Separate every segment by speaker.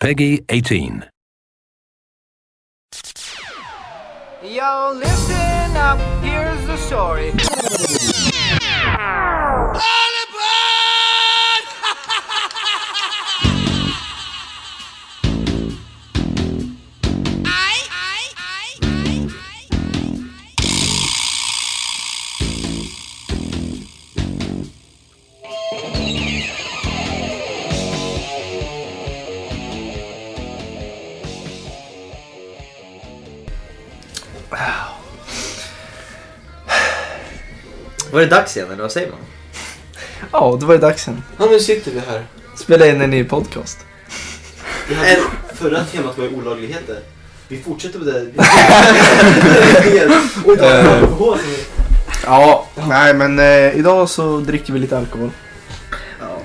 Speaker 1: Peggy 18.
Speaker 2: Yo, listen up, here's the story.
Speaker 3: Var det dags igen eller vad säger man?
Speaker 4: Ja, då var det dags igen.
Speaker 5: Ja, nu sitter vi här.
Speaker 4: Spela in en ny podcast.
Speaker 5: Vi hade, förra temat var ju olagligheter. Vi fortsätter på det. Vi Och inte ha alkohol.
Speaker 3: Eh.
Speaker 4: Ja, nej men eh, idag så dricker vi lite alkohol.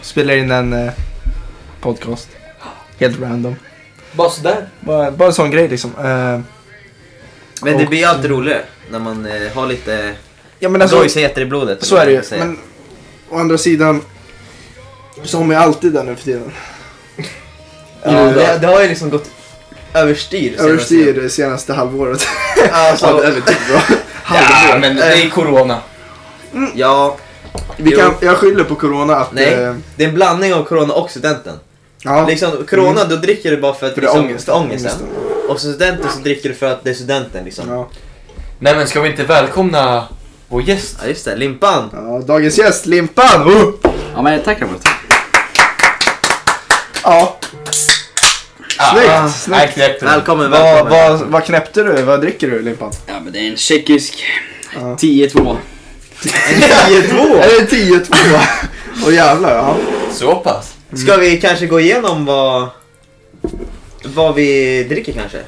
Speaker 4: Spelar in en eh, podcast. Helt random.
Speaker 5: Bara sådär.
Speaker 4: Bara, bara en sån grej liksom. Eh,
Speaker 3: Men det
Speaker 4: Och-
Speaker 3: blir ju alltid roligare när man eh, har lite
Speaker 4: ja men alltså,
Speaker 3: gojsigheter i blodet.
Speaker 4: så är det ju.
Speaker 3: säga.
Speaker 4: Men å andra sidan, som är alltid där nu för tiden.
Speaker 5: Ja, det, det har ju liksom gått överstyr. senaste-
Speaker 4: Överstyr det senaste halvåret.
Speaker 5: Alltså,
Speaker 4: Ja, det är väl typ bra. Eh.
Speaker 5: ja, men
Speaker 3: Eh.
Speaker 5: det är corona.
Speaker 3: Ja,
Speaker 4: Vi
Speaker 3: Jo.
Speaker 4: kan, jag skyller på corona att...
Speaker 3: nej.
Speaker 4: eh,
Speaker 3: Det är en blandning av corona och studenten.
Speaker 4: ja, Mm.
Speaker 3: Liksom, corona då dricker du bara för att
Speaker 4: för det är
Speaker 3: liksom,
Speaker 4: ångest.
Speaker 3: för ångesten. Och studenten så dricker du för att det är studenten liksom. Ja,
Speaker 4: Ja.
Speaker 5: Nej men ska vi inte välkomna vår gäst?
Speaker 3: just det. Limpan.
Speaker 4: Ja, dagens gäst, Limpan! Oh!
Speaker 6: Ja men tack Robert.
Speaker 4: Ja.
Speaker 5: Ah,
Speaker 4: Snyggt, snyggt.
Speaker 5: Nej, knäppt.
Speaker 3: Välkommen,
Speaker 4: Vad,
Speaker 3: välkommen.
Speaker 4: vad, vad knäppte du? Vad dricker du Limpan?
Speaker 6: Ja men det är en tjeckisk
Speaker 4: Ja.
Speaker 6: 10-2.
Speaker 3: 10-2.
Speaker 4: Är det 10-2? Oh! Åh jävlar, ja.
Speaker 5: Så pass.
Speaker 3: Ska vi kanske gå igenom vad, vad vi dricker kanske?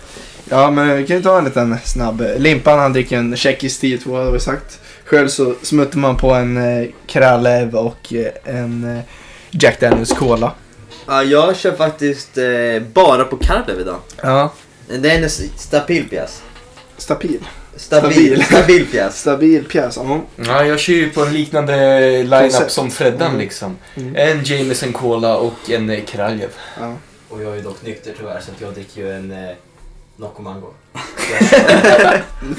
Speaker 4: Ja men vi kan ju ta en liten snabb. Limpan han dricker en tjeckisk 10-2 hade vi sagt. Själv så smuttar man på en eh, Kraljev och eh, en eh, Jack Daniels Cola.
Speaker 3: Ja, jag kör faktiskt eh, bara på Karplev idag.
Speaker 4: Ja.
Speaker 3: Det är en s- stabil pjäs.
Speaker 4: Stabil. Stabil.
Speaker 3: Stabil, stabil pjäs.
Speaker 4: Stabil pjäs. Ja.
Speaker 5: Ja, jag kör ju på en liknande line-up
Speaker 4: Koncept.
Speaker 5: som Freddan
Speaker 4: Mm.
Speaker 5: liksom.
Speaker 4: Mm.
Speaker 5: En Jameson Cola och en eh, Kraljev.
Speaker 4: ja.
Speaker 7: Och jag är dock nykter tyvärr så att jag dricker ju en eh, Nocco Mango.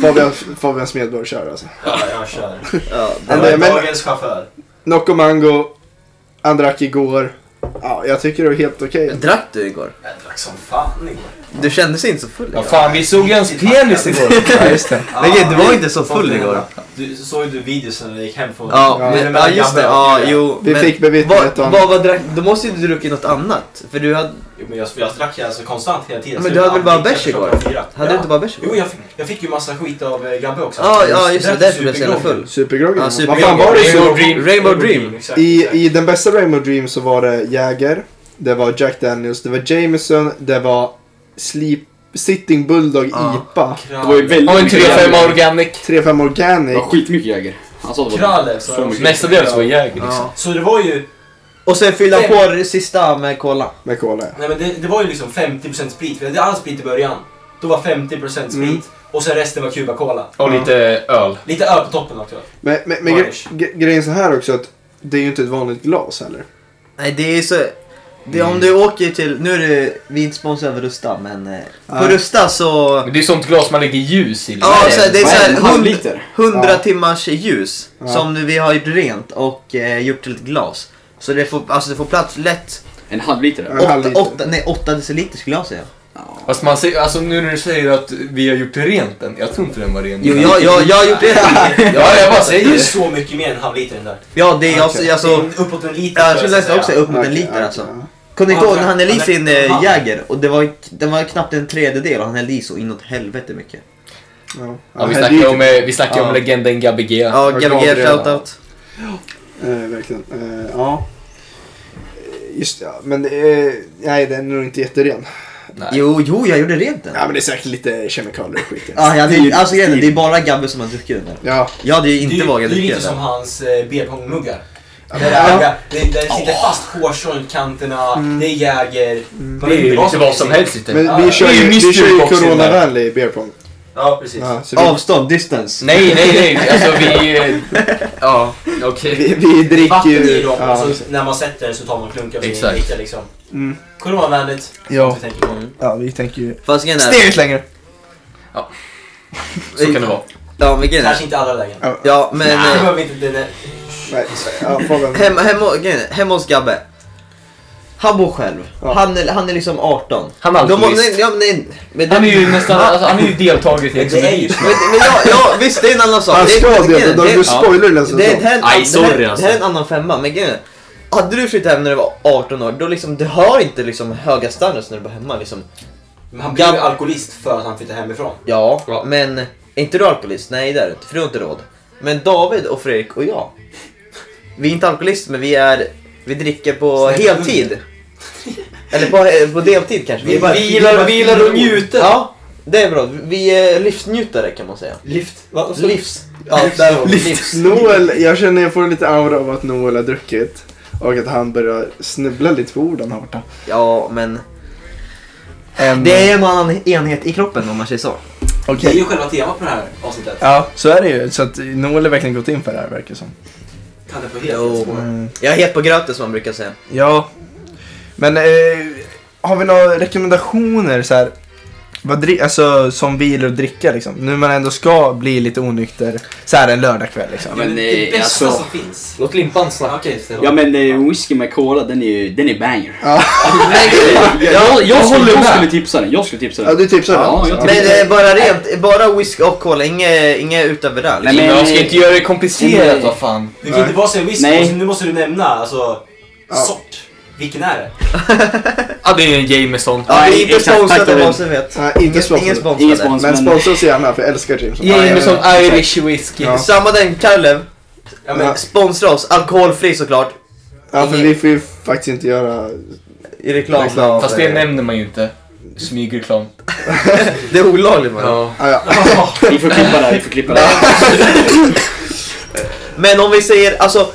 Speaker 4: Fabian, Fabian Smedborg kör alltså.
Speaker 7: Ja, jag kör.
Speaker 3: Ja, det
Speaker 7: Jag
Speaker 4: Nej,
Speaker 7: är
Speaker 4: men-
Speaker 7: dagens chaufför.
Speaker 4: Nocco Mango. Han drack igår. Ja, jag tycker det är helt okej.
Speaker 3: var- Drack du igår?
Speaker 7: Jag drack som fan igår.
Speaker 3: Du kände sig inte så full
Speaker 5: Ja,
Speaker 3: igår?
Speaker 5: fan, vi såg ju hans penis igår.
Speaker 4: Ja, just det.
Speaker 3: Nej, gud, du var
Speaker 7: nej.
Speaker 3: inte så full igår.
Speaker 7: Du såg ju du videos när du gick hem från...
Speaker 3: Ja,
Speaker 4: Ja,
Speaker 3: men,
Speaker 7: men-
Speaker 3: ja just det. Ja, jo,
Speaker 4: Vi
Speaker 3: men
Speaker 4: fick bevittna
Speaker 3: vad,
Speaker 4: ett och
Speaker 3: vad, vad drack, Då måste ju du druckit något annat. För du hade,
Speaker 7: Jo, men jag, jag drack ju alltså konstant hela tiden.
Speaker 3: Men
Speaker 7: så
Speaker 3: du hade
Speaker 7: jag
Speaker 3: väl bara
Speaker 7: fick
Speaker 3: bärs
Speaker 7: klockan
Speaker 3: igår?
Speaker 7: fyra.
Speaker 3: hade
Speaker 7: Ja.
Speaker 3: du inte bara bärs
Speaker 7: Jo,
Speaker 3: igår?
Speaker 7: jag fick, jag fick ju massa skit av eh, Gabbe också.
Speaker 3: Ja, ja just det.
Speaker 7: Drack
Speaker 3: Därför blev jag så jävla
Speaker 7: supergroggy.
Speaker 3: full.
Speaker 4: Supergroggen.
Speaker 3: Ja,
Speaker 4: Vad
Speaker 3: supergroggen.
Speaker 4: fan var det så?
Speaker 5: Rainbow Dream.
Speaker 3: Rainbow Dream.
Speaker 7: Exakt,
Speaker 4: I,
Speaker 7: exakt.
Speaker 4: I den bästa Rainbow Dream så var det Jäger, det var Jack Daniels, det var Jameson, det var Sleep, Sitting Bulldog
Speaker 3: Ja.
Speaker 4: IPA,
Speaker 6: Det var ju väldigt
Speaker 5: Och en 3-5
Speaker 6: Jäger.
Speaker 5: Organic.
Speaker 4: 35
Speaker 6: Det
Speaker 4: Organic.
Speaker 6: var skitmycket Jäger. Alltså det var
Speaker 7: Kralev. så-
Speaker 6: så mycket.
Speaker 5: Mestadels var Jäger liksom.
Speaker 3: Ja.
Speaker 7: Så det var ju...
Speaker 3: Och sen fyllde han på det sista med cola.
Speaker 4: Med cola.
Speaker 7: Nej men det, det var ju liksom 50% sprit, vi hade all sprit i början. Då var 50% sprit
Speaker 4: Mm.
Speaker 7: och sen resten var Cuba Cola.
Speaker 5: Och lite öl.
Speaker 7: Lite öl på toppen också.
Speaker 4: Men, men, men
Speaker 7: Varnish.
Speaker 4: gre- gre- grejen så här också att det är ju inte ett vanligt glas heller.
Speaker 3: Nej det är så... Det, Om
Speaker 4: Mm.
Speaker 3: du åker till... Nu är det, vi är inte sponsrade av Rusta men... eh, På
Speaker 4: Nej.
Speaker 3: Rusta så...
Speaker 5: Men det är sånt glas man lägger ljus i.
Speaker 3: Ja, så det är
Speaker 6: Vad
Speaker 3: så
Speaker 6: är
Speaker 3: här,
Speaker 6: det? En halv
Speaker 3: hund-
Speaker 6: liter?
Speaker 3: 100
Speaker 4: Ja.
Speaker 3: timmars ljus
Speaker 4: Ja.
Speaker 3: som vi har gjort rent och eh, gjort till ett glas. Så det får, alltså det får plats lätt
Speaker 6: En halv liter.
Speaker 4: Ja. En halv
Speaker 3: 8
Speaker 4: liter. Mm.
Speaker 3: åtta, nej, åtta deciliter skulle jag säga.
Speaker 5: Fast man säger, alltså nu när du säger att vi har gjort rent den. Jag tror inte den var ren.
Speaker 3: Jo, jag, jag, jag har gjort det.
Speaker 5: ja, jag bara säger
Speaker 7: Det är
Speaker 5: det.
Speaker 7: så mycket mer än en halv liter den där.
Speaker 3: Ja, det är alltså...
Speaker 4: Okej.
Speaker 7: Alltså,
Speaker 3: alltså
Speaker 7: uppåt en liter.
Speaker 3: ja,
Speaker 7: så
Speaker 3: jag skulle
Speaker 7: att
Speaker 3: nästan
Speaker 7: säga.
Speaker 3: också upp mot en
Speaker 4: Okej,
Speaker 3: liter
Speaker 4: okej,
Speaker 3: alltså.
Speaker 4: ja.
Speaker 3: Kommer ni inte ihåg när han hällde i
Speaker 7: Ja.
Speaker 3: sin eh,
Speaker 7: Ja.
Speaker 3: Jäger? Och det var, den var knappt en tredjedel och han hällde i så inåt helvete mycket.
Speaker 4: Ja. Ja,
Speaker 5: Ja, vi
Speaker 4: här
Speaker 5: snackar ju
Speaker 4: dyker-
Speaker 5: om, eh, vi snackar ju
Speaker 3: Ja.
Speaker 5: om legenden Gabi G.
Speaker 3: Ja,
Speaker 4: Ja,
Speaker 3: Gbg
Speaker 4: Gabriel.
Speaker 3: shoutout.
Speaker 4: Eh, verkligen. Eh, ja. Eh, Just det, ja. Men eh, nej, den är nog inte jätteren.
Speaker 5: Nej.
Speaker 3: Jo, jo, jag gjorde rent den.
Speaker 4: Ja, men det är säkert lite kemikalier och skit. i den.
Speaker 3: Ja, jag hade, alltså grejen är, det är bara Gabbe som har druckit den där.
Speaker 4: Ja.
Speaker 3: Jag hade ju
Speaker 7: Det är
Speaker 3: inte
Speaker 7: ju-
Speaker 3: vågat
Speaker 7: Det är ju
Speaker 3: dricka
Speaker 7: lite
Speaker 3: den.
Speaker 7: som hans eh, beerpongmuggar. Den
Speaker 4: Ja. Mm.
Speaker 7: där- den- den sitter fast hårs runt kanterna, det är Jäger. Man
Speaker 5: Det är
Speaker 7: vet
Speaker 5: ju
Speaker 7: inte
Speaker 5: lite vad som helst.
Speaker 4: Men
Speaker 5: lite.
Speaker 7: Ja,
Speaker 4: vi
Speaker 7: ja.
Speaker 4: kör
Speaker 5: Det är
Speaker 4: ju,
Speaker 5: ju
Speaker 4: vi
Speaker 5: mystery
Speaker 4: kör ju
Speaker 5: box in där.
Speaker 4: coronavänlig beerpong.
Speaker 7: Ja, precis.
Speaker 4: Ja, så vi,
Speaker 3: Avstånd,
Speaker 5: Mm.
Speaker 3: distance.
Speaker 6: Nej, nej, nej. Alltså vi... eh, Ja, okej.
Speaker 4: vi, vi dricker
Speaker 8: Vatten
Speaker 4: ju...
Speaker 8: i dem
Speaker 4: ja,
Speaker 8: och så när man sätter den så tar man klunkar och så
Speaker 6: Exakt.
Speaker 8: dricker liksom.
Speaker 4: Mm.
Speaker 8: Coronavänligt.
Speaker 4: ja,
Speaker 8: Vi tänker på.
Speaker 4: ja, vi tänker ju...
Speaker 3: Fast grejen är...
Speaker 4: Steget längre!
Speaker 6: Så kan det vara.
Speaker 3: Ja, men grejen
Speaker 8: Kanske
Speaker 3: är...
Speaker 8: inte alla lägen.
Speaker 3: Ja, men...
Speaker 8: Men,
Speaker 3: eh,
Speaker 8: det behöver vi inte... Den är,
Speaker 4: Nej, ja, frågan.
Speaker 3: Hemma, hemma, grejen är, hemma hos Gabbe. Han bor själv.
Speaker 4: Ja.
Speaker 3: Han, är, han är liksom 18.
Speaker 6: Han är
Speaker 3: De har-
Speaker 6: alkoholist.
Speaker 3: nej, ja, men nej, men
Speaker 6: Han är
Speaker 3: det-
Speaker 6: ju nästan, alltså, han är ju deltagare till
Speaker 8: det är
Speaker 5: liksom-
Speaker 8: ju så.
Speaker 3: Men, men ja, ja, visst det är en annan sak.
Speaker 4: Han
Speaker 3: Det är-
Speaker 4: ska
Speaker 3: men grejen
Speaker 4: det,
Speaker 3: är-
Speaker 4: då
Speaker 3: det är-
Speaker 4: du spoilar ju nästan
Speaker 3: Det är, det,
Speaker 4: så.
Speaker 3: här,
Speaker 6: Aj, sorry,
Speaker 3: det, här, det
Speaker 6: alltså.
Speaker 3: här är en annan femma, men grejen är, Hade du flyttat hem när du var 18 år, då liksom, du har inte liksom höga standards när du bor hemma liksom.
Speaker 8: men han blev ju
Speaker 3: Gam-
Speaker 8: alkoholist för att han flyttade hemifrån.
Speaker 3: Ja,
Speaker 6: Ja.
Speaker 3: men är inte du alkoholist? Nej det är du inte, för du har inte råd. Men David och Fredrik och jag. Vi är inte alkoholister, men vi är, vi dricker på
Speaker 8: Snälla,
Speaker 3: heltid. Eller på, på deltid kanske.
Speaker 8: Vi bara-
Speaker 6: Vilar, vilar och njuter.
Speaker 3: Ja, det är bra. Vi är livsnjutare kan man säga.
Speaker 8: Lift. Vad vad sa du?
Speaker 3: Livs... Alltså, Ja, där har vi livs.
Speaker 4: Noel, jag känner jag får lite aura av att Noel har druckit. Och att han börjar snubbla lite på orden här borta.
Speaker 3: Ja, men
Speaker 4: En-
Speaker 3: det är en annan enhet i kroppen om man säger så.
Speaker 8: Det är
Speaker 4: Okej.
Speaker 8: ju själva temat på det här avsnittet.
Speaker 4: Ja, så är det ju. Så att Noel har verkligen gått in för det här verkar det som.
Speaker 8: Kalle på
Speaker 3: Jo.
Speaker 8: helt spår.
Speaker 4: Mm.
Speaker 3: Jag är het på gröten som man brukar säga.
Speaker 4: Ja. Men eh, har vi några rekommendationer så här? Vad dri- alltså som vila och dricka liksom. Nu man ändå ska bli lite onykter så här en lördagkväll liksom.
Speaker 6: Men,
Speaker 8: det
Speaker 6: eh,
Speaker 8: bästa
Speaker 6: alltså-
Speaker 8: som finns.
Speaker 2: Låt limpan
Speaker 8: Okej,
Speaker 2: snacka.
Speaker 8: Stefan.
Speaker 6: Ja men eh, whisky med cola, den är ju, den är banger.
Speaker 4: Ja.
Speaker 6: jag, jag, jag,
Speaker 4: håller
Speaker 6: skulle, jag
Speaker 4: med.
Speaker 6: skulle tipsa den, jag skulle tipsa den.
Speaker 4: Ja, du tipsar
Speaker 6: Ja,
Speaker 4: alltså.
Speaker 6: jag
Speaker 3: Men eh, bara rent, bara whisky och cola, inget, inget utöver det. här,
Speaker 6: Nej,
Speaker 3: Liksom.
Speaker 6: men,
Speaker 5: Men jag ska inte göra det komplicerat, vad fan.
Speaker 8: Du kan inte bara säga whisky,
Speaker 6: Nej.
Speaker 8: måste- nu måste du nämna alltså
Speaker 4: Ja.
Speaker 8: sort. Vilken är det?
Speaker 5: Ja, det är en Jameson.
Speaker 3: Ja, det är inte
Speaker 6: Nej, exakt, tack,
Speaker 3: sponsrat av
Speaker 6: David.
Speaker 3: oss, jag vet.
Speaker 4: Nej, inte
Speaker 3: Ingen-
Speaker 4: sponsrat.
Speaker 3: Ingen
Speaker 6: Ingen
Speaker 3: sponsrade.
Speaker 6: spons,
Speaker 4: Men
Speaker 6: men,
Speaker 4: sponsra oss gärna för jag älskar Jameson.
Speaker 5: Jameson
Speaker 4: Ja, jag vet.
Speaker 5: Irish whisky.
Speaker 4: Ja.
Speaker 3: Samma den, Kallev.
Speaker 8: Ja, men,
Speaker 4: Ja.
Speaker 3: Sponsra oss, alkoholfri såklart.
Speaker 4: Ja, för vi får ju faktiskt inte göra...
Speaker 3: I reklam.
Speaker 4: Reklam.
Speaker 5: Fast det nämner man ju inte. Smygreklam.
Speaker 3: Det är olagligt man.
Speaker 5: Ja.
Speaker 4: Ah, ja.
Speaker 6: vi får klippa det här, vi får klippa det här.
Speaker 3: Men om vi säger, alltså.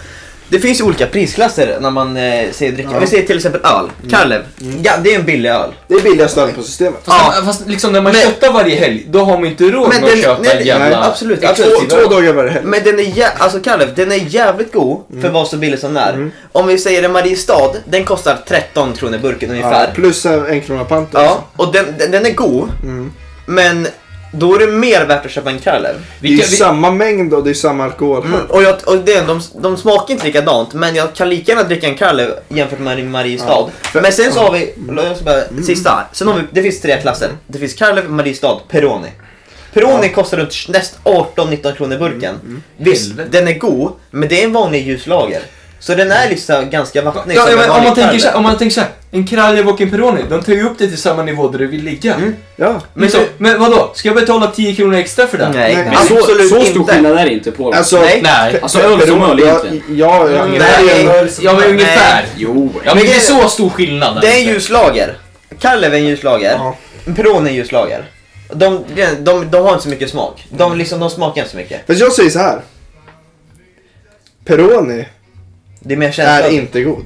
Speaker 3: Det finns ju olika prisklasser när man eh, säger dricka.
Speaker 4: Ja.
Speaker 3: Vi säger till exempel öl. Kallev, ja, det är en billig öl.
Speaker 4: Det är billigaste ölen på systemet.
Speaker 5: Fast, fast liksom när man
Speaker 3: Men-
Speaker 5: köttar varje helg, då har man ju inte råd
Speaker 3: Men
Speaker 5: med
Speaker 3: den-
Speaker 5: att köpa
Speaker 3: nej,
Speaker 5: en jävla...
Speaker 4: nej,
Speaker 3: absolut,
Speaker 5: Exakt.
Speaker 3: absolut.
Speaker 4: Två dagar varje helg.
Speaker 3: Men den är, jä- alltså Kallev, den är jävligt god för vad så billig som den är. Om vi säger en Mariestad, den kostar 13 kronor burken
Speaker 4: Ja,
Speaker 3: ungefär.
Speaker 4: plus en krona panter.
Speaker 3: Ja, och den, den, den är god,
Speaker 4: Mm.
Speaker 3: men då är det mer värt att köpa en Kallev.
Speaker 4: Det är ju
Speaker 5: Vilka, vi,
Speaker 4: samma mängd och det är samma alkohol.
Speaker 3: Mm, och jag, och det, de, de smakar inte likadant, men jag kan lika gärna dricka en Kallev jämfört med en Mariestad.
Speaker 4: För-
Speaker 3: Men sen så
Speaker 5: Mm.
Speaker 3: har vi, jag ska bara, sista här. Sen har vi, det finns tre klasser. Det finns Kallev, Mariestad, Peroni. Peroni kostar runt näst 18-19 kronor burken.
Speaker 5: Mm,
Speaker 3: Visst,
Speaker 5: Helvete.
Speaker 3: den är god, men det är en vanlig ljuslager. Så den är liksom ganska vattnig.
Speaker 5: ja,
Speaker 3: som en
Speaker 5: men, om,
Speaker 3: vanlig
Speaker 5: man tänker
Speaker 3: Kallev.
Speaker 5: så här, om man tänker så här, en Kraljev och en Peroni, de tar ju upp det till samma nivå där du vill ligga.
Speaker 4: Ja.
Speaker 5: Men, så,
Speaker 8: Mm.
Speaker 3: Men-
Speaker 5: men vadå, ska jag betala 10 kronor extra för det?
Speaker 3: Nej,
Speaker 4: Nej,
Speaker 6: Men så,
Speaker 3: absolut
Speaker 6: så stor
Speaker 3: inte.
Speaker 6: skillnad är det inte på dem.
Speaker 4: Alltså,
Speaker 3: Nej.
Speaker 5: Nej.
Speaker 6: Alltså öl som öl egentligen.
Speaker 4: Ja, ja,
Speaker 3: Mm,
Speaker 4: ja.
Speaker 3: Nej.
Speaker 5: Ja men ungefär.
Speaker 6: Jo,
Speaker 5: Ja men
Speaker 3: Men
Speaker 5: det är
Speaker 3: det-
Speaker 5: så stor skillnad.
Speaker 3: Det är en
Speaker 5: inte.
Speaker 3: ljuslager. Kallev är en ljuslager.
Speaker 4: Ja.
Speaker 3: Peroni är en ljuslager. De, de, de, de har inte så mycket smak. De,
Speaker 4: Mm.
Speaker 3: liksom, de smakar inte så mycket.
Speaker 4: Fast jag säger så här. Peroni
Speaker 3: Det är mer känsla.
Speaker 4: är inte god.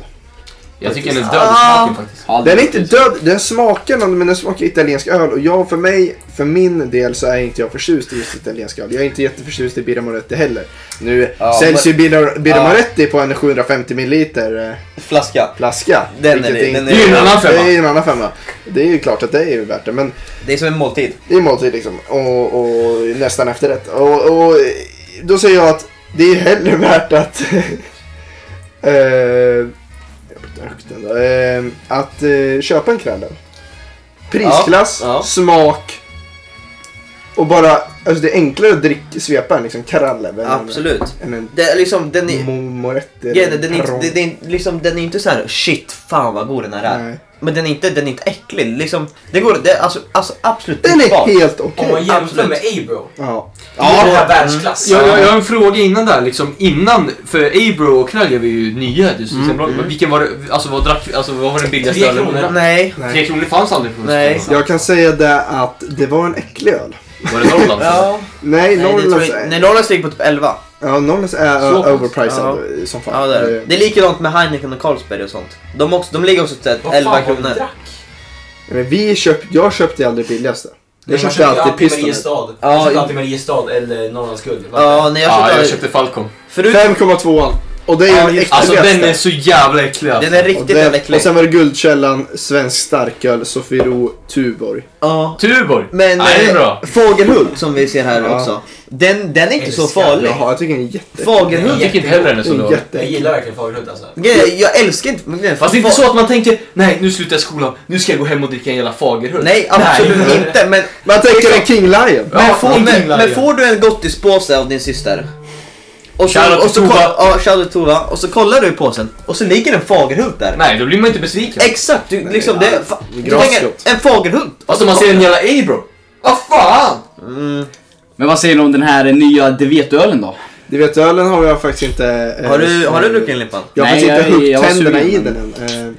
Speaker 5: Jag tycker den är död i smaken faktiskt.
Speaker 4: Den är inte död, den smakar någon, men den smakar italiensk öl. Och jag, för mig, för min del så är inte jag förtjust i just italiensk öl. Jag är inte jätteförtjust i Birra Moretti heller. Nu
Speaker 3: Ja,
Speaker 4: säljs
Speaker 3: men-
Speaker 4: ju Birra, Birra
Speaker 3: Ja.
Speaker 4: Moretti på en 750 ml
Speaker 3: Flaska.
Speaker 4: flaska.
Speaker 3: Den är
Speaker 4: vilket
Speaker 3: det,
Speaker 4: inte-
Speaker 3: den är- Det är
Speaker 5: ju en annan femma.
Speaker 4: Det är ju en annan femma. Det är ju klart att det är ju värt det. Men
Speaker 3: Det är som en måltid.
Speaker 4: Det är måltid liksom. Och, och nästan efterrätt. Och, och då säger jag att det är hellre värt att... eh, jag pratar högt ändå. Eh, att eh, köpa en krallen. Prisklass,
Speaker 3: Ja, ja.
Speaker 4: smak. Och bara, alltså det är enklare att drick, svepa en liksom krallen än,
Speaker 3: Absolut.
Speaker 4: än en
Speaker 3: Det är liksom, den är...
Speaker 4: mo- moretti. eller
Speaker 3: Grejen är, den är, inte,
Speaker 4: tron.
Speaker 3: den, är, liksom, den är inte så här shit fan vad god den här är.
Speaker 4: Nej.
Speaker 3: Men den är inte, den är inte äcklig. Liksom, det går, det är alltså, alltså absolut
Speaker 4: Den
Speaker 3: drickbar.
Speaker 4: är helt
Speaker 8: Om
Speaker 4: okej.
Speaker 8: man jämför
Speaker 3: absolut.
Speaker 8: med Abro.
Speaker 4: Ja.
Speaker 8: Ja. Är det här världsklass?
Speaker 5: Jag, jag, jag har en fråga innan där liksom, innan, för Abro och Kraljev är ju nya till Systembolaget. men Vilken var det, alltså vad drack, alltså vad var den billigaste
Speaker 8: Tre
Speaker 5: ölen?
Speaker 8: kronor.
Speaker 3: Nej.
Speaker 4: Nej.
Speaker 5: Tre kronor fanns aldrig på
Speaker 3: Nej.
Speaker 5: Systemet.
Speaker 4: Jag kan säga det att det var en äcklig öl.
Speaker 5: Var det Norrlands?
Speaker 3: Ja.
Speaker 4: Nej,
Speaker 3: Nej, det tror
Speaker 4: Norrlands
Speaker 3: jag, nej, Norrlands ligger på typ 11.
Speaker 4: Ja, Norrlands är
Speaker 5: Så pass?
Speaker 4: overpriced
Speaker 3: Ja.
Speaker 4: som fan.
Speaker 3: Ja, det, är. det. det är likadant med Heineken och Carlsberg och sånt. De, också, de ligger också till
Speaker 8: Vad
Speaker 3: 11
Speaker 8: fan var det
Speaker 3: kronor.
Speaker 8: drack?
Speaker 4: Men vi köpt, jag köpte aldrig billigaste. Jag
Speaker 8: Man
Speaker 4: köpte alltid
Speaker 8: alltid
Speaker 4: Pistonet.
Speaker 8: Mariestad.
Speaker 3: Ja,
Speaker 8: Jag köpte
Speaker 3: jag-
Speaker 8: alltid Mariestad eller Norrlands guld.
Speaker 3: Ja, när jag
Speaker 5: Ja,
Speaker 3: köpte...
Speaker 5: jag köpte Falcon.
Speaker 3: Förut...
Speaker 4: 5,2an. Och det är
Speaker 3: Ja,
Speaker 4: den
Speaker 3: just-
Speaker 4: äckligaste.
Speaker 5: Alltså den är så jävla äcklig alltså.
Speaker 3: Den är
Speaker 4: och,
Speaker 3: riktigt jävla
Speaker 4: den, och
Speaker 3: äcklig.
Speaker 4: sen var det Guldkällan, Svensk starköl, Sofiero, Tuborg.
Speaker 3: Ja.
Speaker 5: Tuborg!
Speaker 3: Men
Speaker 5: Nej, det är bra.
Speaker 3: eh, Fågelhult som vi ser här
Speaker 4: Ja.
Speaker 3: också. Den, den är inte så
Speaker 8: Älskar.
Speaker 3: farlig.
Speaker 4: Jaha, jag tycker den är jätte...
Speaker 5: Jag
Speaker 3: Fågelhult.
Speaker 5: tycker inte heller den är så
Speaker 4: den är
Speaker 5: dålig.
Speaker 8: Jag
Speaker 4: jätte...
Speaker 8: gillar verkligen Fagerhult alltså.
Speaker 3: Jag, jag älskar inte... men grejen är-
Speaker 5: Fast det är inte så att man tänker, nej nu slutar jag skolan, nu ska jag gå hem och dricka en jävla Fagerhult.
Speaker 3: Nej, absolut
Speaker 5: Nej.
Speaker 3: inte. Men,
Speaker 4: Man tänker en King Lion.
Speaker 5: Ja,
Speaker 3: men, får,
Speaker 5: någonting
Speaker 3: men,
Speaker 5: lär
Speaker 3: men
Speaker 5: jag.
Speaker 3: får du en gottispåse av din syster. Och
Speaker 5: Shoutout
Speaker 3: så,
Speaker 5: till
Speaker 3: och så,
Speaker 5: Tova.
Speaker 3: koll- ja, shoutout Tova. Och så kollar du i påsen och så ligger en Fagerhult där.
Speaker 5: Nej, då blir man inte besviken.
Speaker 3: Exakt, du, liksom det är... fa- Du
Speaker 4: Graskott.
Speaker 3: tänker, en Fagerhult.
Speaker 5: Fast om man ser en jävla A-bro.
Speaker 3: Ah,
Speaker 5: Vad fan!
Speaker 6: Men vad säger ni om den här eh, nya Devetölen då?
Speaker 4: Du vet, ölen har jag faktiskt inte... eh,
Speaker 3: Har du, har du druckit en Limpan?
Speaker 4: Jag har
Speaker 6: Nej,
Speaker 4: faktiskt inte
Speaker 6: jag- jag var
Speaker 4: huggit tänderna i
Speaker 6: sugen,
Speaker 4: den än. Eh,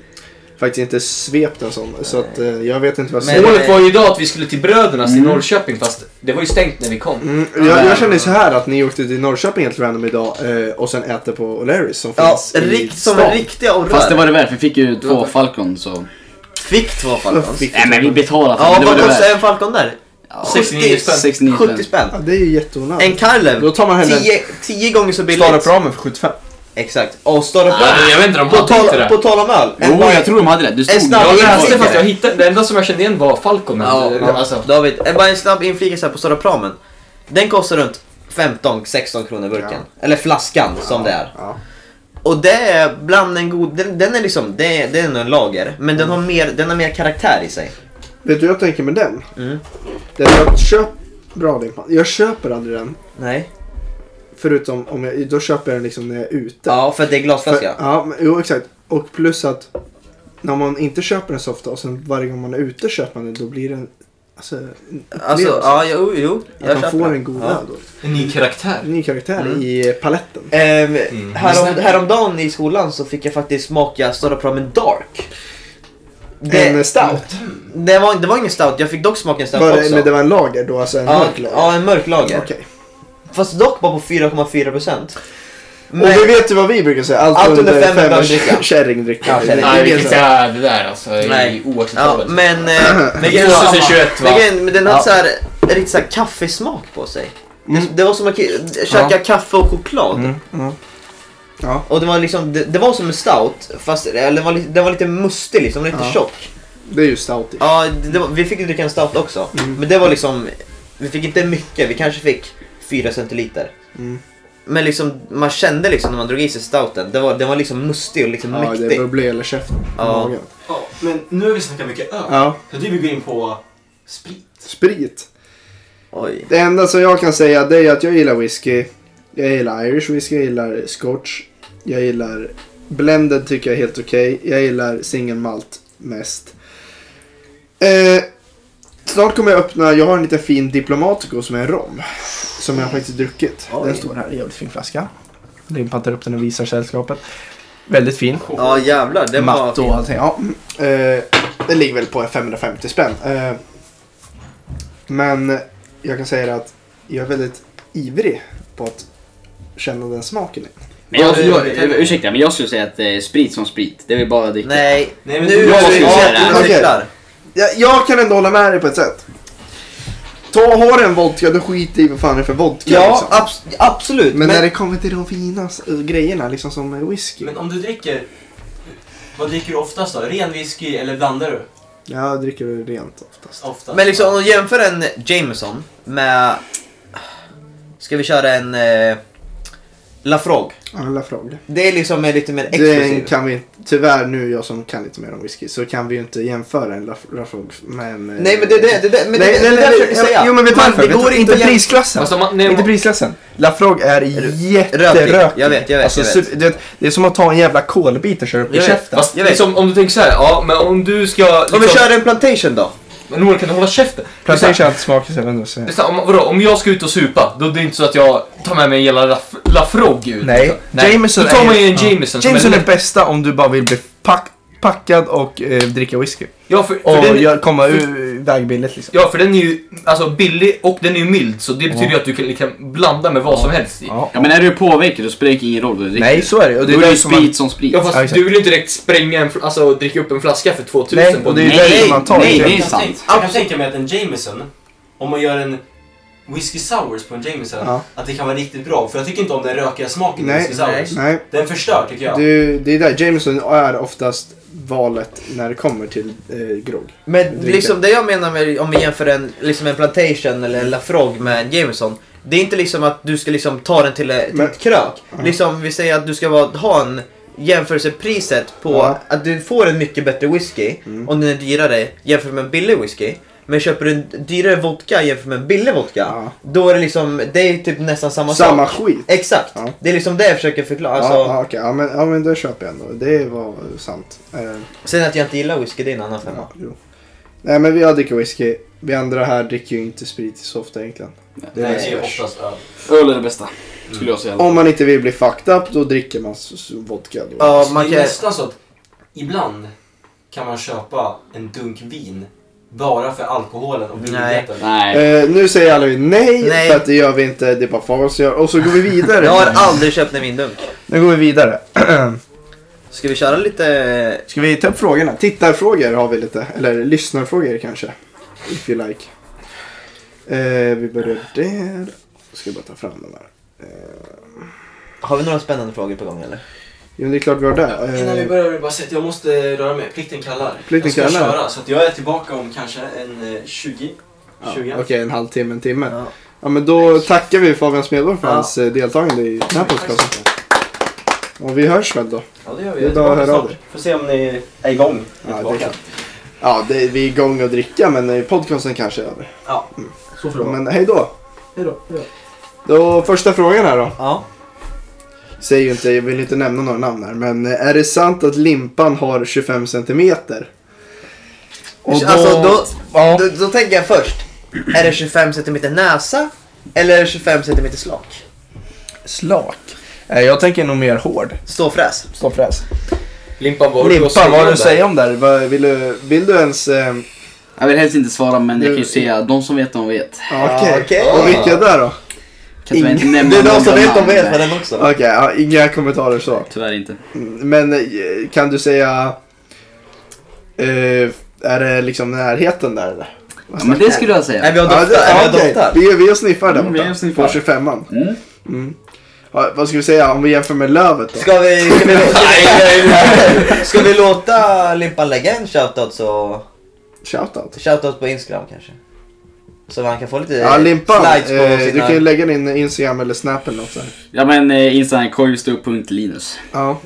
Speaker 4: faktiskt inte svept en sån. Så att eh, jag vet inte vad jag
Speaker 3: Men-
Speaker 4: ska
Speaker 5: Målet var ju idag att vi skulle till Brödernas i
Speaker 3: Mm.
Speaker 5: Norrköping fast det var ju stängt när vi kom.
Speaker 4: Mm, jag, jag känner ju så här att ni åkte till Norrköping helt random idag eh, och sen äter på O'Larrys som
Speaker 3: Ja,
Speaker 4: finns i
Speaker 3: rikt, som
Speaker 4: stan.
Speaker 3: riktiga orrar.
Speaker 6: Fast det var det värt, vi fick ju två Falcon så...
Speaker 3: Fick två Falcons.
Speaker 4: Fick-
Speaker 6: Nej men vi betalade för
Speaker 3: Ja,
Speaker 6: det, det var
Speaker 3: vad
Speaker 6: det
Speaker 3: kostar
Speaker 6: värt.
Speaker 3: en Falcon där?
Speaker 6: Ja,
Speaker 5: 69 spänn.
Speaker 6: 69 spänn.
Speaker 3: 70 spänn.
Speaker 4: Ja, det är ju
Speaker 3: En
Speaker 4: jätteonödigt. Då
Speaker 3: Karlev,
Speaker 4: tar man hellre
Speaker 3: 10 10 gånger så billigt.
Speaker 4: Startup ramen för 75.
Speaker 3: Exakt. Och Starup
Speaker 5: Ja, men jag vet inte, de
Speaker 3: På
Speaker 5: hade inte
Speaker 3: tal,
Speaker 5: det.
Speaker 3: på tal om öl.
Speaker 6: Jo, jag tror de hade det. Du
Speaker 3: En
Speaker 6: stod
Speaker 3: snabb-
Speaker 5: Jag läste
Speaker 3: Jag
Speaker 5: fast jag
Speaker 3: tänker-
Speaker 5: hittade, det enda som jag kände igen var Falcon.
Speaker 3: Ja,
Speaker 5: Alltså,
Speaker 3: ja.
Speaker 5: alltså.
Speaker 3: David, eh, bara en snabb inflikelse här på Stora Pramen. Den kostar runt 15-16 kronor burken. Eller flaskan som det är.
Speaker 4: Ja.
Speaker 3: Och det är bland en god, den, den är liksom, det är, det är ändå en lager. Men den har mer, den har mer karaktär i sig.
Speaker 4: Vet du vad jag tänker med den?
Speaker 3: Mm.
Speaker 4: Det är att köp... Bra limpa. Jag köper aldrig den.
Speaker 3: Nej.
Speaker 4: Förutom om jag... Då köper jag den liksom när jag är ute.
Speaker 3: Ja, för att det är
Speaker 4: För,
Speaker 3: glasflaska.
Speaker 4: ja, men, jo exakt. Och plus att när man inte köper den så ofta och sen varje gång man är ute köper man den då blir den... Alltså, en
Speaker 3: Alltså,
Speaker 4: upplevelse.
Speaker 3: ja, jo, jo.
Speaker 4: Att man
Speaker 3: köper Mm.
Speaker 4: får
Speaker 3: det.
Speaker 4: en god
Speaker 3: Ja.
Speaker 4: öl då.
Speaker 5: En ny karaktär.
Speaker 4: En ny karaktär i paletten.
Speaker 3: Ehm,
Speaker 4: Mm.
Speaker 3: härom, häromdagen i skolan så fick jag faktiskt smaka Stora Pramen Dark. Det,
Speaker 4: en stout.
Speaker 3: det, var, det var ingen stout, jag fick dock smaka en stout
Speaker 4: Var det,
Speaker 3: också.
Speaker 4: men det var en lager då, alltså en
Speaker 3: ja,
Speaker 4: mörk lager?
Speaker 3: ja, en mörk lager.
Speaker 4: Okej.
Speaker 3: Fast dock bara på 4,4%. Men,
Speaker 4: Och vi vet ju vad vi brukar säga. Allt,
Speaker 3: Allt under fem är
Speaker 4: är
Speaker 3: bögdricka.
Speaker 4: kärringdricka.
Speaker 3: Ja, kärring.
Speaker 5: Nej,
Speaker 4: Det är
Speaker 5: vilket
Speaker 4: så här-
Speaker 5: säga det där alltså. Det är
Speaker 3: Nej.
Speaker 5: ju
Speaker 3: ja,
Speaker 5: oacceptabelt.
Speaker 3: men, eh, men, grejen var-
Speaker 5: 2021 va?
Speaker 3: men, grejen- men den hade
Speaker 5: Ja.
Speaker 3: så här, riktigt så här kaffesmak på sig. Det, det var som att ki- käka kaffe och choklad.
Speaker 4: Mm, ja. Ja.
Speaker 3: Och det var liksom, det, det var som en stout, fast eller, den, var, li- den var lite mustig liksom, den var lite
Speaker 4: Ja.
Speaker 3: tjock.
Speaker 4: Det är ju stout i.
Speaker 3: Ja, det, det var, vi fick ju dricka en stout också.
Speaker 4: Mm.
Speaker 3: Men det var liksom, vi fick inte mycket, vi kanske fick 4 centiliter.
Speaker 4: Mm.
Speaker 3: Men liksom, man kände liksom när man drog i sig stouten, den var, den var liksom mustig och liksom
Speaker 4: Ja, det
Speaker 3: mäktig.
Speaker 4: är bubblig eller käften.
Speaker 3: Ja.
Speaker 4: Magen.
Speaker 8: Ja, men nu har vi snackat mycket öl.
Speaker 4: Ja.
Speaker 8: Så du vill gå in på sprit.
Speaker 4: Sprit.
Speaker 3: Oj.
Speaker 4: Det enda som jag kan säga det är att jag gillar whisky. Jag gillar Irish whisky, jag gillar scotch. Jag gillar blended tycker jag är helt okej. Jag gillar single malt mest. Eh, snart kommer jag öppna, jag har en liten fin Diplomatico som är en rom. Som jag faktiskt druckit. Den står här, jävligt fin flaska. Limpan tar upp den och visar sällskapet. Väldigt fin.
Speaker 3: Ja jävlar, det var
Speaker 4: Matt och
Speaker 3: fint.
Speaker 4: allting. Ja. Eh, det ligger väl på 550 spänn. Eh, men jag kan säga det att jag är väldigt ivrig på att känna den smaken.
Speaker 6: Men jag,
Speaker 8: Ja,
Speaker 6: jag,
Speaker 8: det-
Speaker 6: jag, ursäkta, men jag skulle säga att eh, sprit som sprit, det är väl bara att dricka.
Speaker 3: Nej,
Speaker 8: Nej, men
Speaker 3: nu
Speaker 8: du-
Speaker 3: är
Speaker 6: Jag
Speaker 3: vi
Speaker 6: tycker det
Speaker 3: ute
Speaker 6: är-
Speaker 3: och
Speaker 4: Okej.
Speaker 3: cyklar.
Speaker 4: Jag, jag kan ändå hålla med dig på ett sätt. Ta, har du en vodka, då skit i vad fan det är för vodka.
Speaker 3: Ja,
Speaker 4: liksom.
Speaker 3: abs absolut.
Speaker 4: men,
Speaker 3: Men,
Speaker 4: när det kommer till de fina s- grejerna, liksom som eh, whisky.
Speaker 8: Men om du dricker, vad dricker du oftast då? Ren whisky eller blandar du?
Speaker 4: Jag dricker väl rent oftast.
Speaker 8: Oftast.
Speaker 3: men liksom, om du jämför en Jameson med... Ska vi köra en... Eh, Lafrog.
Speaker 4: Alla frågor.
Speaker 3: Det är liksom en lite mer
Speaker 4: Den
Speaker 3: exklusiv.
Speaker 4: kan vi Tyvärr nu, jag som kan lite mer om whisky, så kan vi ju inte jämföra en Laf- Lafroig med en... eh,
Speaker 3: Nej men det är det, det, det, men det, det, det, jag försöker
Speaker 4: ja,
Speaker 3: säga.
Speaker 4: Jo men vet du
Speaker 3: Man,
Speaker 4: varför?
Speaker 3: Det
Speaker 4: Vet
Speaker 3: går
Speaker 4: du-
Speaker 3: inte att jämföra.
Speaker 4: prisklassen.
Speaker 5: Fast Alltså, om man, nej,
Speaker 4: inte
Speaker 5: man,
Speaker 4: prisklassen. Lafroig är jätterökig.
Speaker 3: Jag vet, jag vet,
Speaker 4: Alltså,
Speaker 3: jag vet.
Speaker 4: super- du vet, det är som att ta en jävla kolbit och köra upp i
Speaker 3: Jag vet.
Speaker 4: käften.
Speaker 5: fast
Speaker 3: Jag vet.
Speaker 5: liksom, om du tänker så här, ja men om du ska... Liksom,
Speaker 3: Om vi kör en plantation då?
Speaker 5: Men Noel kan du hålla käften? Det är så här-
Speaker 4: Plantation smakar så jävla
Speaker 5: det är så här, om, vadå, om jag ska ut och supa, då är det inte så att jag tar med mig en jävla Laf- Lafrog ut. liksom.
Speaker 4: Nej. Jameson
Speaker 5: Då tar man
Speaker 4: är-
Speaker 5: ju en Jameson. som
Speaker 4: Jameson är
Speaker 5: lätt-
Speaker 4: bästa om du bara vill bli pack, packad och eh, dricka whisky.
Speaker 5: Ja, för, för
Speaker 4: Och
Speaker 5: den,
Speaker 4: gör, komma ur vägbilligt liksom.
Speaker 5: Ja, för den är ju alltså, billig och den är ju mild, så det betyder ju att du kan, kan blanda med vad som helst i.
Speaker 4: Ja.
Speaker 6: Ja men är du påverkad då spelar det ingen roll vad du dricker.
Speaker 4: Nej, så är det. Och det är
Speaker 6: då är det ju
Speaker 4: därför man-
Speaker 6: sprit som sprit.
Speaker 5: Ja,
Speaker 4: Ja,
Speaker 5: fast
Speaker 4: exakt.
Speaker 5: du vill ju inte direkt spränga en, fl- alltså dricka upp en flaska för 2000
Speaker 4: Nej, och
Speaker 5: på en
Speaker 4: det är ju
Speaker 6: Nej,
Speaker 4: därför man tar
Speaker 6: nej,
Speaker 4: en
Speaker 7: liksom.
Speaker 6: det är
Speaker 8: jag,
Speaker 4: Jameson.
Speaker 8: kan
Speaker 6: sant.
Speaker 8: tänka, jag kan tänka mig att en Jameson om man gör en whisky sours på en Jameson,
Speaker 4: Ja.
Speaker 8: att det kan vara riktigt bra. För jag tycker inte om den rökiga smaken i
Speaker 4: Nej,
Speaker 8: whisky sours.
Speaker 4: Nej,
Speaker 8: Den förstör tycker jag.
Speaker 4: du, det är där. Jameson är oftast valet när det kommer till eh, grogg.
Speaker 3: Men
Speaker 4: Dricka.
Speaker 3: liksom det jag menar med om vi jämför en, liksom en plantation eller en Lafrog med en Jameson. Det är inte liksom att du ska liksom ta den till, ett- till
Speaker 4: Men-
Speaker 3: ett krök.
Speaker 4: Ja.
Speaker 3: Liksom vi säger att du ska vara, ha en jämförelsepriset på
Speaker 4: Ja. Mm.
Speaker 3: att du får en mycket bättre whisky om den är dyrare jämfört med en billig whisky. Men köper du en dyrare vodka jämfört med en billig vodka.
Speaker 4: Ja.
Speaker 3: Då är det liksom, det är typ nästan samma,
Speaker 4: Samma
Speaker 3: sak.
Speaker 4: skit.
Speaker 3: Exakt.
Speaker 4: Ja.
Speaker 3: Det är liksom det jag försöker förklara. Alltså,
Speaker 4: Ja, ja, okej. ja, men, ja, men det köper jag ändå. Det var sant. Eh,
Speaker 3: Sen att jag inte gillar whisky, det är en annan femma.
Speaker 4: ja, jo. Nej, men jag dricker whisky. Vi andra här dricker ju inte sprit så ofta egentligen. Det
Speaker 8: Nej,
Speaker 4: är
Speaker 8: det är
Speaker 4: Nej,
Speaker 8: oftast öl.
Speaker 6: Öl är det bästa. Skulle jag säga.
Speaker 4: Om man inte vill bli fucked up, då dricker man s- s- vodka. Då.
Speaker 3: Ja,
Speaker 8: Så
Speaker 3: man
Speaker 8: Det är
Speaker 3: kan...
Speaker 8: nästan så att ibland kan man köpa en dunk vin bara för alkoholen och billigheten.
Speaker 6: Nej.
Speaker 4: Eh, nu säger alla ju nej,
Speaker 3: Nej.
Speaker 4: för att det gör vi inte. Det är bara Fabels gör. Och så går vi vidare.
Speaker 3: Jag har aldrig köpt en vindunk.
Speaker 4: Nu går vi vidare.
Speaker 3: Ska vi köra lite...
Speaker 4: Ska vi ta upp frågorna? Tittarfrågor har vi lite. Eller lyssnarfrågor kanske. If you like. Eh, vi börjar där. Ska jag bara ta fram de här.
Speaker 3: Har vi några spännande frågor på gång eller?
Speaker 4: Jo, det är klart vi har det.
Speaker 8: Innan vi
Speaker 4: Eh,
Speaker 8: börjar vill jag bara säga att jag måste röra mig. Plikten kallar.
Speaker 4: Plikten
Speaker 8: jag ska
Speaker 4: kallar.
Speaker 8: köra så att jag är tillbaka om kanske en eh, 20.
Speaker 4: ja,
Speaker 8: 20.
Speaker 4: Okej, en halvtimme, en timme.
Speaker 3: Ja.
Speaker 4: Ja. men då tackar vi Fabian Smedborg för
Speaker 3: Ja.
Speaker 4: hans eh, deltagande i den här podcasten. Och vi hörs väl då.
Speaker 8: Ja det gör vi.
Speaker 4: Det är
Speaker 8: Jag
Speaker 4: bara att
Speaker 8: tillbaka
Speaker 4: höra av
Speaker 8: snart. Får se om ni är igång.
Speaker 4: Ja,
Speaker 8: tillbaka.
Speaker 4: det är Ja, det, vi är igång och dricka men eh, podcasten kanske är över.
Speaker 8: Ja,
Speaker 4: så får Men hej då.
Speaker 8: Hej då,
Speaker 4: Då första frågan här då.
Speaker 3: Ja.
Speaker 4: Säger ju inte, jag vill inte nämna några namn här, men eh, är det sant att limpan har 25 centimeter? Och då,
Speaker 3: Alltså, då,
Speaker 4: ja.
Speaker 3: då, då tänker jag först. Är det 25 cm näsa? Eller är det 25 cm slak?
Speaker 4: Slak. Eh, Jag tänker nog mer hård.
Speaker 3: Ståfräs.
Speaker 4: Ståfräs.
Speaker 5: Limpan, vad har du att
Speaker 4: Limpan, vad har du att
Speaker 5: om det?
Speaker 4: säga om det här? Vad- Vill du, vill du ens... Eh,
Speaker 6: Jag vill helst inte svara men jag kan ju säga de som vet de vet.
Speaker 4: ja,
Speaker 3: Ja,
Speaker 4: Okej.
Speaker 3: okej.
Speaker 4: Och vilka där då?
Speaker 6: Kan tyvärr inte nämna
Speaker 3: Det är de
Speaker 6: någon
Speaker 3: som vet, de
Speaker 6: namn
Speaker 3: vet
Speaker 6: där.
Speaker 3: med den också.
Speaker 4: Okej, ja, inga kommentarer så.
Speaker 6: Tyvärr inte.
Speaker 4: Mm, Men eh, kan du säga... Eh, är det liksom närheten där eller?
Speaker 6: Ja, men det skulle jag
Speaker 3: Nej,
Speaker 6: säga.
Speaker 3: vi har
Speaker 4: Ja,
Speaker 3: doftar.
Speaker 4: det- ja,
Speaker 3: Ja, vi har
Speaker 4: okej.
Speaker 3: doftar.
Speaker 4: Vi, vi och sniffar där
Speaker 6: Mm, vi
Speaker 4: borta.
Speaker 6: och sniffar.
Speaker 4: På 25an.
Speaker 6: Mm.
Speaker 4: Mm. Ja, vad ska vi säga om vi jämför med Lövet då?
Speaker 3: Ska vi, ska, vi, ska, vi, ska vi låta Limpan lägga en shoutout så...
Speaker 4: Shoutout.
Speaker 3: Shoutout på Instagram kanske? Så man kan få lite
Speaker 4: Ja, Limpan.
Speaker 3: Eh, slides på
Speaker 4: Eh, du
Speaker 3: sina...
Speaker 4: kan ju lägga din Instagram eller Snap eller något där.
Speaker 6: Ja men eh, Instagram koivisto.linus.
Speaker 4: Ja.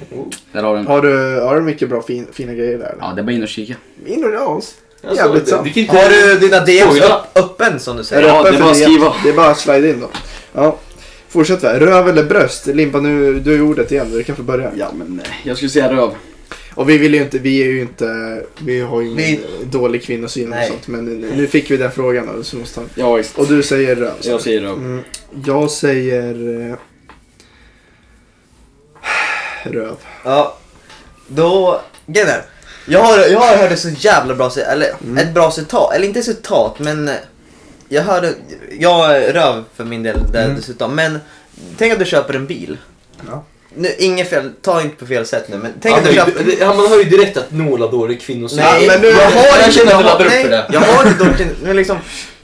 Speaker 6: Där har du den.
Speaker 4: Har du, har du mycket bra fin, fina grejer där?
Speaker 6: Ja det är bara in och kika.
Speaker 4: In och oss.
Speaker 5: Alltså,
Speaker 4: Jävligt
Speaker 5: det-
Speaker 4: sant.
Speaker 5: det kan inte-
Speaker 3: Har du dina DMs
Speaker 5: Oj, ja.
Speaker 3: upp, öppen som du
Speaker 4: Är
Speaker 3: säger?
Speaker 4: du
Speaker 6: Ja,
Speaker 4: öppen
Speaker 6: det är
Speaker 4: för
Speaker 6: bara att skriva.
Speaker 4: Det är bara att slide in då. Ja. Fortsätt där. Röv eller bröst? Limpa nu, du har ju ordet igen. Du kan få börja.
Speaker 6: Ja men eh, jag skulle säga röv.
Speaker 4: Och vi vill ju inte, vi är ju inte, vi har ju ingen
Speaker 3: Vi-
Speaker 4: dålig kvinnosyn och
Speaker 3: Nej.
Speaker 4: sånt. Men nu, nu fick vi den frågan då, så måste han.
Speaker 6: Ja visst.
Speaker 4: Och du säger röv. så.
Speaker 6: Jag säger röv.
Speaker 4: Mm, jag säger... Eh... Röv.
Speaker 3: Ja, då... grejen är, Jag har, jag har hört ett så jävla bra citat, eller
Speaker 5: Mm.
Speaker 3: ett bra citat, eller inte citat men eh, jag hörde, jag är röv för min del där
Speaker 5: Mm.
Speaker 3: dessutom men tänk att du köper en bil.
Speaker 4: Ja.
Speaker 3: Nu, inget fel, ta inte på fel sätt nu men tänk
Speaker 5: Ja,
Speaker 3: att du köper...
Speaker 5: men, det- ja, man hör ju direkt att Nola då är kvinnosyn.
Speaker 3: Nej,
Speaker 4: Ja, men nu-
Speaker 3: jag har
Speaker 5: jag känner att jag
Speaker 3: jag har-
Speaker 5: laddar upp
Speaker 3: nej,
Speaker 5: för det.
Speaker 3: Jag har det dock inte, men liksom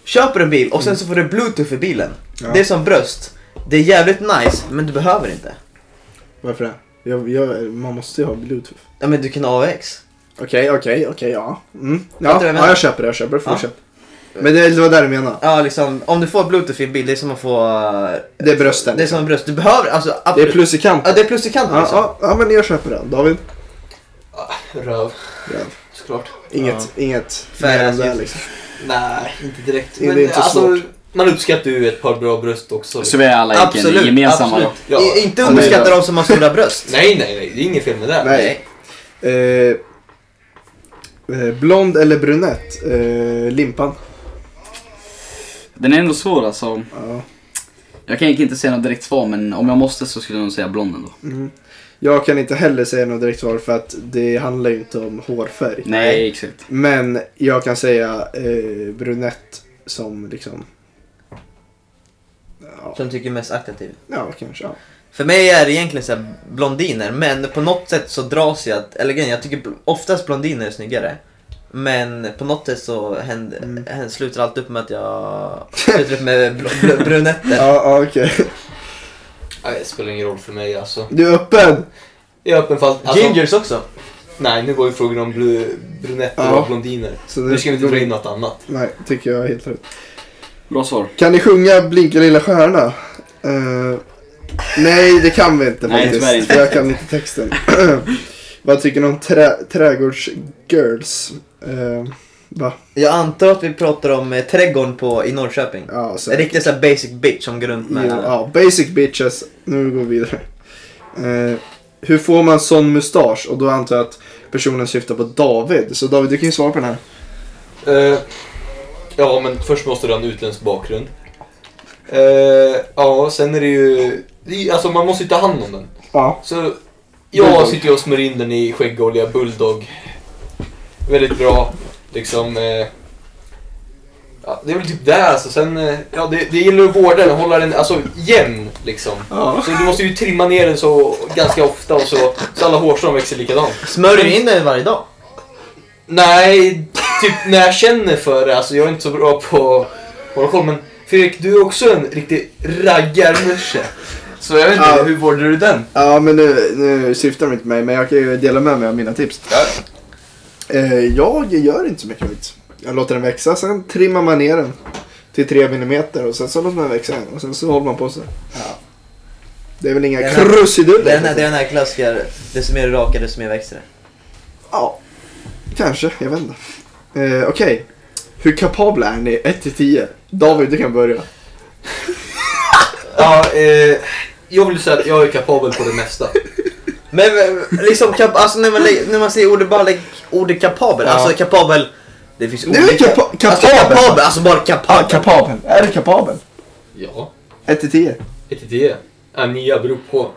Speaker 3: köper en bil och sen så får du bluetooth i bilen.
Speaker 4: Ja.
Speaker 3: Det är som bröst. Det är jävligt nice men du behöver inte.
Speaker 4: Varför det? Jag, jag, man måste ju ha bluetooth.
Speaker 3: Ja men du kan ha AVX.
Speaker 4: Okej, okej, okej, ja. Mm.
Speaker 3: Fattar du
Speaker 4: Ja,
Speaker 3: vad jag
Speaker 4: ja,
Speaker 3: menar?
Speaker 4: jag köper det, jag köper det.
Speaker 3: Ja.
Speaker 4: Fortsätt. Men det, det var där du menade.
Speaker 3: Ja liksom om du får bluetooth i en bil det är som att få eh,
Speaker 4: Det är brösten. liksom.
Speaker 3: Det är som en bröst. Du behöver alltså
Speaker 4: Det
Speaker 3: absolut.
Speaker 4: är plus i kanten.
Speaker 3: Ja, det är plus i kanten
Speaker 4: Ja,
Speaker 3: liksom.
Speaker 4: ja, ja, men jag köper den. David?
Speaker 5: Röv,
Speaker 4: Röv.
Speaker 5: såklart.
Speaker 4: Inget, inget.
Speaker 3: Färre
Speaker 4: mer än
Speaker 3: än
Speaker 4: det,
Speaker 3: snitt.
Speaker 4: liksom.
Speaker 5: Nej, inte direkt.
Speaker 4: Det är inte
Speaker 5: alltså,
Speaker 4: svårt.
Speaker 5: man uppskattar ju ett par bra bröst också.
Speaker 8: liksom.
Speaker 6: Så vi är alla
Speaker 3: Absolut,
Speaker 6: Absolut. gemensamma då.
Speaker 5: Ja.
Speaker 3: I, inte
Speaker 4: Ja,
Speaker 3: underskatta
Speaker 4: det är-
Speaker 3: de som har stora bröst.
Speaker 5: Nej, nej, nej. Det är inget fel med det.
Speaker 4: Nej. Eh, eh, blond eller brunett? Eh, limpan.
Speaker 6: Den är ändå svår alltså.
Speaker 4: Ja.
Speaker 6: Jag kan egentligen inte säga något direkt svar men om jag måste så skulle jag nog säga blond ändå.
Speaker 4: Mm. Jag kan inte heller säga något direkt svar för att det handlar ju inte om hårfärg.
Speaker 6: Nej exakt.
Speaker 4: Men jag kan säga eh, brunett som liksom... Ja,
Speaker 3: Som tycker är mest attraktiv.
Speaker 4: ja kanske. Ja.
Speaker 3: För mig är det egentligen så här blondiner, men på något sätt så dras jag, eller grejen, jag tycker bl- oftast blondiner är snyggare. Men på något sätt så händer,
Speaker 4: Mm.
Speaker 3: händer- slutar allt upp med att jag slutar upp med bl- bl- brunetter.
Speaker 4: Ja, ja okej.
Speaker 8: Nej, det spelar ingen roll för mig alltså.
Speaker 4: Du är öppen?
Speaker 8: Jag är öppen för allt. Alltså,
Speaker 3: Gingers också.
Speaker 8: nej, nu var ju frågan om blu- brunetter
Speaker 4: Ja.
Speaker 8: och blondiner.
Speaker 4: Så
Speaker 8: Nu ska vi inte dra in något annat.
Speaker 4: Nej, tycker jag är helt rätt.
Speaker 6: Bra svar.
Speaker 4: Kan ni sjunga Blinka lilla stjärna? Eh, nej, det kan vi inte
Speaker 6: Nej,
Speaker 4: faktiskt.
Speaker 6: tyvärr inte.
Speaker 4: För jag kan inte texten. Vad tycker ni om trä, trädgårdsgirls? Eh, va?
Speaker 3: Jag antar att vi pratar om eh, trädgården på, i Norrköping.
Speaker 4: Ja, så,
Speaker 3: En riktig såhär basic bitch som går runt
Speaker 4: ja,
Speaker 3: med...
Speaker 4: ja, basic bitches. Nu går vi vidare. Eh, hur får man sån mustasch? Och då antar jag att personen syftar på David. Så David, du kan ju svara på den här.
Speaker 8: Eh, ja, men först måste du ha en utländsk bakgrund. Eh, ja, sen är det ju... det är- Alltså man måste ju ta hand om den.
Speaker 4: Ja.
Speaker 8: Så jag
Speaker 4: Bulldog.
Speaker 8: sitter ju och smörjer in den i skäggolja, bulldog. Väldigt bra, liksom. Eh, ja, det är väl typ det alltså. Sen, eh, ja, det, det gäller att vårda den, hålla den alltså, jämn liksom.
Speaker 4: Ja.
Speaker 8: Så du måste ju trimma ner den så ganska ofta och så, så alla hårstrån växer likadant.
Speaker 3: Smörjer du in den varje dag?
Speaker 8: Nej, typ när jag känner för det. Alltså jag är inte så bra på att hålla koll. Men Fredrik, du är också en riktig raggarmusche.
Speaker 5: Så jag vet inte,
Speaker 4: Ja.
Speaker 5: hur vårdar du den?
Speaker 4: Ja, men nu, nu syftar de inte på mig, men jag kan ju dela med mig av mina tips. Eh, jag gör inte så mycket vitt. Jag låter den växa, sen trimmar man ner den till 3 millimeter och sen så låter man den växa igen och sen så håller man på så.
Speaker 3: Ja.
Speaker 4: Det är väl inga
Speaker 3: Den här- Det är den här, det är
Speaker 4: krusiduller?
Speaker 3: den här klassiska, desto mer du rakar desto mer växer det.
Speaker 4: Ja, kanske. Jag vet inte. Eh, Okej, hur kapabla är ni? 1 till 10? David, du kan börja.
Speaker 8: Ja, eh, jag vill säga att jag är kapabel på det mesta.
Speaker 3: Men men, liksom, kap, alltså när man, lä- när man säger ordet bara lägg ordet kapabel,
Speaker 8: Ja.
Speaker 3: alltså kapabel. Det finns
Speaker 4: Du är kapa-
Speaker 3: Alltså
Speaker 4: kapabel.
Speaker 3: kapabel, alltså bara kapabel.
Speaker 4: kapabel. Är du kapabel?
Speaker 8: Ja,
Speaker 4: 1 till 10?
Speaker 8: 1 till 10. Ja, nia beror på.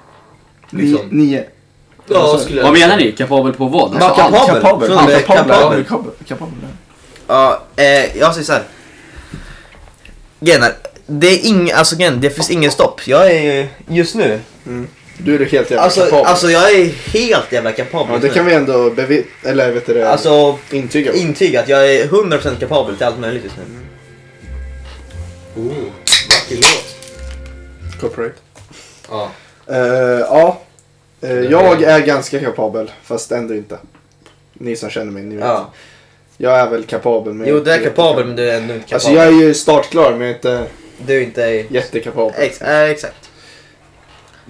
Speaker 8: Liksom.
Speaker 4: 9?
Speaker 8: Ja, skulle
Speaker 6: Vad
Speaker 8: jag...
Speaker 6: menar ni? Kapabel på vad?
Speaker 3: Bara
Speaker 6: Alltså, allt.
Speaker 3: kapabel. Från
Speaker 4: Ja,
Speaker 3: det,
Speaker 4: kapabel.
Speaker 3: kapabel.
Speaker 4: Kapabel.
Speaker 3: Ja, eh, jag säger såhär. Genar, det är ing, alltså gen, det finns ingen stopp. Jag är ju- just nu,
Speaker 4: Du är helt jävla
Speaker 3: alltså,
Speaker 4: kapabel.
Speaker 3: alltså jag är helt jävla kapabel
Speaker 4: Ja,
Speaker 3: just
Speaker 4: det kan
Speaker 3: nu.
Speaker 4: vi ändå bevi- eller vet du det,
Speaker 3: Alltså
Speaker 4: intyga.
Speaker 3: intyga att jag är 100% kapabel till allt möjligt just nu.
Speaker 4: Mm.
Speaker 8: Oh, vacker låt.
Speaker 4: Corporate.
Speaker 8: Ja.
Speaker 4: Eh, ja, Eh, jag är ganska kapabel, fast ändå inte. Ni som känner mig, ni vet.
Speaker 3: Ja.
Speaker 4: Jag är väl kapabel. Men
Speaker 3: Jo du är kapabel men du är ändå inte
Speaker 4: Alltså
Speaker 3: kapabel.
Speaker 4: jag är ju startklar, men jag är inte
Speaker 3: Du är inte...
Speaker 4: jättekapabel.
Speaker 3: Ex, eh, exakt.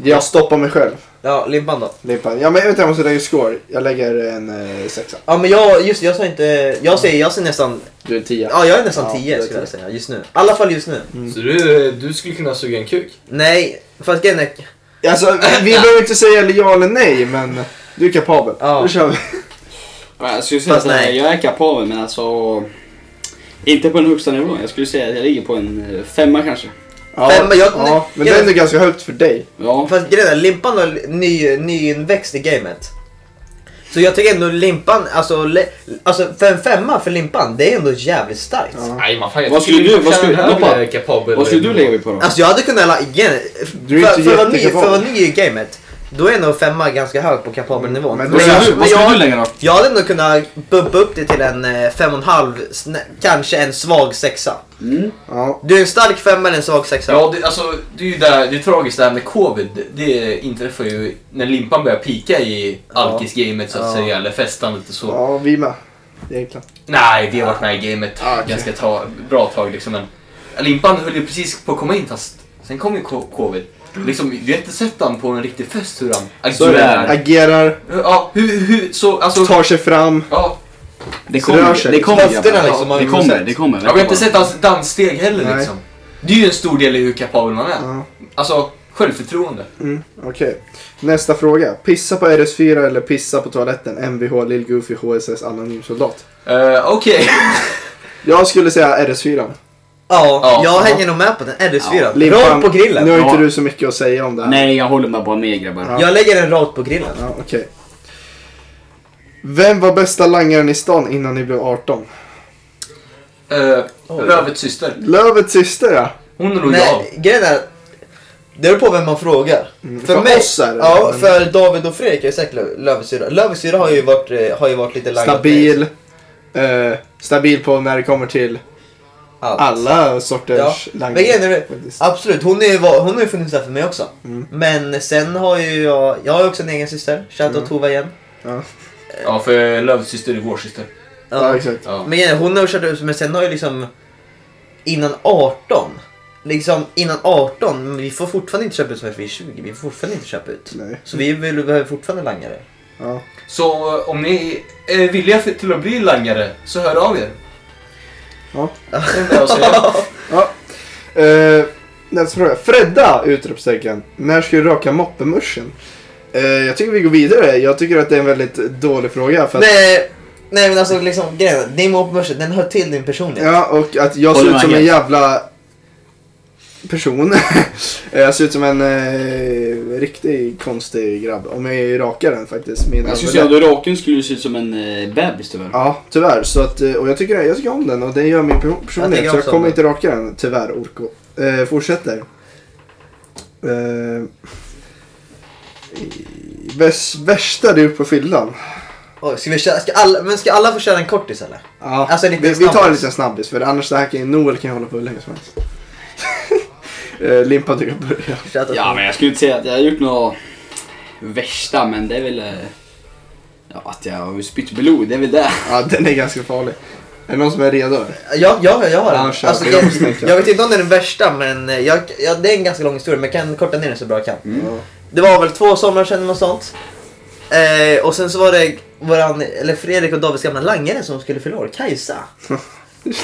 Speaker 4: Jag stoppar mig själv.
Speaker 3: Ja, limpan då.
Speaker 4: Limpan. Ja, men vänta, jag måste lägga score. Jag lägger en eh, sexa.
Speaker 3: Ja men jag, just det, jag sa inte, jag säger, jag säger nästan,
Speaker 4: Du är en tia.
Speaker 3: ja jag är nästan
Speaker 4: Ja,
Speaker 3: 10
Speaker 4: det är Mm.
Speaker 3: skulle jag säga just nu. I alla fall just nu.
Speaker 8: Så du, du skulle kunna suga en kuk?
Speaker 3: Nej, fast grejen är,
Speaker 4: Alltså, vi behöver inte säga eller ja eller nej, men du är kapabel.
Speaker 3: Ja.
Speaker 4: Då kör vi.
Speaker 6: Ja, Jag skulle säga
Speaker 3: Fast
Speaker 6: att eh,
Speaker 3: nej.
Speaker 6: jag är kapabel men alltså... Inte på den högsta nivån. Jag skulle säga att jag ligger på en eh, femma kanske.
Speaker 4: Ja,
Speaker 3: Nej, men jag-
Speaker 4: ja, men
Speaker 3: jag-
Speaker 4: den är ganska högt för dig.
Speaker 6: Ja.
Speaker 3: fast grejen är limpan är ny, nyinväxt i gamet. Så jag tycker ändå limpan, alltså, le, alltså för en femma för limpan, det är ändå jävligt starkt.
Speaker 4: Ja.
Speaker 8: Nej, man fan. jag
Speaker 6: Vad skulle
Speaker 8: tycker
Speaker 6: du- vad skulle-
Speaker 8: förtjänar
Speaker 6: Loppa,
Speaker 8: högre kapabel.
Speaker 6: Vad skulle du lägga mig på då?
Speaker 3: Alltså jag hade kunnat, la- igen,
Speaker 4: Du är
Speaker 3: för,
Speaker 4: inte
Speaker 3: för, att vara ny, för
Speaker 4: jättekapabel.
Speaker 3: att vara ny i gamet, då är nog femma ganska hög på kapabelnivån.
Speaker 4: Mm. Men
Speaker 3: Men
Speaker 4: då är
Speaker 3: jag-
Speaker 4: du-
Speaker 3: men jag-
Speaker 6: lägga då?
Speaker 3: Jag hade nog kunnat bumpa upp det till en eh, fem och en halv, snä- kanske en svag sexa.
Speaker 6: Mm.
Speaker 4: Ja.
Speaker 3: Du är en stark femma eller en svag sexa.
Speaker 5: Ja, det, alltså, det är ju där, det är tragiskt det här med covid. Det- Det inträffar ju när limpan börjar pika i alkisgamet så att
Speaker 3: Ja.
Speaker 5: säga, eller festandet och så.
Speaker 4: ja, vi med. Egentligen.
Speaker 5: Nej, vi har varit med i gamet
Speaker 4: Ah, okej.
Speaker 5: ganska ta, bra tag liksom. Men limpan höll ju precis på att komma in fast sen kom ju co- covid. Liksom, vi har inte sett han på en riktig fest hur han
Speaker 6: Så är det.
Speaker 5: agerar.
Speaker 4: Agerar,
Speaker 5: Ja, hur, hur, så alltså.
Speaker 4: tar sig fram.
Speaker 5: Ja,
Speaker 6: Det
Speaker 4: Rör
Speaker 6: kommer.
Speaker 4: sig.
Speaker 6: Det kommer
Speaker 3: Höfterna
Speaker 6: grabbar.
Speaker 3: liksom har
Speaker 6: Det
Speaker 3: vi
Speaker 6: kommer.
Speaker 3: sett.
Speaker 6: Det kommer.
Speaker 5: ja, vi har inte sett hans danssteg heller
Speaker 4: Nej.
Speaker 5: liksom. Det är ju en stor del i hur kapabel man är.
Speaker 4: Ja.
Speaker 5: Alltså, självförtroende.
Speaker 4: Mm, Okej. Nästa fråga. Pissa på RS4 eller pissa på toaletten? Mvh, Lill Goofy, HSS, Anonym Soldat.
Speaker 5: Eh, Okej.
Speaker 4: Jag skulle säga RS4.
Speaker 3: Ja,
Speaker 5: Ja,
Speaker 3: jag
Speaker 5: ja.
Speaker 3: hänger nog med på den.
Speaker 6: Ja,
Speaker 3: RS4.
Speaker 4: Limpan,
Speaker 3: Rakt på grillen.
Speaker 4: Nu har inte
Speaker 6: Ja.
Speaker 4: du så mycket att säga om det här.
Speaker 6: Nej, jag håller mig bara med grabbar.
Speaker 4: Ja.
Speaker 3: Jag lägger den rakt på grillen.
Speaker 4: Ja, okej. Vem var bästa langaren i stan innan ni blev 18?
Speaker 5: Eh,
Speaker 3: Oj.
Speaker 5: Rövets syster.
Speaker 4: Lövets syster ja.
Speaker 5: Hon är lojal.
Speaker 3: Nej, grejen är, det beror på vem man frågar.
Speaker 4: Mm, För oss är det
Speaker 3: Ja,
Speaker 4: det, men-
Speaker 3: för David och Fredrik är säkert Lö- Lövensyra. Lövensyra har ju varit, eh, har ju varit lite laggad.
Speaker 4: Stabil. eh, stabil på när det kommer till
Speaker 3: Allt.
Speaker 4: alla sorters
Speaker 3: Ja, Men grejen är det-
Speaker 4: faktiskt.
Speaker 3: Absolut, hon, är, ju va- hon har ju funnits där för mig också.
Speaker 4: Mm.
Speaker 3: Men sen har ju jag, jag har ju också en egen syster, shoutout
Speaker 4: Mm.
Speaker 3: Tova igen.
Speaker 5: Ja, för lövsyster är vår syster.
Speaker 4: Ja, exakt.
Speaker 5: Ja.
Speaker 3: Men igen, hon har kört ut, men sen har ju liksom innan 18. Liksom innan 18, men vi får fortfarande inte köpa ut som för vi är 20. Vi får fortfarande inte köpa ut.
Speaker 4: Nej.
Speaker 3: Så vi vill, behöver fortfarande langare.
Speaker 4: Ja.
Speaker 5: Så eh, om ni är villiga för- till att bli langare, så hör av er.
Speaker 4: Ja.
Speaker 5: Det är det jag säger.
Speaker 4: Ja. Eh, nästa fråga. Fredda! Utropstecken. När ska du raka moppemuschen? Eh, jag tycker vi går vidare. Jag tycker att det är en väldigt dålig fråga. För att,
Speaker 3: Nej, nej men alltså liksom grejen, din moppemusch, den hör till din personlighet.
Speaker 4: ja, och att jag
Speaker 6: Håller
Speaker 4: ser ut som
Speaker 6: med.
Speaker 4: en jävla person. Eh, jag ser ut som en eh, riktig konstig grabb. Om jag rakar den faktiskt. Min
Speaker 6: Jag skulle säga
Speaker 4: överläpp.
Speaker 6: att du raken skulle se ut som en eh, bebis tyvärr.
Speaker 4: Ja, tyvärr. Så att, eh, och jag tycker, jag tycker om den och den gör min per- personlighet.
Speaker 3: Jag tycker
Speaker 4: så jag
Speaker 3: också om
Speaker 4: kommer
Speaker 3: den.
Speaker 4: inte raka den, tyvärr Orko. Eh, fortsätter. Eh, bäst, värsta du gjort på fyllan?
Speaker 3: Oj, ska, vi köra, ska, alla, men ska alla få köra en kortis eller?
Speaker 4: Ja,
Speaker 3: Alltså, en liten
Speaker 4: vi, vi tar en
Speaker 3: snabbis.
Speaker 4: liten snabbis för annars det här kan, Noel kan ju hålla på hur länge som helst. eh, Limpa du kan börja.
Speaker 3: Shoutout
Speaker 6: Ja, men jag skulle inte säga att jag har gjort något värsta, men det är väl... eh, Ja, att jag har spytt blod, det är väl det.
Speaker 4: Ja, den är ganska farlig. Är det någon som är redo? eller?
Speaker 3: Ja, ja, jag har den.
Speaker 4: Ja, kör.
Speaker 3: alltså,
Speaker 4: Jag
Speaker 3: jag,
Speaker 4: måste tänka.
Speaker 3: jag vet inte om det är den värsta, men eh, jag, ja, det är en ganska lång historia, men jag kan korta ner den så bra jag kan.
Speaker 4: Ja.
Speaker 3: Det var väl två somrar sedan eller något sånt. Eh, och sen så var det våran, eller Fredrik och Davids gamla langare som skulle fylla år, Kajsa.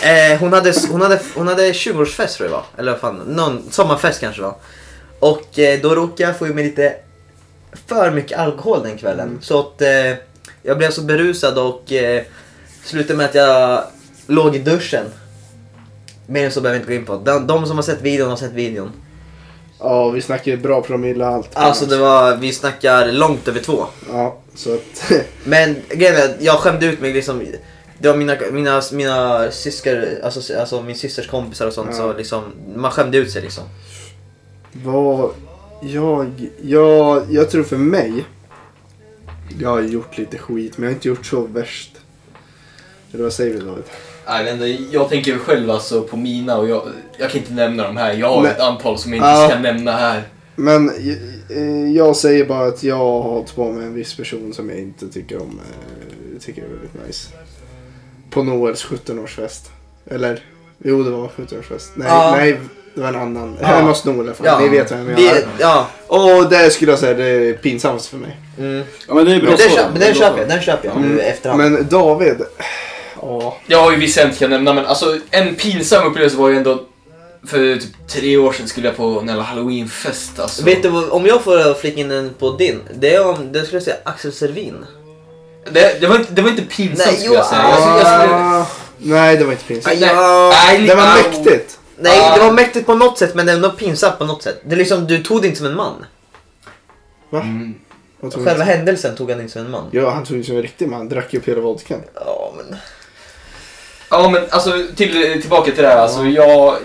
Speaker 3: Eh, hon, hade, hon, hade, hon hade 20-årsfest tror jag det var, eller vad fan, någon sommarfest kanske det var. Och eh, då råkade jag få i mig lite för mycket alkohol den kvällen. Så att eh, jag blev så berusad och eh, slutade med att jag låg i duschen. Mer än så behöver jag inte gå in på. De, de som har sett videon har sett videon.
Speaker 4: Ja, vi snackar ju bra promille och allt.
Speaker 3: Alltså det var, vi snackar långt över två.
Speaker 4: Ja, så att...
Speaker 3: Men grejen är, att jag skämde ut mig liksom. Det var mina, mina, mina syskar, alltså, alltså min systers kompisar och sånt
Speaker 4: Ja.
Speaker 3: så liksom, man skämde ut sig liksom.
Speaker 4: Vad jag, jag, jag tror för mig. Jag har gjort lite skit men jag har inte gjort så värst. Eller vad säger du David?
Speaker 5: Nej, men det- jag tänker själv alltså på mina och jag, jag kan inte nämna de här. Jag har
Speaker 4: Nej.
Speaker 5: ett antal som jag inte
Speaker 4: Ja.
Speaker 5: ska nämna här.
Speaker 4: Men eh, jag säger bara att jag har hållit på med en viss person som jag inte tycker om. eh, Tycker är väldigt nice. På Noels 17-årsfest. Eller? Jo det var 17-årsfest. Nej,
Speaker 3: Ja.
Speaker 4: nej det var en annan.
Speaker 3: Ja.
Speaker 4: Hemma hos Noel i alla fall.
Speaker 3: Ja.
Speaker 4: Ni vet vem jag
Speaker 3: Vi,
Speaker 4: är.
Speaker 3: ja.
Speaker 4: Och det skulle jag säga det är pinsamt för mig.
Speaker 3: Mm.
Speaker 6: Ja, men det är bra
Speaker 3: Men den,
Speaker 6: så.
Speaker 3: köper,
Speaker 6: Det är
Speaker 3: den
Speaker 6: bra
Speaker 3: köper
Speaker 6: så.
Speaker 3: jag, den köper jag nu efterhand.
Speaker 4: Mm. Men David. Ja.
Speaker 5: Jag har ju vissa jag inte kan nämna, men alltså en pinsam upplevelse var ju ändå för typ tre år sedan skulle jag på en jävla halloweenfest alltså.
Speaker 3: Vet du vad, om jag får flika in en på din, det är om, det skulle jag säga Axel Servin.
Speaker 5: det, det, var inte, det var inte pinsamt
Speaker 3: Nej,
Speaker 5: skulle
Speaker 3: jo,
Speaker 5: jag säga. Jag, skulle- jag skulle,
Speaker 4: Ah, nej det var inte pinsamt.
Speaker 3: Aj,
Speaker 5: nej,
Speaker 3: ja.
Speaker 5: nej,
Speaker 4: Det var
Speaker 5: au.
Speaker 4: mäktigt.
Speaker 3: Nej,
Speaker 5: Ah.
Speaker 3: det var mäktigt på något sätt men ändå pinsamt på något sätt. Det är liksom, du tog det inte som en man.
Speaker 5: Mm.
Speaker 4: Vad tror du?
Speaker 3: Själva händelsen tog han inte som en man.
Speaker 4: Ja, han tog ju som en riktig man. Han drack ju upp hela vodkan.
Speaker 3: Ja, men...
Speaker 5: Ja men alltså till, tillbaka till det här. Alltså, jag,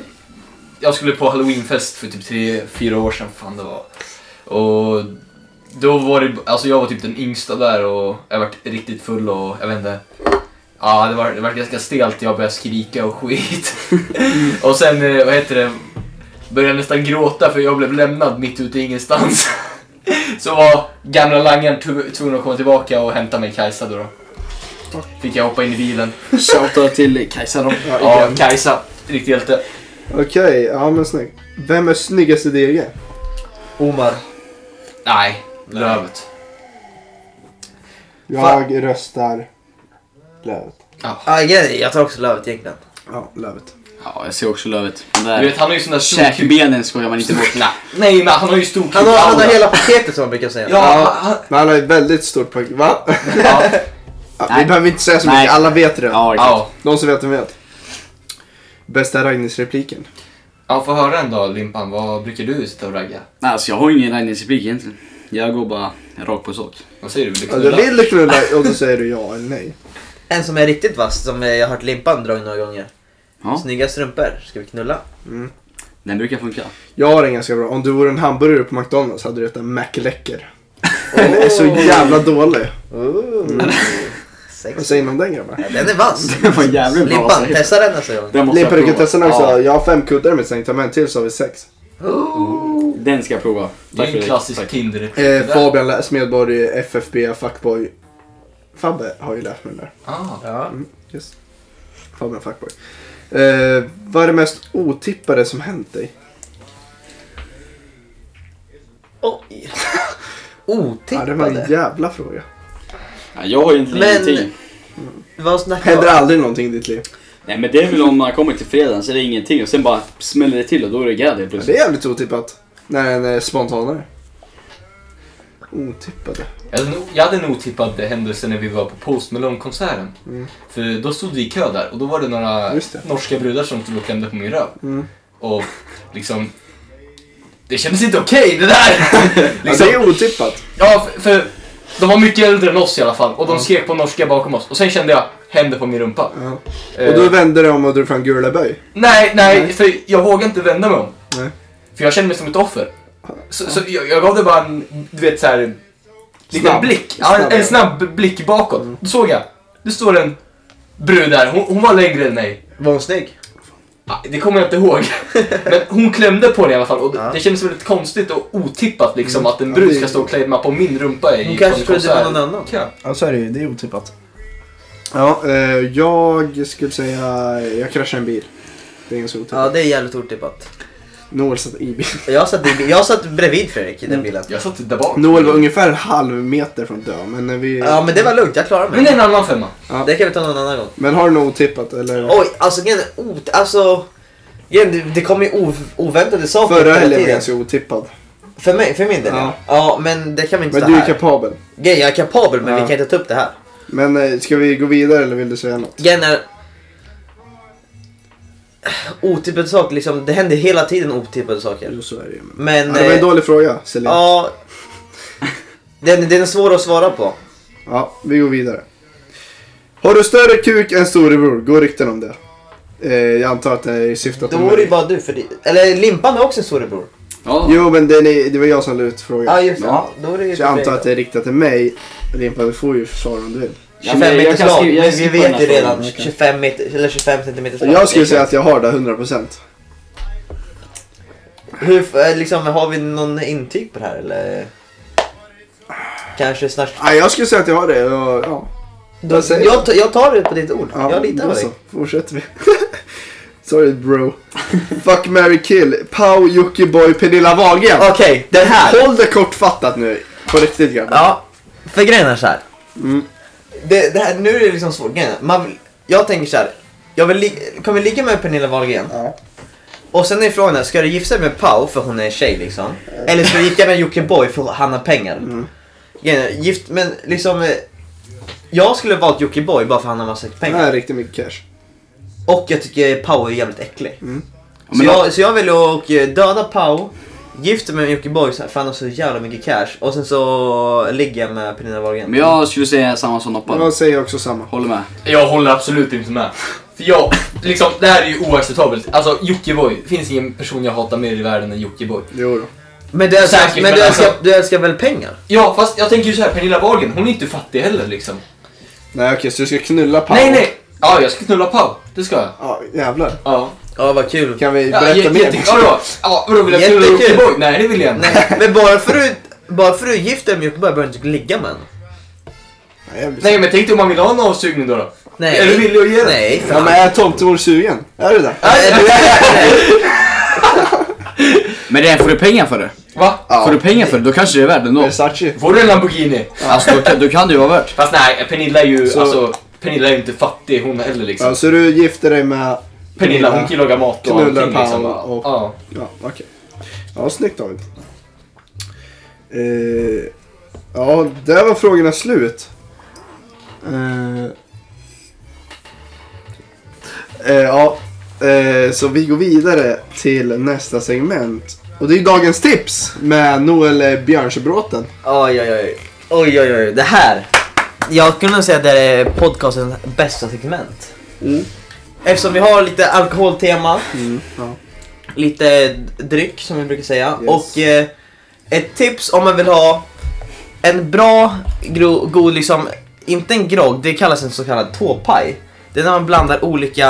Speaker 5: jag skulle på halloweenfest för typ tre, fyra år sedan fan det var. Och då var det, alltså jag var typ den yngsta där och jag vart riktigt full och jag vet inte. Ja det var, det var ganska stelt, jag började skrika och skit. och sen, eh, vad heter det, började nästan gråta för jag blev lämnad mitt ute i ingenstans. Så var gamla langaren tv- tvungen att komma tillbaka och hämta mig Kajsa då. då. Fick jag hoppa in i bilen.
Speaker 6: Shoutout till Kajsa då.
Speaker 4: Ja,
Speaker 5: Ja,
Speaker 4: igen.
Speaker 5: Kajsa. Riktig hjälte.
Speaker 4: Okej, ja men snyggt. Vem är snyggast i DG?
Speaker 3: Omar.
Speaker 5: Nej, Lövet.
Speaker 4: Jag röstar Lövet.
Speaker 3: Ah, jag, jag tar också Lövet egentligen.
Speaker 4: Ja, Lövet.
Speaker 6: Ja, jag ser också Lövet. Den
Speaker 5: Du vet,
Speaker 6: där
Speaker 5: han har ju sån där stor kuk.
Speaker 6: käkbenen skojar man inte bort.
Speaker 5: Nej, Nej, men han har ju stor kuk.
Speaker 3: Han har, han har hela paketet som man brukar säga.
Speaker 5: Ja, han- han,
Speaker 4: Men han har ett väldigt stort paket. Va?
Speaker 5: ja,
Speaker 4: Ja, vi
Speaker 6: Nej.
Speaker 4: behöver inte säga så
Speaker 6: Nej.
Speaker 4: mycket. Alla vet det.
Speaker 6: Ja, exakt.
Speaker 5: ja.
Speaker 4: De som vet, de vet. Bästa Ragnis-repliken.
Speaker 5: Ja, får höra en dag Limpan. Vad brukar du sitta och ragga?
Speaker 6: Nej, alltså jag har ingen raggningsreplik egentligen. Jag går bara rakt på sak.
Speaker 5: Vad säger du? Vill du
Speaker 4: Ja, du
Speaker 5: knulla?
Speaker 4: Alltså, vill knulla och då säger du ja eller nej.
Speaker 3: En som är riktigt vass, som eh, jag har hört Limpan dra några gånger.
Speaker 6: Ja.
Speaker 3: Snygga strumpor, ska vi knulla?
Speaker 6: Den brukar funka.
Speaker 4: Jag har en ganska bra. Om du vore en hamburgare på McDonalds hade du ätit en McLecker. Den är så jävla dålig.
Speaker 3: Ooh. sex.
Speaker 4: Mm. Vad säger ni om den grabbar?
Speaker 3: Ja, den är vass.
Speaker 6: Det var jävligt bra. alltså.
Speaker 3: Limpan, testa den nästa gång.
Speaker 6: Den måste jag prova.
Speaker 4: Limperuketesterna också.
Speaker 6: Ja,
Speaker 4: Jag har fem kuddar i mitt sängkammare, en till så har vi sex.
Speaker 6: den ska jag prova.
Speaker 5: Det är en
Speaker 6: Fredrik.
Speaker 5: klassisk
Speaker 6: Tack.
Speaker 5: tinder
Speaker 4: Eh, Fabian Läs Medborg, FFB, Fuckboy. Fabbe har ju lärt mig den där.
Speaker 5: Ah.
Speaker 3: Ja.
Speaker 4: Yes. Fabian Fuckboy. Eh, vad är det mest otippade som hänt dig?
Speaker 3: Oj.
Speaker 4: Ja, det var en
Speaker 3: Otippade.
Speaker 4: jävla fråga.
Speaker 6: Ja, jag har ju inte
Speaker 3: Men-
Speaker 6: ingenting.
Speaker 3: Vad snackar
Speaker 4: Händer
Speaker 3: vi om?
Speaker 4: aldrig någonting i ditt liv?
Speaker 6: Nej men det är väl om man kommer till fredagen så är det ingenting och sen bara smäller det till och då är det gädda
Speaker 4: Ja, det är
Speaker 6: plötsligt.
Speaker 4: jävligt otippat. När en är spontanare. Otippade.
Speaker 5: Jag hade en o- Jag hade en otippad händelse när vi var på Post Malone-konserten. För då stod vi i kö där och då var det några
Speaker 4: Just det.
Speaker 5: norska brudar som stod och klämde på min röv.
Speaker 4: Mm.
Speaker 5: Och liksom... Det kändes inte okej det där! liksom,
Speaker 4: Ja, det är otippat.
Speaker 5: ja, för, för de var mycket äldre än oss i alla fall och de skrek på norska bakom oss. Och sen kände jag händer på min rumpa.
Speaker 4: Ja.
Speaker 5: Eh,
Speaker 4: Och då vände det om och drog fram gula böj.
Speaker 5: Nej, nej,
Speaker 4: Nej.
Speaker 5: för jag vågade inte vända mig om.
Speaker 4: Nej.
Speaker 5: För jag kände mig som ett offer. Så, så jag, jag gav det bara en, du vet såhär, liten
Speaker 4: Snabb.
Speaker 5: blick. Ja, en, en snabb blick bakåt. Då såg jag, det står en brud där, hon, hon var längre än mig.
Speaker 3: Var hon snygg?
Speaker 5: Ah, Det kommer jag inte ihåg. Men hon klämde på den i alla fall och det-
Speaker 3: Ja.
Speaker 5: det kändes väldigt konstigt och otippat liksom att en
Speaker 4: Ja,
Speaker 5: brud
Speaker 4: det-
Speaker 5: ska stå och klämma på min rumpa i
Speaker 3: Hon kanske
Speaker 5: på en
Speaker 3: trodde det var
Speaker 5: konsert.
Speaker 3: någon annan.
Speaker 5: Ja.
Speaker 4: Ja, så är det ju. Det är otippat. Ja, eh, jag skulle säga... Jag kraschade en bil. Det är ganska otippat.
Speaker 3: Ja, det är jävligt otippat.
Speaker 4: Noel satt i bilen.
Speaker 3: Jag satt, i, jag satt bredvid Fredrik i den bilen.
Speaker 5: Jag satt där bak.
Speaker 4: Noel var ungefär en halv meter från att dö, men när vi...
Speaker 3: Ja, men det var lugnt. Jag klarar
Speaker 5: Men
Speaker 3: mig.
Speaker 5: det är en annan femma.
Speaker 3: Det kan vi ta någon annan gång.
Speaker 4: Men har du något otippat eller?
Speaker 3: Oj, alltså grejen är ot... Alltså... grejen, Det, det kommer ju ov- oväntade saker
Speaker 4: Förra
Speaker 3: hela
Speaker 4: helgen var
Speaker 3: tiden.
Speaker 4: ganska otippad.
Speaker 3: För mig, för min del
Speaker 4: Ja.
Speaker 3: ja. ja. men det kan vi inte
Speaker 4: Men
Speaker 3: ta
Speaker 4: du är
Speaker 3: här.
Speaker 4: kapabel.
Speaker 3: Grejen, jag är kapabel men
Speaker 4: Ja.
Speaker 3: vi kan inte ta upp det här.
Speaker 4: Men eh, ska vi gå vidare eller vill du säga något?
Speaker 3: Grejen är... Otippade saker liksom, det händer hela tiden otippade saker.
Speaker 4: Jo, så är det ju. Men... Ja,
Speaker 3: Men...
Speaker 4: det var en
Speaker 3: eh,
Speaker 4: dålig fråga, Celine. Ja.
Speaker 3: ja, den, den är svår att svara på.
Speaker 4: vi går vidare. Har du större kuk än storebror? Går rykten om det. Eh, jag antar att det är i syfte att...
Speaker 3: Då
Speaker 4: de-
Speaker 3: vore det ju bara du för det, Eller Limpan är också en storebror.
Speaker 6: Ja.
Speaker 4: Jo, men den är, det var jag som la ut frågan.
Speaker 3: Ja just det.
Speaker 6: Ja.
Speaker 3: Då är det ju
Speaker 4: Så jag
Speaker 3: för dig
Speaker 4: antar att
Speaker 3: då.
Speaker 4: det är riktat till mig. Limpa, du får ju försvara om du vill.
Speaker 6: Ja,
Speaker 3: 25
Speaker 6: men jag
Speaker 3: meter
Speaker 6: kan
Speaker 3: slag.
Speaker 6: skriva- jag
Speaker 3: Vi
Speaker 6: skippar den
Speaker 3: vet
Speaker 6: här
Speaker 3: ju
Speaker 6: frågan.
Speaker 3: redan. 25 meter, eller 25 centimeter slag.
Speaker 4: Jag skulle säga att jag har det 100%.
Speaker 3: Hur, f- eh, liksom, har vi någon intyg på det här eller? Kanske snart.
Speaker 4: Ja, jag skulle säga att jag har det. och, Ja,
Speaker 3: Då,
Speaker 4: Vad säger
Speaker 3: jag, ta- jag tar det på ditt ord.
Speaker 4: ja,
Speaker 3: jag litar
Speaker 4: då
Speaker 3: på dig.
Speaker 4: så. Fortsätter vi. Sorry bro. Fuck, Mary kill. Pau, Jockiboi, Pernilla Wahlgren.
Speaker 3: Okej, den här.
Speaker 4: Håll det kortfattat nu. På riktigt grabbar.
Speaker 3: Ja, för grejen är så här.
Speaker 4: Mm.
Speaker 3: Det, det här. Nu är det liksom svårt. Grejen är, Man vill, jag tänker så här. Jag vill li- kommer ligga med Pernilla Wahlgren.
Speaker 4: Ja.
Speaker 3: Och sen är frågan, ska du gifta dig med Pau för hon är en tjej liksom? Eller ska du gifta dig med Jockiboi för han har pengar? Grejen är, Gift, men liksom. eh, Jag skulle valt Jockiboi bara för han har massa
Speaker 4: Det
Speaker 3: pengar.
Speaker 4: här är riktigt mycket cash.
Speaker 3: Och jag tycker Pau är jävligt äcklig. Så,
Speaker 6: men
Speaker 3: jag, så jag väljer att eh, döda Pau, gifter mig med Jocke Borg så- för han har så jävla mycket cash. Och sen så ligger jag med Pernilla Wahlgren.
Speaker 6: Men jag skulle säga samma som Noppan.
Speaker 4: Jag säger också samma.
Speaker 6: Håller med.
Speaker 5: Jag håller absolut inte med. För jag, liksom, det här är ju oacceptabelt. Alltså Jockiboi, det finns ingen person jag hatar mer i världen än Jockiboi.
Speaker 4: Jo då.
Speaker 3: Men du älskar,
Speaker 5: Säkert,
Speaker 3: men du
Speaker 5: men
Speaker 3: älskar,
Speaker 5: alltså-
Speaker 3: du älskar väl pengar?
Speaker 5: Ja, fast jag tänker ju så här, Pernilla Wahlgren, hon är inte fattig heller liksom.
Speaker 4: Nej okej, så du ska knulla Pau?
Speaker 5: Nej, nej! Ja, jag ska knulla Pau. Det ska jag.
Speaker 4: Ja, jävlar.
Speaker 5: Ja.
Speaker 3: Ja vad kul.
Speaker 4: Kan vi
Speaker 5: Ja,
Speaker 4: berätta
Speaker 5: jä-
Speaker 4: mer?
Speaker 5: jätte- Ja, då. ja, vadå, vill jag knulla
Speaker 3: Jättekul.
Speaker 5: Jockiboi? Nej, det vill jag inte.
Speaker 3: Nej, men bara för att bara för att du gifter dig med Jocke Borg behöver du inte ligga med honom.
Speaker 4: Nej, jag blir-
Speaker 5: Nej, men tänk dig om man vill ha en avsugning då. då.
Speaker 3: Nej.
Speaker 5: Eller vill du ge det?
Speaker 3: Nej,
Speaker 4: Ja,
Speaker 3: fan.
Speaker 4: men är tomtemor sugen? Är du det?
Speaker 3: Nej, du-
Speaker 6: Men det är, får du pengar för det?
Speaker 5: Va?
Speaker 6: Får du pengar för det, då kanske det är värt ändå.
Speaker 4: Versace.
Speaker 5: Får du en Lamborghini?
Speaker 6: Alltså då, kan- då kan det ju vara värt.
Speaker 5: Fast nej, Pernilla är ju,
Speaker 4: Så-
Speaker 5: alltså, Pernilla är ju inte fattig hon heller liksom.
Speaker 4: Ja, så du gifter dig med...
Speaker 5: Pernilla, hon kan ju laga mat och
Speaker 4: Knullar
Speaker 5: allting liksom.
Speaker 4: Pau och-
Speaker 5: Ja.
Speaker 4: Ja, okej. Ja, snyggt David. Eh, ja, där var frågorna slut. Eh, eh, ja, eh, så vi går vidare till nästa segment. Och det är dagens tips med Noel eh, Björnsebråten.
Speaker 3: Oj, oj, oj. Oj, oj, oj. Det här. Jag kunde säga att det är podcastens bästa segment.
Speaker 4: Mm.
Speaker 3: Eftersom vi har lite alkoholtema,
Speaker 4: ja.
Speaker 3: lite dryck som vi brukar säga
Speaker 4: Yes.
Speaker 3: och eh, ett tips om man vill ha en bra, gro, god liksom inte en grogg, det kallas en så kallad tåpaj. Det är när man blandar olika,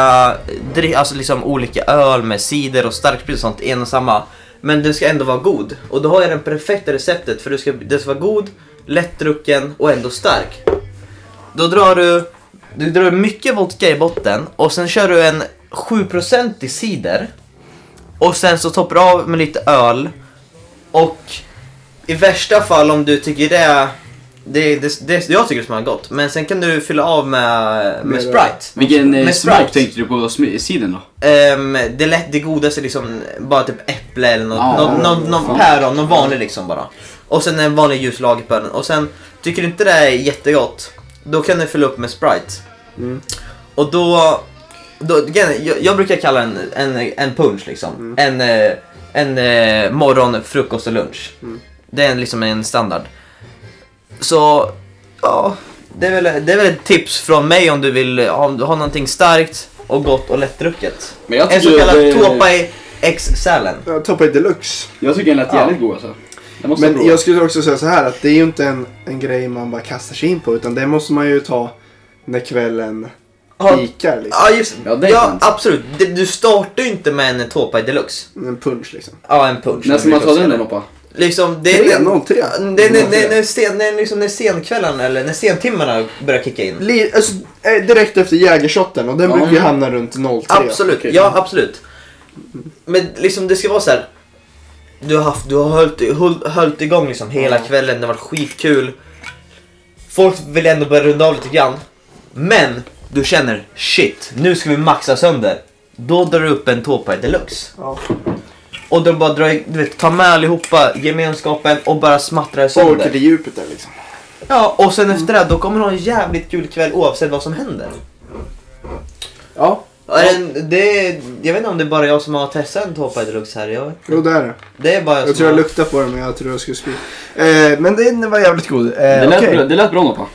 Speaker 3: dri- alltså liksom olika öl med cider och starksprit och sånt i en och samma. Men den ska ändå vara god. Och då har jag det perfekta receptet för du ska, den ska vara god, lättdrucken och ändå stark. Då drar du, du drar mycket vodka i botten och sen kör du en 7% cider. Och sen så toppar du av med lite öl. Och i värsta fall om du tycker det är... Det, det, det, jag tycker det smakar gott, men sen kan du fylla av med, med Sprite.
Speaker 6: Vilken eh,
Speaker 3: Med
Speaker 6: smak
Speaker 3: Sprite.
Speaker 6: tänkte du på smi- sidan då?
Speaker 3: Ehm, det, lätt, det godaste är liksom bara typ äpple eller något,
Speaker 6: Ja,
Speaker 3: någon, någon, någon
Speaker 6: fan.
Speaker 3: päron, någon vanlig liksom bara. Och sen en vanlig ljus lagerpäron. Och sen tycker du inte det är jättegott, då kan du fylla upp med Sprite.
Speaker 4: Mm.
Speaker 3: Och då, då igen, jag, jag brukar kalla en, en, en punch liksom.
Speaker 6: Mm.
Speaker 3: En, eh, en eh, morgon, frukost och lunch.
Speaker 6: Mm.
Speaker 3: Det är liksom en standard. Så, ja. Det är, väl, det är väl ett tips från mig om du vill ha, ha någonting starkt och gott och lättdrucket.
Speaker 6: Men jag
Speaker 3: En så
Speaker 6: tycker
Speaker 3: kallad
Speaker 6: det-
Speaker 3: Topai X-sälen.
Speaker 4: Ja, Toppa i deluxe.
Speaker 6: Jag tycker den lät
Speaker 3: Ja.
Speaker 6: jävligt god alltså. Den måste
Speaker 4: Men
Speaker 6: prova.
Speaker 4: jag skulle också säga så här att det är ju inte en, en grej man bara kastar sig in på utan det måste man ju ta när kvällen
Speaker 3: Ja.
Speaker 4: pikar. Liksom.
Speaker 3: Ja, just
Speaker 6: Ja, det är
Speaker 3: Ja,
Speaker 6: sant.
Speaker 3: absolut. Det- Du startar ju inte med en Topai Deluxe.
Speaker 4: En punch liksom.
Speaker 3: Ja, en punch.
Speaker 6: När ska man ta den då Noppa?
Speaker 3: Liksom, det är...
Speaker 4: 303.
Speaker 3: Ja, Det är när, när, när, sen, när, liksom, när senkvällen eller när sentimmarna börjar kicka in.
Speaker 4: Li- Alltså, eh, direkt efter jägershotten och den brukar ju hamna runt 03.
Speaker 3: Absolut, ja absolut. Men liksom det ska vara så här. Du har, haft, du har hållit, håll, hållit igång liksom hela kvällen, det har varit skitkul. Folk vill ändå börja runda av lite grann. Men du känner shit, nu ska vi maxa sönder. Då drar du upp en tåpa deluxe.
Speaker 4: Ja.
Speaker 3: Och då bara drar, du vet, ta med allihopa, gemenskapen och bara smattrar
Speaker 4: Så åker
Speaker 3: sönder.
Speaker 4: till djupet där liksom.
Speaker 3: Ja, och sen efter det här, då kommer du ha en jävligt kul kväll oavsett vad som händer.
Speaker 4: Ja,
Speaker 3: Ja, den- Det, jag vet inte om det är bara jag som har testat en Topa Deluxe här. Jag,
Speaker 4: jo det är det.
Speaker 3: det är bara jag,
Speaker 4: Jag
Speaker 3: som
Speaker 4: tror jag
Speaker 3: har...
Speaker 4: luktade på den men jag tror jag skulle spy. Eh, men den var jävligt god. Eh,
Speaker 6: Det lät,
Speaker 4: okej.
Speaker 6: bra, det lät bra Noppa.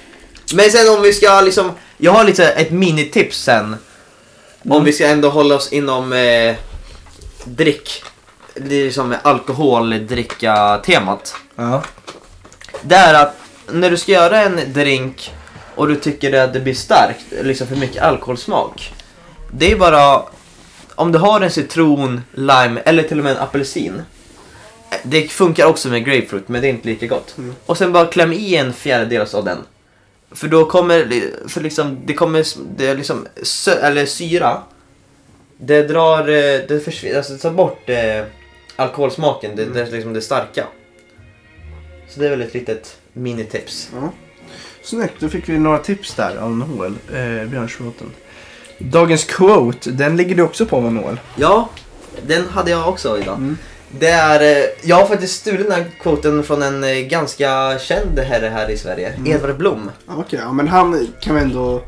Speaker 3: Men sen om vi ska liksom, jag har lite ett minitips sen.
Speaker 4: Mm.
Speaker 3: Om vi ska ändå hålla oss inom eh, drick. Det är liksom alkoholdricka-temat.
Speaker 4: Ja.
Speaker 3: Det är att när du ska göra en drink och du tycker att det blir starkt, liksom för mycket alkoholsmak. Det är bara, om du har en citron, lime eller till och med en apelsin. Det funkar också med grapefruit men det är inte lika gott. Och sen bara kläm i en fjärdedel av den. För då kommer, li- för liksom, det kommer, s- det är liksom, sö, eller syra. Det drar, eh, det försvinner, alltså det tar bort eh, alkoholsmaken, det, det är liksom det starka. Så det är väl ett litet minitips.
Speaker 4: Snyggt, då fick vi några tips där av Noel, eh, Björnsbråten. Dagens quote, den ligger du också på med Noel.
Speaker 3: Ja, den hade jag också idag.
Speaker 4: Mm.
Speaker 3: Det är, eh, jag har faktiskt stulit den här kvoten från en eh, ganska känd herre här i Sverige,
Speaker 4: Mm.
Speaker 3: Edvard Blom.
Speaker 4: Ja, Okej, ja, men han kan vi ändå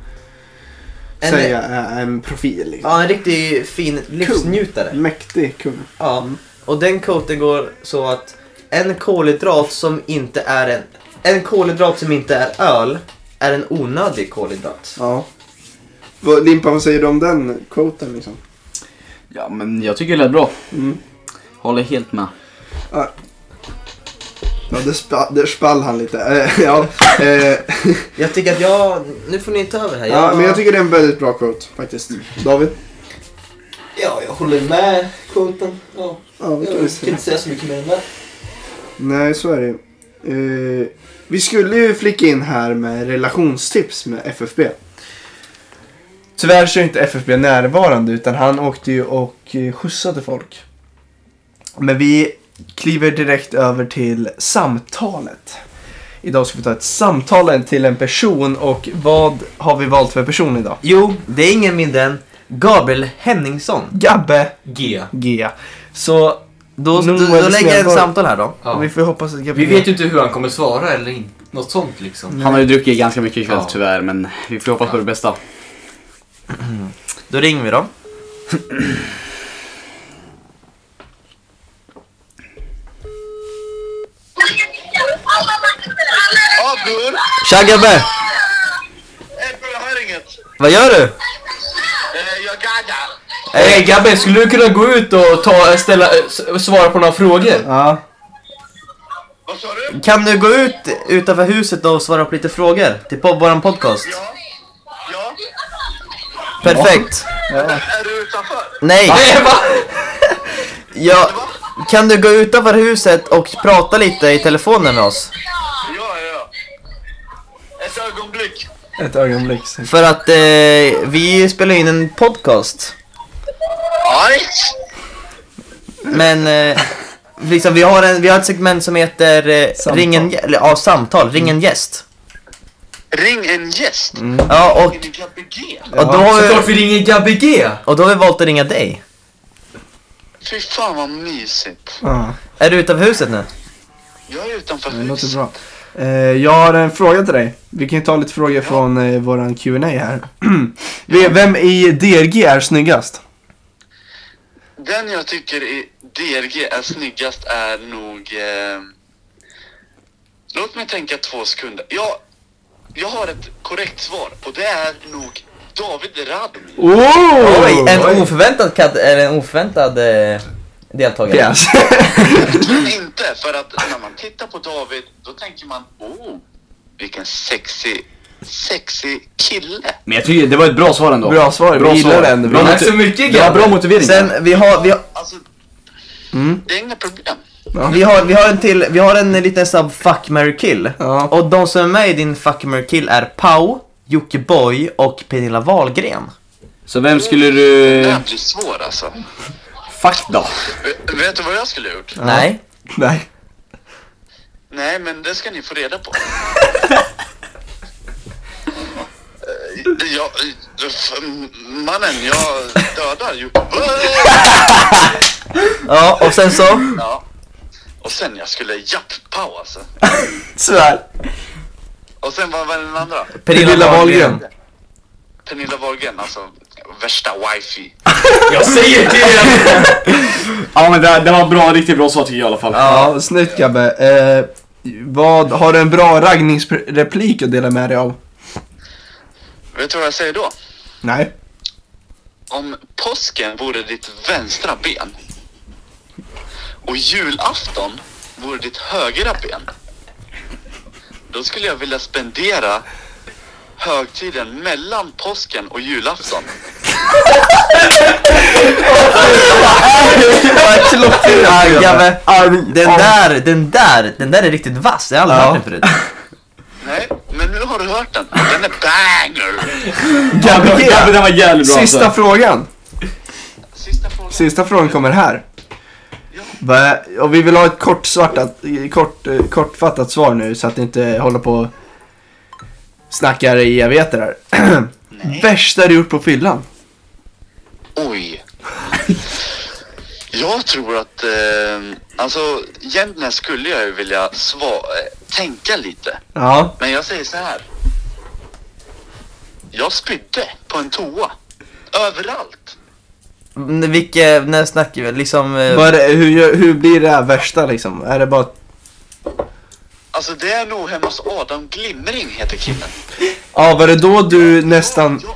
Speaker 3: En- eh,
Speaker 4: säga är en profil. Liksom.
Speaker 3: Ja, en riktigt fin livsnjutare.
Speaker 4: Mäktig kung.
Speaker 3: Ja,
Speaker 4: Mm.
Speaker 3: och den kvoten går så att en kolhydrat som inte är en, en kolhydrat som inte är öl är en onödig kolhydrat.
Speaker 4: Ja. Vad- Limpan, vad säger du om den quoten? Liksom?
Speaker 6: Ja men jag tycker det lät bra.
Speaker 4: Mm.
Speaker 6: Håller helt med.
Speaker 4: Ja, där, spa, där spall han lite. Eh, ja. Eh,
Speaker 3: Jag tycker att jag, nu får ni ta över här.
Speaker 4: ja, men jag tycker det är en väldigt bra quote faktiskt. David?
Speaker 7: Ja, jag håller med Kunten. Ja,
Speaker 4: Ja, det kan vi
Speaker 7: jag kan
Speaker 4: säga.
Speaker 7: inte säga så mycket mer än det.
Speaker 4: Nej, så är det ju. eh, Vi skulle ju flicka in här med relationstips med FFB. Tyvärr så är inte FFB närvarande utan han åkte ju och eh, skjutsade folk. Men vi kliver direkt över till samtalet. Idag ska vi ta ett samtal till en person och vad har vi valt för person idag?
Speaker 3: Jo, det är ingen mindre än Gabriel Henningsson.
Speaker 4: Gabbe
Speaker 5: G.
Speaker 4: G. Så
Speaker 3: Då,
Speaker 4: Nu
Speaker 3: då, då
Speaker 4: är det
Speaker 3: lägger jag ett
Speaker 4: snällare.
Speaker 3: samtal här då.
Speaker 5: Ja.
Speaker 4: vi får hoppas att Gabbe
Speaker 5: Vi vet ju inte hur han kommer svara eller inte. Något sånt liksom.
Speaker 6: Han har ju druckit ganska mycket ikväll
Speaker 5: Ja.
Speaker 6: tyvärr men vi får hoppas på det bästa.
Speaker 3: Då ringer vi då.
Speaker 9: Ja, Bull.
Speaker 3: Tja Gabbe!
Speaker 9: Hej, Bull. Jag hör inget.
Speaker 3: Vad gör du?
Speaker 9: Eh, Jag gaggar.
Speaker 5: Hej Äh, Gabbe, skulle eh, du kunna gå ut och ta, ställa, s- svara på några frågor?
Speaker 4: Ja.
Speaker 9: Va? Vad sa du?
Speaker 3: Kan du gå ut utanför huset och svara på lite frågor till po- våran podcast?
Speaker 9: Ja. Ja.
Speaker 3: Perfekt.
Speaker 9: Är du utanför?
Speaker 3: Nej. ja, kan du gå utanför huset och prata lite i telefonen med oss?
Speaker 9: Ja, ja. Ett ögonblick.
Speaker 4: Ett ögonblick. sen.
Speaker 3: För att eh, vi spelar in en podcast.
Speaker 9: Alright.
Speaker 3: Men eh, liksom, vi, har en, vi har ett segment som heter eh,
Speaker 4: Samtal.
Speaker 3: ring en, gä- eller, ja, samtal, ring en gäst.
Speaker 9: Ring en gäst.
Speaker 3: Ja, och,
Speaker 9: Är det Gabby G?
Speaker 3: och, då har vi,
Speaker 5: Såklart vi ringer Gabby G!
Speaker 3: och då har vi valt att ringa dig.
Speaker 9: Fy fan vad mysigt.
Speaker 4: Ja,
Speaker 3: Är du utanför huset nu?
Speaker 9: Jag är utanför
Speaker 4: det låter
Speaker 9: huset.
Speaker 4: bra. Eh, jag har en fråga till dig. Vi kan ju ta lite frågor från eh, våran Q&A här. Vi- Vem i DRG är snyggast?
Speaker 9: Den jag tycker i DRG är snyggast är nog... Eh... Låt mig tänka två sekunder. Ja, jag har ett korrekt svar och det är nog David Radomir.
Speaker 4: Oh!
Speaker 3: Oj, en oförväntad, kat- eller en oförväntad eh, deltagare.
Speaker 4: Pjäs.
Speaker 9: Men inte, för att när man tittar på David då tänker man oh, vilken sexig, sexig kille.
Speaker 6: Men jag tycker det var ett bra svar ändå.
Speaker 4: Bra svar, vi gillar
Speaker 6: svar.
Speaker 4: den.
Speaker 6: Bra
Speaker 5: Tack
Speaker 6: moti-
Speaker 5: så mycket
Speaker 6: det var
Speaker 5: grabbar!
Speaker 6: bra motivering.
Speaker 3: Sen, vi har, vi har
Speaker 9: Alltså,
Speaker 4: Mm.
Speaker 9: det är inga problem.
Speaker 3: Vi har, vi har en till, vi har en liten snabb fuck, marry, kill.
Speaker 4: Ja.
Speaker 3: Och de som är med i din fuck, marry, kill är Pau, Jockiboi och Pernilla Wahlgren.
Speaker 6: Så vem skulle du...
Speaker 9: Det här blir svår alltså.
Speaker 6: Fuck då.
Speaker 9: Vet- Vet du vad jag skulle ha gjort?
Speaker 3: Nej.
Speaker 4: Nej.
Speaker 9: Nej, men det ska ni få reda på. Eh, Jag, eh, f- mannen, jag dödar ju.
Speaker 3: Ja, och sen så?
Speaker 9: Ja. Och sen jag skulle japp-pow alltså.
Speaker 4: Sådär.
Speaker 9: Och sen vad var den andra?
Speaker 4: Pernilla Wahlgren.
Speaker 9: Pernilla Wahlgren alltså. Värsta wifi.
Speaker 5: Jag säger till er!
Speaker 6: Ja men det, det var bra, riktigt bra svar tycker jag i alla fall.
Speaker 4: Ja, snyggt Gabbe. Eh, vad, har du en bra raggningsreplik att dela med dig av?
Speaker 9: Vet du vad jag säger då?
Speaker 4: Nej.
Speaker 9: Om påsken vore ditt vänstra ben och julafton vore ditt högra ben. Då skulle jag vilja spendera högtiden mellan påsken och julafton.
Speaker 3: Ja, Gabbe, den där, den där, den där är riktigt vass, jag har aldrig hört den förut.
Speaker 9: Nej, men nu har du hört den. Den är banger!
Speaker 6: Gabbe, Gabbe den var jävligt bra
Speaker 4: Sista
Speaker 6: alltså.
Speaker 4: frågan.
Speaker 9: Sista frågan.
Speaker 4: Sista frågan kommer här.
Speaker 9: Ja.
Speaker 4: Va, och vi vill ha ett kort svartat, kort, eh, kortfattat svar nu så att ni inte håller på och snackar i evigheter här. Värsta du gjort på fyllan?
Speaker 9: Oj. Jag tror att, eh, alltså egentligen skulle jag ju vilja sva- eh, tänka lite.
Speaker 4: Ja.
Speaker 9: Men jag säger så här. Jag spydde på en toa. Överallt.
Speaker 3: Mm, Vilke, när snackar vi? Liksom... eh,
Speaker 4: Vad är det, hur, gör- hur blir det här värsta liksom? Är det bara...
Speaker 9: Alltså det är nog hemma hos Adam Glimring heter killen.
Speaker 4: Ja, var det då du nästan
Speaker 9: Jag-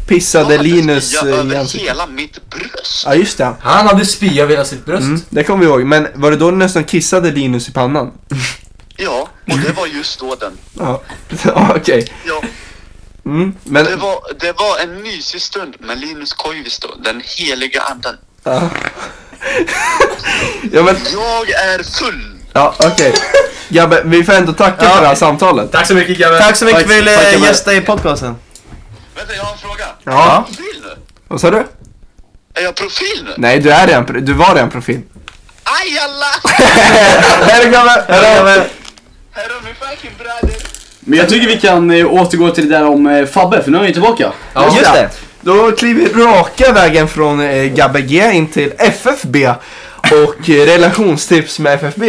Speaker 9: jag
Speaker 4: pissade
Speaker 9: hade
Speaker 4: Linus
Speaker 9: spya
Speaker 4: eh, i
Speaker 9: över
Speaker 4: ansiktet?
Speaker 9: hela mitt bröst.
Speaker 4: Ja, just det.
Speaker 5: Han hade spya över hela sitt bröst.
Speaker 4: Mm, det kommer vi ihåg. Men var det då du nästan kissade Linus i pannan?
Speaker 9: Ja, och det var just då den.
Speaker 4: Ja, ja okej.
Speaker 9: Ja,
Speaker 4: Mm, men...
Speaker 9: det var, det var en mysig stund med Linus Koivisto, den heliga anden.
Speaker 4: Ja. ja, men...
Speaker 9: Jag är full!
Speaker 4: Ja, okej. Gabbe, vi får ändå tacka för det här samtalet.
Speaker 5: Tack så mycket grabbar!
Speaker 3: Tack så mycket för att du
Speaker 4: Tack,
Speaker 3: ville
Speaker 4: Gabbe.
Speaker 3: gästa i podcasten.
Speaker 9: Vänta, jag har en fråga. Är
Speaker 4: Ja.
Speaker 9: jag profil nu?
Speaker 4: Vad sa du?
Speaker 9: Är jag profil nu?
Speaker 4: Nej, du är redan... pro- Du var redan profil.
Speaker 9: Aj alla!
Speaker 4: Hej då, Gabbe! Hej då!
Speaker 9: Här har vi fucking bröder!
Speaker 6: Men jag tycker vi kan eh, återgå till det där om eh, Fabbe, för nu är han ju tillbaka.
Speaker 4: Ja.
Speaker 3: Just det.
Speaker 4: Då kliver vi raka vägen från eh, Gabbe G in till FFB och eh, relationstips med FFB.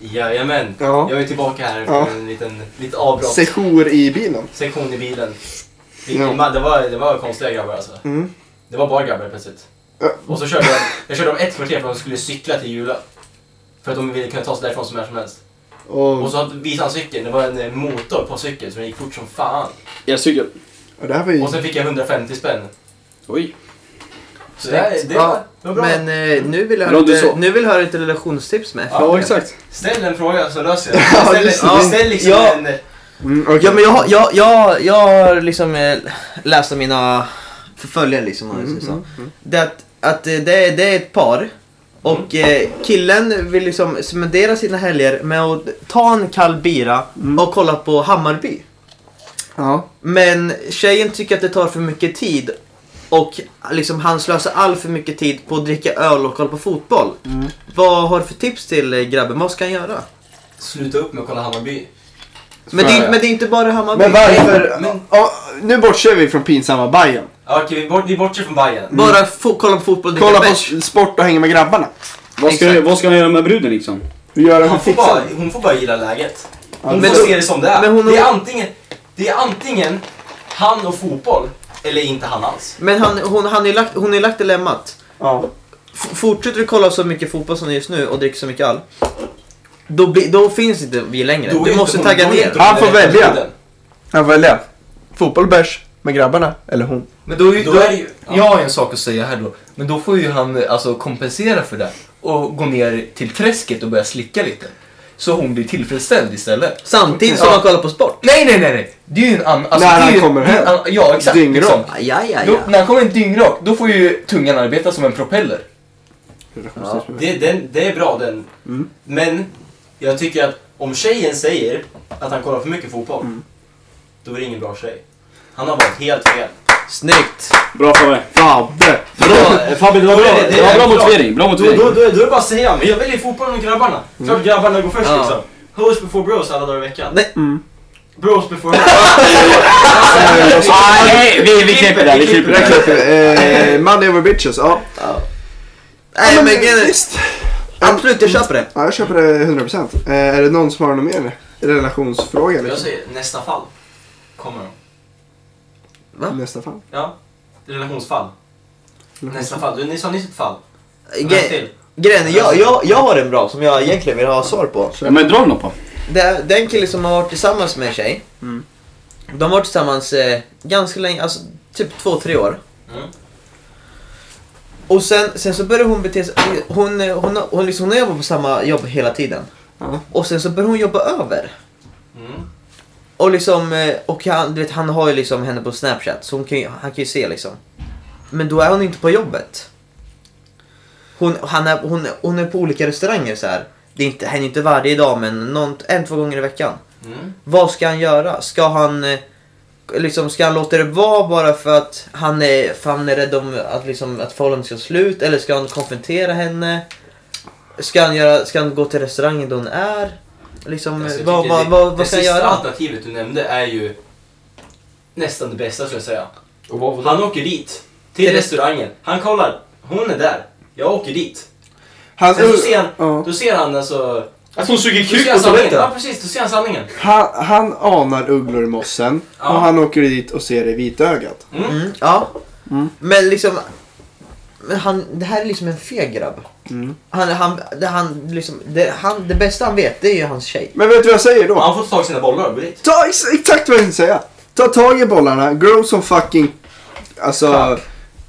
Speaker 7: Jajamän.
Speaker 4: Ja.
Speaker 7: Jag är tillbaka här
Speaker 4: Ja.
Speaker 7: från en liten, lite avbrott.
Speaker 4: Sejour i bilen.
Speaker 7: Sektion i bilen. Vi-
Speaker 4: Ja.
Speaker 7: man- Det var, det var konstiga grabbar alltså.
Speaker 4: Mm.
Speaker 7: Det var bara grabbar plötsligt.
Speaker 4: Ja.
Speaker 7: Och så körde jag, jag körde om ett kvarter för att de skulle cykla till Jula. För att de ville kunna ta sig därifrån som när som helst. Och så hade- visade han cykeln, det var en eh, motor på cykeln så den gick fort som fan.
Speaker 6: Jag tycker...
Speaker 4: och det här var ju...
Speaker 7: Och sen fick jag 150 spänn.
Speaker 6: Oj.
Speaker 7: Så det, här- det, var,
Speaker 3: Ja,
Speaker 7: det var bra.
Speaker 3: Men eh, nu vill jag höra
Speaker 6: Låt det
Speaker 3: lite-
Speaker 6: så.
Speaker 3: nu vill jag höra lite relationstips med
Speaker 7: Ja,
Speaker 3: exakt.
Speaker 7: Ställ en fråga så löser jag det. Ställ,
Speaker 4: just
Speaker 3: det.
Speaker 7: ställ liksom
Speaker 3: Ja.
Speaker 7: en...
Speaker 4: Mm, okej.
Speaker 3: Ja, men jag, har- jag, jag, jag har liksom eh, läst om mina förföljare liksom. om man
Speaker 4: Mm,
Speaker 3: säger så. Det, är att, att eh, det, är, det är ett par. Och
Speaker 4: Mm.
Speaker 3: eh, killen vill liksom spendera sina helger med att ta en kall bira
Speaker 4: Mm.
Speaker 3: och kolla på Hammarby.
Speaker 4: Ja.
Speaker 3: Men tjejen tycker att det tar för mycket tid och liksom han slösar all för mycket tid på att dricka öl och kolla på fotboll. Vad har du för tips till eh, grabben? Vad ska han göra?
Speaker 7: Sluta upp med att kolla Hammarby.
Speaker 3: Men det, är, men det är inte bara Hammarby.
Speaker 4: Men varför?
Speaker 7: Men-
Speaker 4: Ja, nu bortser vi från pinsamma Bajen.
Speaker 7: Ja, Okej, vi, bort, vi bortser från Bayern.
Speaker 3: Bara fo- kolla på fotboll och dricka
Speaker 4: Kolla på
Speaker 3: bärs.
Speaker 4: sport och hänga med grabbarna.
Speaker 6: Vad ska, vad ska han göra med bruden liksom?
Speaker 4: Hur gör
Speaker 7: Hon
Speaker 4: han
Speaker 7: får,
Speaker 4: fixa
Speaker 7: bara,
Speaker 4: det?
Speaker 7: hon får bara gilla läget. Hon
Speaker 3: men
Speaker 7: får
Speaker 3: då-
Speaker 7: se det som det är.
Speaker 3: men hon-
Speaker 7: det, är antingen, det är antingen han och fotboll, eller inte han alls.
Speaker 3: Men han, hon, han är lagt, hon är lagt dilemmat.
Speaker 4: Ja.
Speaker 3: F- fortsätter du kolla så mycket fotboll som du just nu och dricker så mycket öl. Då, bli, då finns inte vi längre.
Speaker 7: Då är
Speaker 3: Du
Speaker 7: inte
Speaker 3: måste
Speaker 7: hon-
Speaker 3: tagga
Speaker 7: då är inte
Speaker 3: ner.
Speaker 7: hon
Speaker 4: Han får
Speaker 7: den rätta
Speaker 4: välja.
Speaker 7: bruden.
Speaker 4: Han får välja. Fotboll, bärs med grabbarna. Eller hon.
Speaker 5: Men då, är ju-
Speaker 7: Då
Speaker 5: då
Speaker 7: är det ju- ja.
Speaker 5: Jag har en sak att säga här då. Men då får ju han eh, alltså kompensera för det och gå ner till träsket och börja slicka lite. Så hon blir tillfredsställd istället.
Speaker 3: Samtidigt som
Speaker 5: Ja.
Speaker 3: man kollar på sport.
Speaker 5: Nej, nej, nej, nej. Det är ju en annan... alltså,
Speaker 4: När
Speaker 5: det är
Speaker 4: han
Speaker 5: ju-
Speaker 4: kommer
Speaker 5: det är en
Speaker 4: hem.
Speaker 5: annan- Ja, exakt.
Speaker 4: Dyngrak.
Speaker 5: liksom.
Speaker 3: Aj, aj, aj,
Speaker 5: Då,
Speaker 3: aj.
Speaker 5: när han kommer en dyngrak, då får ju tungan arbeta som en propeller.
Speaker 7: Det, den, det är bra den. Men jag tycker att om tjejen säger att han kollar för mycket fotboll, då är det ingen bra tjej. Han har varit helt fel.
Speaker 3: Snyggt.
Speaker 6: Bra Fabbe.
Speaker 4: Fabbe!
Speaker 6: Bra, Fabbe, det var bra,
Speaker 7: Det- det-
Speaker 6: det var bra
Speaker 7: det-
Speaker 6: motivering. Bra
Speaker 7: Då, då, då,
Speaker 6: motivering.
Speaker 7: då är det bara att säga, men jag väljer fotbollen och grabbarna. Klart grabbarna går först
Speaker 3: Ja.
Speaker 7: liksom. Hoes before bros alla dagar i veckan.
Speaker 3: Nej.
Speaker 7: Bros before
Speaker 6: Ah, nej, vi, vi klipper det, vi klipper
Speaker 4: Där
Speaker 6: det.
Speaker 4: klipper vi. Eh, Money over bitches, ja.
Speaker 3: Nej men,
Speaker 4: men
Speaker 3: grejen är-
Speaker 4: visst.
Speaker 3: absolut jag köper det.
Speaker 4: Ja, jag köper det 100%. Eh, är det någon som har någon mer relationsfråga?
Speaker 7: Jag
Speaker 4: Liksom?
Speaker 7: säger nästa fall. Kommer de.
Speaker 3: säger-
Speaker 4: Nästa fall.
Speaker 7: Ja. Relationsfall. Nästa fall. Du, ni sa nyss ett fall. Vem
Speaker 3: Gre-
Speaker 7: till?
Speaker 3: Grejen är, jag, jag, jag har en bra som jag egentligen vill ha svar på.
Speaker 6: Ja, men dra något på.
Speaker 3: Det är, det är en kille som har varit tillsammans med en tjej. De har varit tillsammans eh, ganska länge, alltså typ två, tre år.
Speaker 7: Mm.
Speaker 3: Och sen, sen så börjar hon bete sig, hon, eh, hon, hon, hon, liksom, hon har jobbat på samma jobb hela tiden.
Speaker 4: Ja.
Speaker 3: Och sen så börjar hon jobba över.
Speaker 7: Mm.
Speaker 3: Och liksom, eh, och han, du vet, han har ju liksom henne på snapchat så hon kan, ju- han kan ju se liksom. Men då är hon inte på jobbet. Hon, han är, hon, hon är på olika restauranger så här. Det är inte, händer inte varje dag men någon, en, två gånger i veckan.
Speaker 7: Mm.
Speaker 3: Vad ska han göra? Ska han eh, liksom, ska han låta det vara bara för att han är, för han är rädd om att, liksom, att förhållandet ska slut? Eller ska han konfrontera henne? Ska han, göra, ska han gå till restaurangen då hon är? Liksom,
Speaker 7: Alltså, jag
Speaker 3: vad,
Speaker 7: tycker
Speaker 3: vad,
Speaker 7: det-
Speaker 3: vad, vad ska han
Speaker 7: Det sista
Speaker 3: göra?
Speaker 7: alternativet du nämnde är ju nästan det bästa skulle jag säga.
Speaker 8: Och vad var det?
Speaker 7: Han åker dit. Till
Speaker 3: Till
Speaker 7: restaurangen. Han kollar. Hon är där. Jag åker dit.
Speaker 4: Han,
Speaker 7: Sen så ser han,
Speaker 4: ja.
Speaker 7: då ser han alltså...
Speaker 8: Att Alltså, hon suger
Speaker 7: Då ser
Speaker 8: kuk
Speaker 7: han
Speaker 8: på
Speaker 7: sanningen.
Speaker 8: toaletten?
Speaker 7: Ja precis, då ser han sanningen.
Speaker 4: han, han anar ugglor i mossen
Speaker 7: Ja.
Speaker 4: och han åker dit och ser det i vitögat.
Speaker 3: Mm, ja. Men liksom... Men han, det här är liksom en feg grabb. Han, han, det, han, liksom, det, han, det bästa han vet det är ju hans tjej.
Speaker 4: Men vet du vad jag säger då?
Speaker 7: Han får ta tag i sina bollar och gå dit.
Speaker 4: Ta ex- exakt vad jag tänkte säga. Ta tag i bollarna, grow som fucking... Alltså...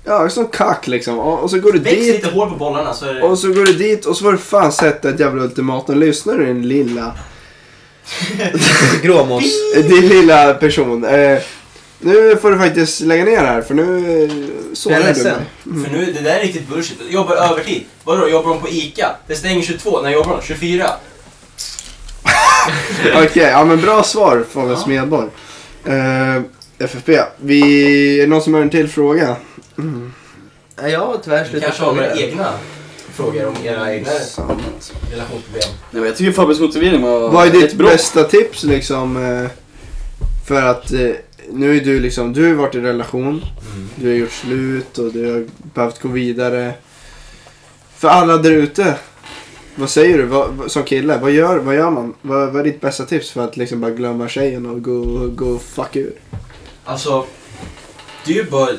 Speaker 4: Ja, som kack liksom. Och, och så går du
Speaker 7: Väx
Speaker 4: dit.
Speaker 7: lite hår på bollarna så är det...
Speaker 4: Och så går du dit och så får du fan sätta ett jävla ultimatum. Lyssnar du din lilla...
Speaker 3: Gråmås.
Speaker 4: Din lilla person. Eh, nu får du faktiskt lägga ner det här för nu eh,
Speaker 3: Jag är
Speaker 4: sårar du
Speaker 3: ledsen.
Speaker 4: mig.
Speaker 8: Mm.
Speaker 7: För nu, det där är riktigt bullshit. Jobbar övertid. Vadå, jobbar de på ICA? Det stänger 22. När jobbar de? 24.
Speaker 4: Okej, ja men bra svar Fabian Smedborg. Eh, FFP, vi... Är det någon som har en till fråga?
Speaker 3: Ja, Jag har tyvärr
Speaker 7: Ni
Speaker 3: slutat
Speaker 7: kanske har
Speaker 3: fråga
Speaker 7: några
Speaker 3: det.
Speaker 7: egna frågor om era egna
Speaker 4: Samma.
Speaker 7: relationsproblem.
Speaker 6: Nej, men jag tycker Fabbes motivering var
Speaker 4: Vad är ditt
Speaker 6: jättebra.
Speaker 4: bästa tips liksom? eh, För att eh, nu är du liksom, du har varit i relation,
Speaker 7: Mm.
Speaker 4: du har gjort slut och du har behövt gå vidare. För alla där ute, vad säger du vad, vad- som kille? Vad gör, vad gör man? Vad, vad är ditt bästa tips för att liksom bara glömma tjejen och gå, gå fuck ur?
Speaker 7: Alltså, det är ju bara att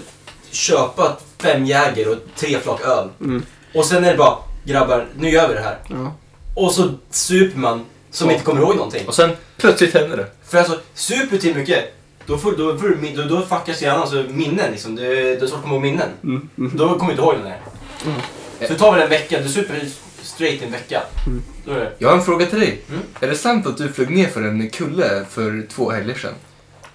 Speaker 7: köpa fem Jäger och tre flak öl.
Speaker 4: Mm.
Speaker 7: Och sen är det bara, grabbar, nu gör vi det här.
Speaker 4: Ja.
Speaker 7: Och så super man som inte kommer ihåg någonting.
Speaker 5: Och sen plötsligt händer det.
Speaker 7: För alltså, super till mycket. Då, får, då, får, du- då, då fuckas hjärnan, alltså minnen liksom. Det, det är svårt att komma ihåg minnen.
Speaker 10: Mm. Mm.
Speaker 7: Då kommer du inte ihåg den där.
Speaker 4: Mm.
Speaker 7: Så det tar väl en vecka, du super straight i en vecka.
Speaker 10: Mm.
Speaker 7: Då är det.
Speaker 5: Jag har en fråga till dig.
Speaker 7: Mm.
Speaker 5: Är det sant att du flög ner för en kulle för två helger sedan?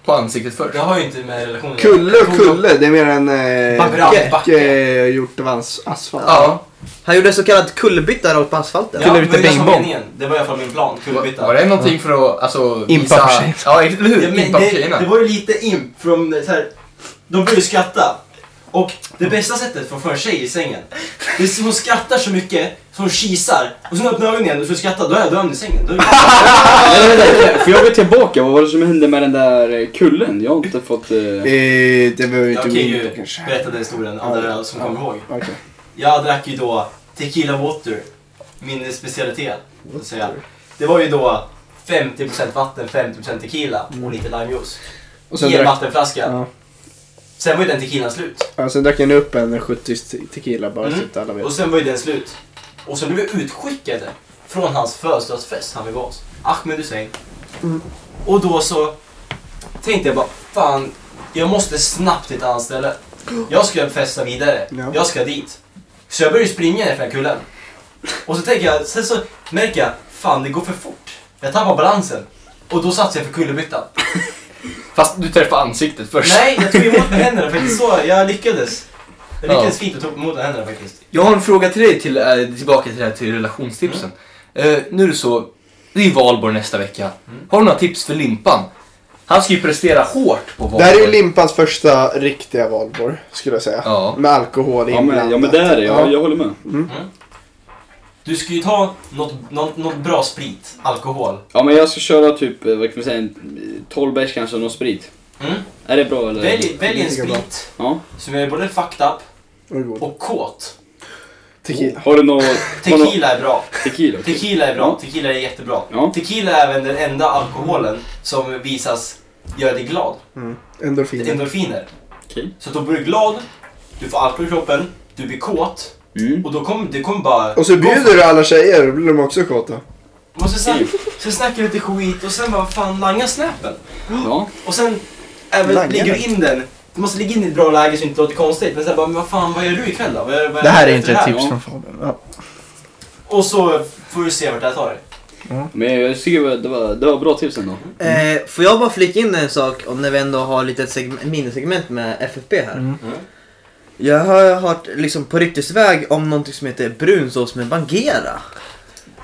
Speaker 5: På ansiktet först?
Speaker 7: Det har ju inte med relationen
Speaker 4: Kulle och kulle, det är mer en eh,
Speaker 7: Backe. Backe.
Speaker 4: backe gjort av hans asfalt.
Speaker 5: Ja.
Speaker 3: Han gjorde så kallad kullerbytta rakt på asfalten.
Speaker 7: Ja, men
Speaker 10: ut en
Speaker 7: det var
Speaker 10: bingbong.
Speaker 7: meningen. Det var i alla fall min plan. Kullerbytta.
Speaker 5: Var det någonting för att alltså,
Speaker 10: Impa på tjejerna.
Speaker 5: Ja, eller hur?
Speaker 7: Ja, men
Speaker 5: Impa på
Speaker 7: det,
Speaker 5: tjejerna.
Speaker 7: det var ju lite imp från så här, de började ju skratta. Och det bästa sättet för att få en tjej i sängen, det är så hon skrattar så mycket så hon kisar och sen öppnar ögonen igen och så skrattar, då är jag dömd i sängen. Då är jag...
Speaker 6: Nej, nej, nej, För jag går tillbaka, vad var det som hände med den där eh, kullen? Jag har inte fått... eh,
Speaker 4: Eh, det behöver vi inte
Speaker 7: Jag kan
Speaker 4: gå in
Speaker 7: ju
Speaker 4: på kanske.
Speaker 7: berätta den historien, andra som kommer ihåg.
Speaker 4: Okej.
Speaker 7: Jag drack ju då tequila water, min specialitet. så att säga. Det var ju då 50% vatten, 50% tequila och lite limejuice.
Speaker 4: Och sen
Speaker 7: I en
Speaker 4: drack,
Speaker 7: vattenflaska.
Speaker 4: Ja.
Speaker 7: Sen var ju den tequilan slut.
Speaker 4: ja, sen drack jag upp en 70 te- tequila bara
Speaker 7: Mm.
Speaker 4: så att alla vet.
Speaker 7: Och sen var ju den slut. Och sen blev vi utskickade från hans födelsedagsfest han vill vara hos. Ahmed Hussein. Och då så tänkte jag bara, fan, jag måste snabbt till ett annat ställe. Jag ska festa vidare.
Speaker 4: Ja.
Speaker 7: Jag ska dit. Så jag började springa ner för den här kullen. Och så tänker jag, sen så märker jag, fan det går för fort. Jag tappar balansen. Och då satsar jag för kullerbyttan.
Speaker 5: Fast du träffade ansiktet först.
Speaker 7: Nej, jag tog emot med händerna faktiskt. Så jag lyckades. Jag lyckades fint och tog emot med händerna faktiskt.
Speaker 5: Jag har en fråga till dig, till, eh, tillbaka till det här till relationstipsen. Eh, nu är det så, det är valborg nästa vecka. Har du några tips för Limpan? Han ska ju prestera hårt på
Speaker 4: Det
Speaker 5: valborg.
Speaker 4: här är ju Limpans första riktiga valborg, skulle jag säga.
Speaker 5: Ja.
Speaker 4: Med alkohol
Speaker 6: Ja men,
Speaker 4: inblandat.
Speaker 6: ja men det är det,
Speaker 4: Ja.
Speaker 6: jag, jag håller med.
Speaker 7: Du ska ju ta något, något, något bra sprit, alkohol.
Speaker 6: Ja men jag ska köra typ, eh, vad kan vi säga, en 12 bärs kanske och någon sprit.
Speaker 7: Mm.
Speaker 6: Är det bra eller?
Speaker 7: Välj, välj en
Speaker 4: tycker jag är
Speaker 7: sprit
Speaker 6: Ja.
Speaker 7: som är både fucked up
Speaker 4: Och god
Speaker 7: och kåt.
Speaker 4: Tequila.
Speaker 6: Har du något... har du något-
Speaker 7: Tequila är bra.
Speaker 6: Tequila. okej.
Speaker 7: Tequila är bra.
Speaker 6: Ja.
Speaker 7: Tequila är jättebra.
Speaker 6: Ja.
Speaker 7: Tequila är även den enda alkoholen som visas göra dig glad.
Speaker 4: Endorfiner.
Speaker 7: Endorfiner.
Speaker 6: Okej.
Speaker 7: Så att då blir du glad, du får alkohol i kroppen, du blir kåt
Speaker 6: Mm.
Speaker 7: och då kommer det kommer bara...
Speaker 4: Och så bjuder du alla tjejer, då blir de också kåta.
Speaker 7: Och så, snack, så snackar du lite skit och sen bara fan langa snäppen.
Speaker 6: Ja.
Speaker 7: Och sen även
Speaker 3: Langar
Speaker 7: lägger du in den. Du måste lägga in den i ett bra läge så det inte låter konstigt. Men sen bara, men vad fan, vad gör du ikväll då? Vad, gör- vad
Speaker 10: Det här
Speaker 7: gör
Speaker 10: är
Speaker 7: du
Speaker 10: inte
Speaker 7: efter
Speaker 10: ett
Speaker 7: det här?
Speaker 10: tips
Speaker 6: ja.
Speaker 10: från Fabian. Ja.
Speaker 7: Och så får du se vart det här tar dig.
Speaker 6: Men jag tycker det var, det var bra tips ändå.
Speaker 3: Eh, får jag bara flika in en sak om när vi ändå har lite segment, minisegment med FFP här.
Speaker 7: Mm.
Speaker 3: Jag har hört liksom på ryktesväg om någonting som heter brunsås med Bangera.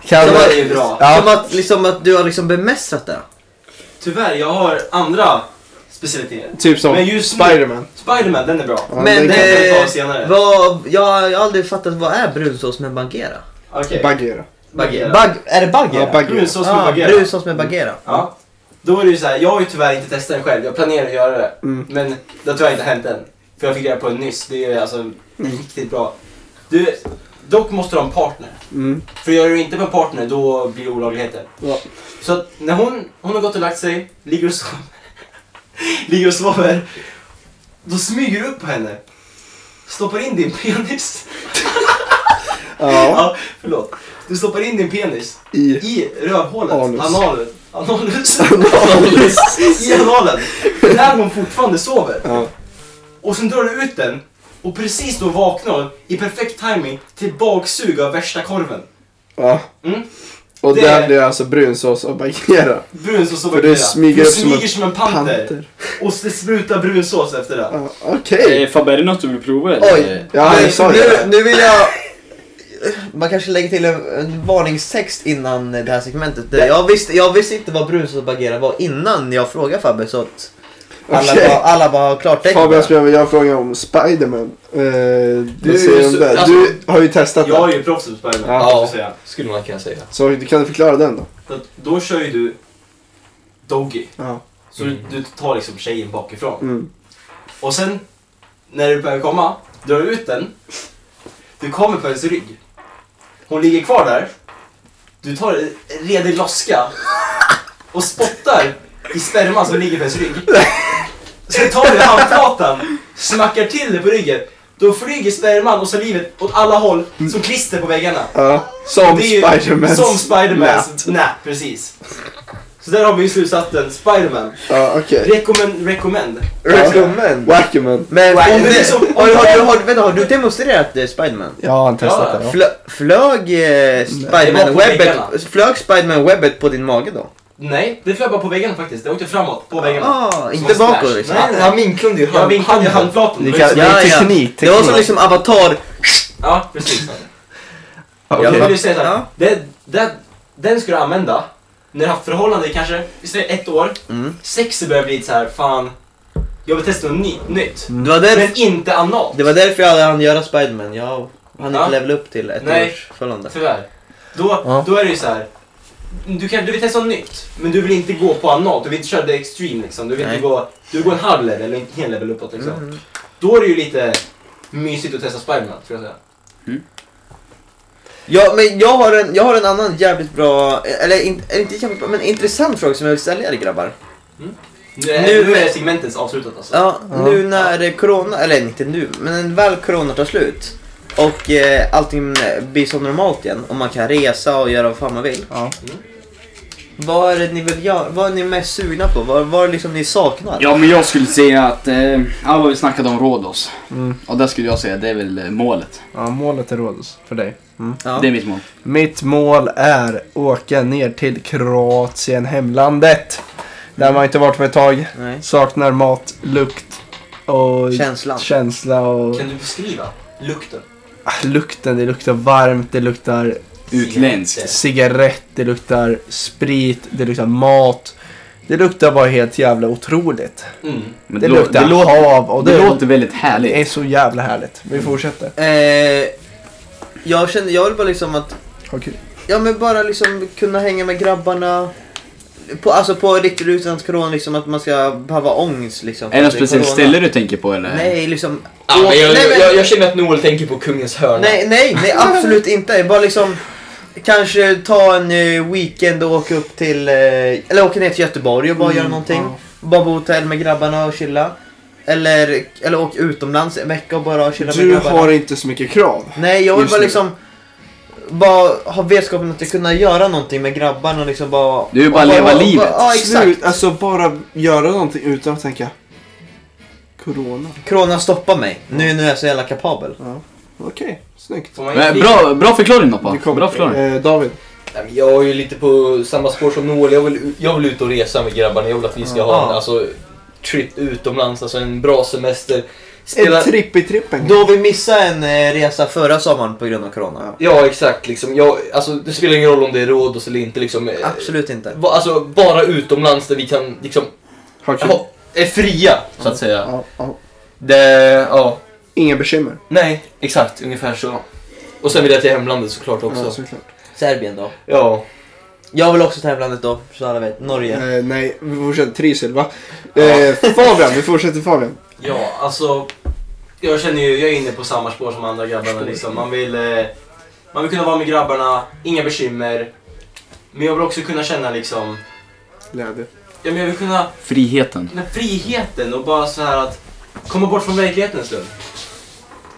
Speaker 10: Kan
Speaker 7: Det
Speaker 3: Det
Speaker 7: var
Speaker 3: var-
Speaker 7: ju bra.
Speaker 10: Ja.
Speaker 3: Som att, liksom, att du har liksom bemästrat det.
Speaker 7: Tyvärr, jag har andra specialiteter.
Speaker 4: Typ som
Speaker 7: Men just nu-
Speaker 4: Spiderman.
Speaker 7: Spiderman, den är bra.
Speaker 4: Ja,
Speaker 3: Men
Speaker 4: det kan-
Speaker 7: vi ta
Speaker 3: eh,
Speaker 7: senare.
Speaker 3: vad, jag, jag har aldrig fattat vad är brunsås med Bangera?
Speaker 7: Okej.
Speaker 4: Bagheera.
Speaker 7: Bagheera.
Speaker 3: Bag, är det Bagheera?
Speaker 4: Ja, Bagheera.
Speaker 7: Brunsås med
Speaker 3: ah,
Speaker 7: Bagheera.
Speaker 3: brunsås med Bagheera.
Speaker 7: Ja. Då är det ju så här, jag har ju tyvärr inte testat den själv. Jag planerar att göra det.
Speaker 4: Mm.
Speaker 7: Men det har tyvärr inte hänt än. För jag fick reda på den nyss. Det är alltså riktigt bra. Du, dock måste du ha en partner.
Speaker 4: Mm.
Speaker 7: För gör du inte på en partner, då blir det olagligheter.
Speaker 4: Ja.
Speaker 7: Så att när hon, hon har gått och lagt sig, ligger och sover, ligger och sover då smyger du upp på henne. Stoppar in din penis.
Speaker 4: Ja.
Speaker 7: Ja, förlåt. Du stoppar in din penis
Speaker 4: I.
Speaker 7: i rövhålet.
Speaker 4: Anus.
Speaker 7: Anal, analus. I analen. När hon fortfarande sover.
Speaker 4: Ja.
Speaker 7: Och sen drar du ut den. Och precis då vaknar hon i perfekt timing till baksug av värsta korven.
Speaker 4: ja.
Speaker 7: Mm.
Speaker 4: Och
Speaker 7: Det-
Speaker 4: där blir alltså brunsås och Bagheera.
Speaker 7: Brunsås och
Speaker 4: För det
Speaker 7: bakterier.
Speaker 4: smyger
Speaker 7: Du
Speaker 4: upp som
Speaker 7: smyger
Speaker 4: en
Speaker 7: som en panter. Och det sprutar brunsås efter det.
Speaker 4: Ja, Okej.
Speaker 6: Eh, Fabbe, är det något du vill prova eller?
Speaker 3: Oj.
Speaker 4: Ja,
Speaker 3: Men
Speaker 4: jag sa ju
Speaker 3: nu,
Speaker 4: det.
Speaker 3: nu vill jag... Man kanske lägger till en, en varningstext innan det här segmentet. Det- Jag visste, jag visste inte vad brunsås och Bagheera var innan jag frågade Fabbe så att alla,
Speaker 4: Okej.
Speaker 3: bara, alla bara har klartecken.
Speaker 4: Fabian Spjöberg, jag frågar om Spiderman. Eh,
Speaker 5: Du
Speaker 4: du,
Speaker 5: är ju
Speaker 4: säger om
Speaker 5: så-
Speaker 4: det.
Speaker 5: alltså-
Speaker 4: du har ju testat det.
Speaker 7: Jag är ju proffs på Spiderman,
Speaker 4: Ja.
Speaker 7: måste jag säga.
Speaker 5: Skulle man kunna säga.
Speaker 4: Så du kan du förklara den då?
Speaker 7: Så att Då kör ju du Doggy.
Speaker 4: Ja.
Speaker 7: Så du, du tar liksom tjejen bakifrån.
Speaker 4: Mm.
Speaker 7: Och sen, när du börjar komma, drar du ut den. Du kommer på hennes rygg. Hon ligger kvar där. Du tar en redig loska och spottar i sperman som ligger på hennes rygg. Sen tar du handflatan, smackar till det på ryggen. Då flyger sperman och salivet åt alla håll som klister på väggarna.
Speaker 4: Ja. Som
Speaker 7: Det är ju-
Speaker 4: Spidermans
Speaker 7: Som Spidermans nät. precis. Så där har vi ju slutsatsen Spiderman.
Speaker 4: Ja, okej.
Speaker 7: Recommend, recommend.
Speaker 4: Recommend. Wackerman.
Speaker 3: Men
Speaker 7: Wow.
Speaker 3: om
Speaker 7: Men
Speaker 3: du,
Speaker 7: liksom-
Speaker 3: har, du- har, du- har, vänta, har du demonstrerat eh, Spiderman?
Speaker 4: Ja, han testat
Speaker 7: Ja.
Speaker 4: det.
Speaker 3: Flö, flög eh,
Speaker 7: Det var
Speaker 3: Spiderman
Speaker 7: på väggarna.
Speaker 3: webbet, flög Spiderman webbet på din mage då?
Speaker 7: Nej, det flög bara på väggarna faktiskt. Det åkte framåt på väggarna.
Speaker 3: Ah,
Speaker 7: Som
Speaker 3: inte
Speaker 7: Flash.
Speaker 3: bakåt liksom.
Speaker 7: Nej, nej.
Speaker 8: Han vinklade ju
Speaker 7: Jag vinklade i handflatan.
Speaker 4: Ni kan-
Speaker 7: Det var ju så-
Speaker 4: det är teknik,
Speaker 3: Det var som
Speaker 4: teknik.
Speaker 3: liksom avatar.
Speaker 7: Ja, precis.
Speaker 4: Ja,
Speaker 7: Jag
Speaker 4: okej.
Speaker 7: vill ju säga såhär,
Speaker 3: Ja.
Speaker 7: det, det, den ska du använda när du haft förhållande i kanske, vi säger ett år,
Speaker 3: Mm.
Speaker 7: sex börjar bli så här, fan, jag vill testa något ny, nytt.
Speaker 3: Det var,
Speaker 7: Men
Speaker 3: där,
Speaker 7: inte analt,
Speaker 3: det var därför jag hann göra Spiderman. Jag hann
Speaker 7: Ja.
Speaker 3: inte levela upp till ett
Speaker 7: Nej.
Speaker 3: års förhållande.
Speaker 7: tyvärr. Då,
Speaker 4: Ja.
Speaker 7: då är det ju så här. Du, kan, du vill testa något nytt, men du vill inte gå på analt, du vill inte köra det extreme liksom. Du vill
Speaker 3: Nej. Mm.
Speaker 7: inte gå, du vill gå en halv level eller en hel level uppåt liksom. Då är det ju lite mysigt att testa Spiderman, tror jag säga.
Speaker 3: Ja, men jag har, en, jag har en annan jävligt bra, eller in, eller inte jävligt bra, men intressant fråga som jag vill ställa er grabbar.
Speaker 7: Nu, är-
Speaker 3: Nu-
Speaker 7: nu är segmentet avslutat alltså.
Speaker 3: Ja,
Speaker 4: Ja.
Speaker 3: nu när eh, corona, eller inte nu, men när väl corona tar slut och eh, allting eh, blir som normalt igen och man kan resa och göra vad fan man vill.
Speaker 4: Ja.
Speaker 3: Vad är det ni vill göra? Vad är ni mest sugna på? Vad, vad är det liksom ni saknar?
Speaker 6: Ja men jag skulle säga att, eh, ja vad vi snackade om Rhodos.
Speaker 4: Mm.
Speaker 6: Och där skulle jag säga det är väl eh, målet.
Speaker 4: Ja, målet är Rhodos för dig.
Speaker 3: Ja.
Speaker 6: Det är mitt mål.
Speaker 4: Mitt mål är åka ner till Kroatien, hemlandet. Där man inte varit på ett tag.
Speaker 3: Nej.
Speaker 4: Saknar mat, lukt och
Speaker 3: Känslan.
Speaker 4: känsla och
Speaker 7: Kan du beskriva lukten?
Speaker 4: Ah, lukten. Det luktar varmt, det luktar
Speaker 6: Utländskt.
Speaker 4: cigarett, det luktar sprit, det luktar mat. Det luktar bara helt jävla otroligt.
Speaker 7: Mm.
Speaker 6: Men
Speaker 4: Det,
Speaker 6: lå-
Speaker 4: luktar
Speaker 6: det, lå-
Speaker 4: hav och det,
Speaker 6: det låter väldigt
Speaker 4: det är
Speaker 6: härligt.
Speaker 4: så jävla härligt. Vi fortsätter.
Speaker 3: Eh, jag känner, jag vill bara liksom att,
Speaker 4: Ha kul.
Speaker 3: ja men bara liksom kunna hänga med grabbarna. På, alltså på riktigt utan att corona, liksom att man ska behöva ångest liksom. för
Speaker 6: Är det något
Speaker 3: att är
Speaker 6: speciellt
Speaker 3: corona.
Speaker 6: ställe du tänker på eller?
Speaker 3: Nej, liksom.
Speaker 8: Ja, men jag,
Speaker 3: nej, men-
Speaker 8: jag, jag känner att Noel tänker på Kungens hörna.
Speaker 3: Nej, nej, nej absolut inte. Bara liksom kanske ta en eh, weekend och åka upp till, eh, eller åka ner till Göteborg och
Speaker 4: Mm,
Speaker 3: bara göra någonting. Bara bo på hotell med grabbarna och chilla. Eller, eller åka utomlands en vecka och bara chilla med
Speaker 4: Du
Speaker 3: grabbarna.
Speaker 4: har inte så mycket krav.
Speaker 3: Nej, jag vill
Speaker 4: just
Speaker 3: bara
Speaker 4: nu.
Speaker 3: liksom bara ha vetskapen att jag kunna göra någonting med grabbarna och liksom bara...
Speaker 6: Du vill bara
Speaker 3: och
Speaker 6: leva livet.
Speaker 3: Ja, exakt.
Speaker 4: Slut, alltså bara göra någonting utan att tänka Corona.
Speaker 3: Corona stoppar mig. Nu, nu är jag så jävla kapabel.
Speaker 4: Mm. Okej, snyggt.
Speaker 7: Får man
Speaker 6: Men
Speaker 7: inte-
Speaker 6: Bra, bra förklaring Noppa.
Speaker 4: Du kom.
Speaker 6: Bra förklaring.
Speaker 4: Eh, David.
Speaker 8: Nej, men Jag är ju lite på samma spår som Noel. Jag vill, jag vill ut och resa med grabbarna. Jag vill att vi ska ha en
Speaker 3: Ja.
Speaker 8: alltså, trip utomlands, alltså en bra semester. Spela...
Speaker 4: En tripp i trippen.
Speaker 3: Då vi missade en eh, resa förra sommaren på grund av corona.
Speaker 8: Ja, exakt. Liksom. Jag, alltså, det spelar ingen roll om det är Rhodos eller inte. Liksom. Eh,
Speaker 3: Absolut inte.
Speaker 8: ba- Alltså, bara utomlands där vi kan liksom,
Speaker 4: Ha kul.
Speaker 8: ha, är fria, så att säga.
Speaker 4: Ja, ja.
Speaker 8: Det, ja.
Speaker 4: Inga bekymmer.
Speaker 8: Nej, exakt. Ungefär så. Och sen vill jag till hemlandet såklart också.
Speaker 4: såklart.
Speaker 3: Serbien då.
Speaker 8: Ja.
Speaker 3: Jag vill också till hemlandet då, så alla vet. Norge.
Speaker 4: Eh, nej, vi fortsätter trivsel va? Eh, Fabian, vi fortsätter Fabian.
Speaker 7: Ja, alltså. Jag känner ju, jag är inne på samma spår som andra grabbarna liksom. Man vill, eh, man vill kunna vara med grabbarna, inga bekymmer. Men jag vill också kunna känna liksom,
Speaker 4: Glädje.
Speaker 7: ja men jag vill kunna,
Speaker 6: Friheten.
Speaker 7: den här friheten och bara så här att komma bort från verkligheten en stund.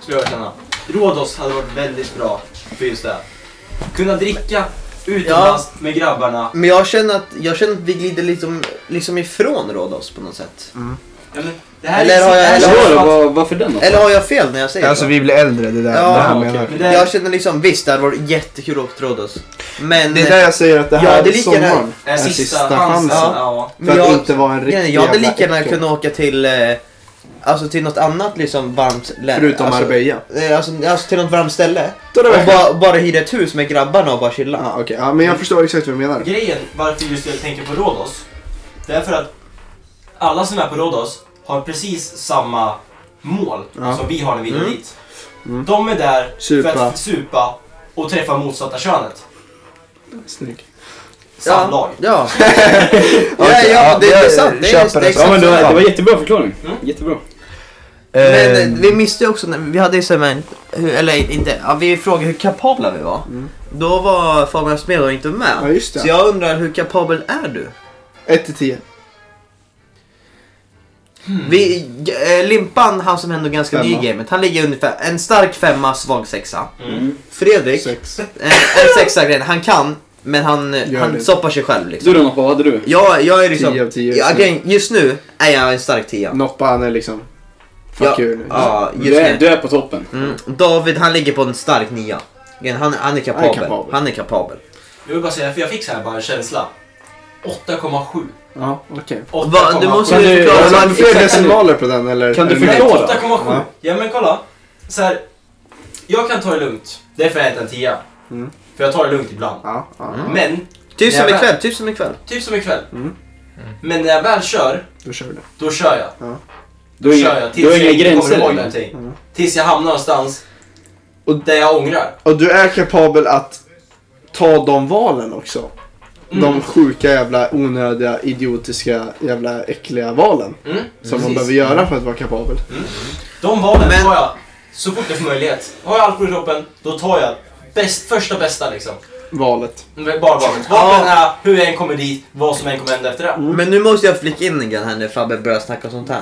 Speaker 7: Skulle jag känna. Rhodos hade varit väldigt bra för just det. Kunna dricka utomlands med grabbarna.
Speaker 3: Men jag känner att, jag känner att vi glider liksom, liksom ifrån Rhodos på något sätt.
Speaker 7: Ja, men det här
Speaker 3: Eller
Speaker 7: är,
Speaker 3: har jag-
Speaker 7: det här
Speaker 3: eller
Speaker 7: känns
Speaker 3: har
Speaker 7: som
Speaker 3: jag-
Speaker 7: att-
Speaker 6: Var, varför den Noppa?
Speaker 3: Eller har jag fel när jag säger
Speaker 4: Mm. Alltså
Speaker 3: så?
Speaker 4: vi blir äldre, det där,
Speaker 3: Ja,
Speaker 4: det här
Speaker 7: okej.
Speaker 4: menar
Speaker 7: Men det-
Speaker 3: Jag känner liksom, visst det hade varit jättekul att åka till Rhodos. Men...
Speaker 4: Det är där jag säger att det här
Speaker 3: Ja, det är lika
Speaker 4: sommaren
Speaker 7: är Äh, sista, chansen. Ja.
Speaker 3: men
Speaker 4: För
Speaker 3: jag,
Speaker 4: att inte vara en riktig
Speaker 3: grejen är, eh, jag hade
Speaker 4: jävla
Speaker 3: lika gärna
Speaker 4: äckel.
Speaker 3: kunnat åka till, eh, alltså till något annat liksom varmt lä-
Speaker 4: Förutom
Speaker 3: alltså,
Speaker 4: Arbeja.
Speaker 3: eh, Alltså, alltså till något varmt ställe.
Speaker 4: Då är det
Speaker 3: Och
Speaker 4: verkligen-
Speaker 3: bara, bara hyra ett hus med grabbarna och bara chilla.
Speaker 4: Ja, Ah, okej. Ja, men jag förstår exakt vad du menar.
Speaker 7: Grejen varför just jag tänker på Rhodos, det är för att alla som är på Rhodos har precis samma mål
Speaker 4: Ja.
Speaker 7: som vi har när vi går
Speaker 3: Mm.
Speaker 7: dit.
Speaker 4: Mm.
Speaker 7: De är där
Speaker 4: Supa.
Speaker 7: för att supa och träffa motsatta könet.
Speaker 4: Snygg.
Speaker 7: Samlag.
Speaker 3: Ja. ja, ja,
Speaker 4: Okej, ja,
Speaker 3: det, det är
Speaker 4: jag
Speaker 3: sant. Det är,
Speaker 4: köper det.
Speaker 3: det är
Speaker 4: Ja,
Speaker 3: exakt
Speaker 4: men då-
Speaker 3: så.
Speaker 6: Det var jättebra förklaring.
Speaker 7: Mm.
Speaker 6: Jättebra.
Speaker 3: Men
Speaker 4: Ehm.
Speaker 3: eh, vi missade ju också, när- vi hade ju segment, hur- eller inte, ja, vi frågade hur kapabla vi var. Då var Fabian Smedor inte med.
Speaker 4: Mm. Ja, just det.
Speaker 3: Så jag undrar, hur kapabel är du?
Speaker 4: 1 till 10.
Speaker 3: Vi, eh, Limpan, han som ändå är ganska ny
Speaker 4: Femma.
Speaker 3: i gamet, han ligger ungefär en stark femma, svag sexa.
Speaker 7: Mm.
Speaker 3: Fredrik,
Speaker 4: Sex.
Speaker 3: eh, en sexa grejen, han kan Men han,
Speaker 4: Gör
Speaker 3: han
Speaker 4: det.
Speaker 3: stoppar sig själv liksom.
Speaker 6: Du då Noppa, vad hade du?
Speaker 3: Jag, jag är liksom...
Speaker 4: Tio av tio.
Speaker 3: Ja, grejen- just nu är jag en stark tia.
Speaker 4: Noppa han är liksom... Fuck
Speaker 3: Ja,
Speaker 4: you nu.
Speaker 3: ja, just
Speaker 6: Du är,
Speaker 3: nu.
Speaker 6: du är på toppen.
Speaker 3: Mm. David han ligger på en stark nia. Grejen, Han, han är kapabel. Han är kapabel.
Speaker 4: kapabel.
Speaker 7: Jag vill bara säga, för jag fick så här bara en känsla. 8,7.
Speaker 4: Ja, okej.
Speaker 3: Va, du
Speaker 7: 8,7.
Speaker 3: måste
Speaker 4: Kan
Speaker 3: ju
Speaker 4: du
Speaker 3: förklara.
Speaker 4: har
Speaker 3: vad-
Speaker 4: du fler
Speaker 3: exakt-
Speaker 4: decimaler på den eller?
Speaker 6: Kan du
Speaker 4: eller-
Speaker 7: Nej,
Speaker 6: Förklara.
Speaker 7: 8,7.
Speaker 4: Ja.
Speaker 7: Ja men kolla. Så här, jag kan ta det lugnt. Därför är jag inte en tia.
Speaker 4: Mm.
Speaker 7: För jag tar det lugnt ibland.
Speaker 4: Ja, ja.
Speaker 7: Men,
Speaker 3: Typ som
Speaker 7: Jävlar.
Speaker 3: ikväll, typ som ikväll.
Speaker 7: typ som ikväll.
Speaker 4: Mm.
Speaker 7: Men när jag väl kör,
Speaker 4: Då kör du.
Speaker 7: då kör jag.
Speaker 6: Du har
Speaker 7: kör
Speaker 6: inga,
Speaker 7: jag tills
Speaker 6: du har inga
Speaker 7: jag inte
Speaker 6: gränser.
Speaker 7: kommer ihåg
Speaker 6: eller?
Speaker 7: någonting.
Speaker 4: Mm.
Speaker 7: Tills jag hamnar någonstans
Speaker 4: Och-
Speaker 7: där jag ångrar.
Speaker 4: Och du är kapabel att ta de valen också.
Speaker 3: Mm.
Speaker 4: De sjuka jävla onödiga idiotiska jävla äckliga valen.
Speaker 7: Mm.
Speaker 4: Som man
Speaker 7: precis.
Speaker 4: behöver göra för att vara kapabel.
Speaker 3: Mm.
Speaker 7: De valen
Speaker 3: Men-
Speaker 7: tar jag så fort jag får möjlighet. Har jag alkohol i kroppen, då tar jag bäst, första bästa liksom.
Speaker 4: Valet.
Speaker 7: Bara valet. Vapen är hur jag än kommer dit, vad som än kommer hända efter det.
Speaker 3: Men nu måste jag flicka in en grej här när Fabbe börjar snacka sånt här.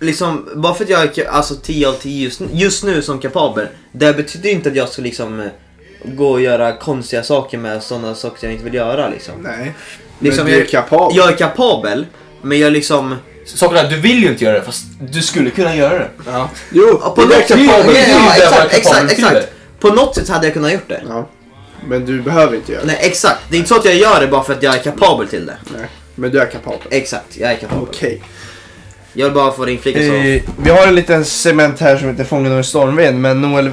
Speaker 3: Liksom, bara för att jag är ka- alltså 10 av 10 just, just nu som kapabel. Det betyder ju inte att jag ska liksom eh, gå och göra konstiga saker med sådana saker jag inte vill göra liksom.
Speaker 4: Nej.
Speaker 3: liksom
Speaker 4: Men du är
Speaker 3: jag,
Speaker 4: kapabel.
Speaker 3: jag är kapabel, men jag liksom...
Speaker 5: Sakerna, du vill ju inte göra det fast du skulle kunna göra det.
Speaker 4: Jo,
Speaker 3: Ja,
Speaker 4: du är
Speaker 3: sätt-
Speaker 4: kapabel.
Speaker 3: Ja,
Speaker 5: Det är ju det man är
Speaker 3: exakt,
Speaker 5: kapabel
Speaker 3: exakt,
Speaker 5: till
Speaker 3: exakt. På något sätt hade jag kunnat gjort det.
Speaker 4: Ja. Men du behöver inte göra det.
Speaker 3: Nej exakt, det är inte så att jag gör det bara för att jag är kapabel till det.
Speaker 4: Men du är kapabel.
Speaker 3: Exakt, jag är kapabel.
Speaker 4: Okej.
Speaker 3: Jag vill bara få det inflikat så.
Speaker 4: Eh, vi har en liten cement här som heter Fången av en stormvind. Men Noel, eh,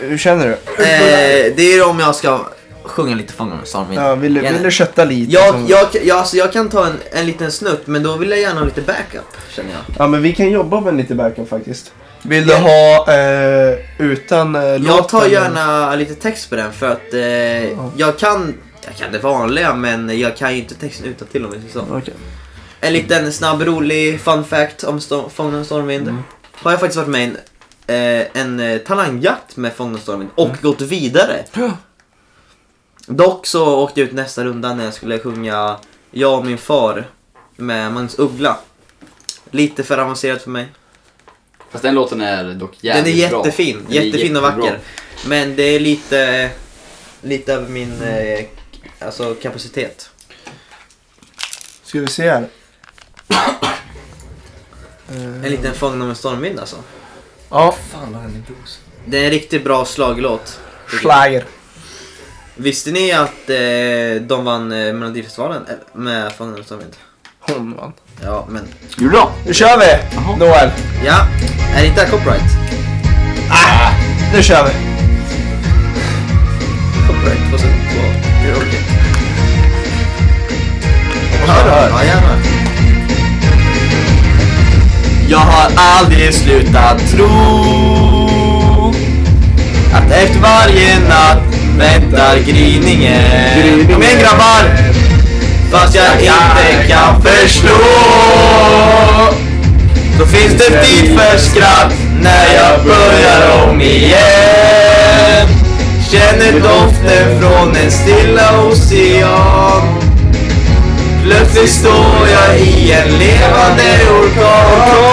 Speaker 4: hur känner du?
Speaker 3: Eh, det är om jag ska sjunga lite Fångarna med stormvind.
Speaker 4: Ja, vill, du-
Speaker 3: Gärna.
Speaker 4: vill du kötta lite? som-
Speaker 3: Jag, jag, jag, alltså jag kan ta en, en liten snutt men då vill jag gärna ha lite backup känner jag.
Speaker 4: Ja men vi kan jobba med lite backup faktiskt. Vill du ha eh, utan eh,
Speaker 3: Jag tar
Speaker 4: låten?
Speaker 3: gärna lite text på den för att eh, jag kan jag kan det vanliga men jag kan ju inte texten utantill om vi säger så.
Speaker 4: Okej.
Speaker 3: En liten snabb rolig fun fact om Sto- Fångarna och stormvind.
Speaker 4: Mm.
Speaker 3: Har jag faktiskt varit med i en, eh, en eh, talangjakt med Fångarna och stormvind och
Speaker 4: Mm.
Speaker 3: gått vidare. Dock så åkte jag ut nästa runda när jag skulle sjunga Jag och min far med Magnus Uggla. Lite för avancerat för mig.
Speaker 6: Fast den låten är dock
Speaker 3: Den är
Speaker 6: jävligt bra.
Speaker 3: jättefin,
Speaker 6: Den är
Speaker 3: jättefin och
Speaker 6: jättebra.
Speaker 3: vacker. Men det är lite, lite över min eh, alltså, kapacitet.
Speaker 4: Ska vi se här.
Speaker 3: En liten Fångad av en stormvind alltså.
Speaker 4: Ja,
Speaker 3: Det är en riktigt bra slaglåt.
Speaker 4: Schlager.
Speaker 3: Visste ni att eh, de vann eh, Melodifestivalen eh, med Fångad av en stormvind?
Speaker 4: Hon vann.
Speaker 3: Ja, men
Speaker 6: Bra!
Speaker 4: Nu kör vi! Noel,
Speaker 3: ja. Är det inte copyright?
Speaker 4: Ah, nu kör vi.
Speaker 3: Copyright 2002. Det är okej.
Speaker 4: du hör.
Speaker 3: Ja, gärna.
Speaker 5: Jag har aldrig slutat tro att efter varje natt väntar gryningen. Kom igen grabbar! Fast jag inte kan förstå. Då finns det tid för skratt när jag börjar om igen. Känner doften från en stilla ocean. Plötsligt står jag i en levande orkan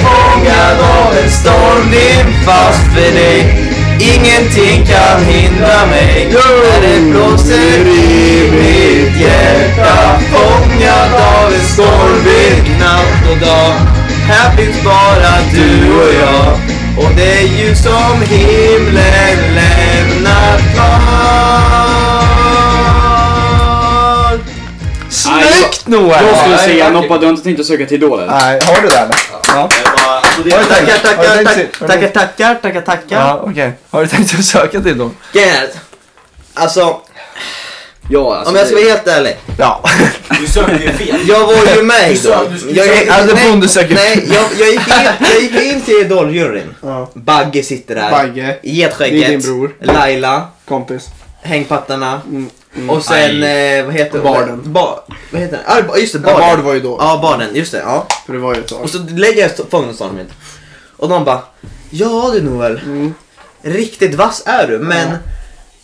Speaker 5: Fångad av en stormvind fast för dig Ingenting kan hindra mig när det blåser i mitt hjärta Fångad av en stormvind natt och dag Här finns bara du och jag och det ljus som himlen lämnar kvar
Speaker 4: Snyggt Noel!
Speaker 6: Jag skulle säga Noppa, du har inte tänkt att söka till Idol eller?
Speaker 4: Nej, har du det eller? Ja.
Speaker 7: Jag bara, alltså det
Speaker 4: Har du
Speaker 7: är
Speaker 4: tänkt?
Speaker 3: Tackar,
Speaker 4: Har du
Speaker 3: tackar,
Speaker 4: tänkt
Speaker 3: tack-
Speaker 4: se- har du
Speaker 3: tackar,
Speaker 4: tänkt-
Speaker 3: tackar, tackar, tackar.
Speaker 4: Ja, okej. Har du tänkt att söka till dem?
Speaker 3: Gerhard. Alltså,
Speaker 6: Ja, alltså,
Speaker 3: om jag ska
Speaker 6: det-
Speaker 3: vara helt ärlig.
Speaker 4: Ja.
Speaker 7: du söker ju fel.
Speaker 3: Jag var ju med i
Speaker 7: Du sa att
Speaker 3: Idol.
Speaker 7: du skulle
Speaker 3: Jag-
Speaker 7: söka-
Speaker 4: Alltså,
Speaker 3: nej,
Speaker 4: Bonde söker.
Speaker 3: Nej, jag, jag, gick in, jag gick in till Idol-juryn.
Speaker 4: ja.
Speaker 3: Bagge sitter där.
Speaker 4: Bagge, Det är din
Speaker 3: Getskägget.
Speaker 4: bror.
Speaker 3: Laila.
Speaker 4: kompis.
Speaker 3: Hängpattarna.
Speaker 4: Mm,
Speaker 3: Och sen, eh, vad heter
Speaker 4: Barden.
Speaker 3: Ba, vad heter den? Ah, ba- just det,
Speaker 4: Ja,
Speaker 3: Barden.
Speaker 4: Bard var ju då.
Speaker 3: Ja, Barden. Just det, ja.
Speaker 4: För det var ju ett tag.
Speaker 3: Och så lägger jag fången hos honom. Och de bara, ja du Noel.
Speaker 4: Mm.
Speaker 3: Riktigt vass är du, men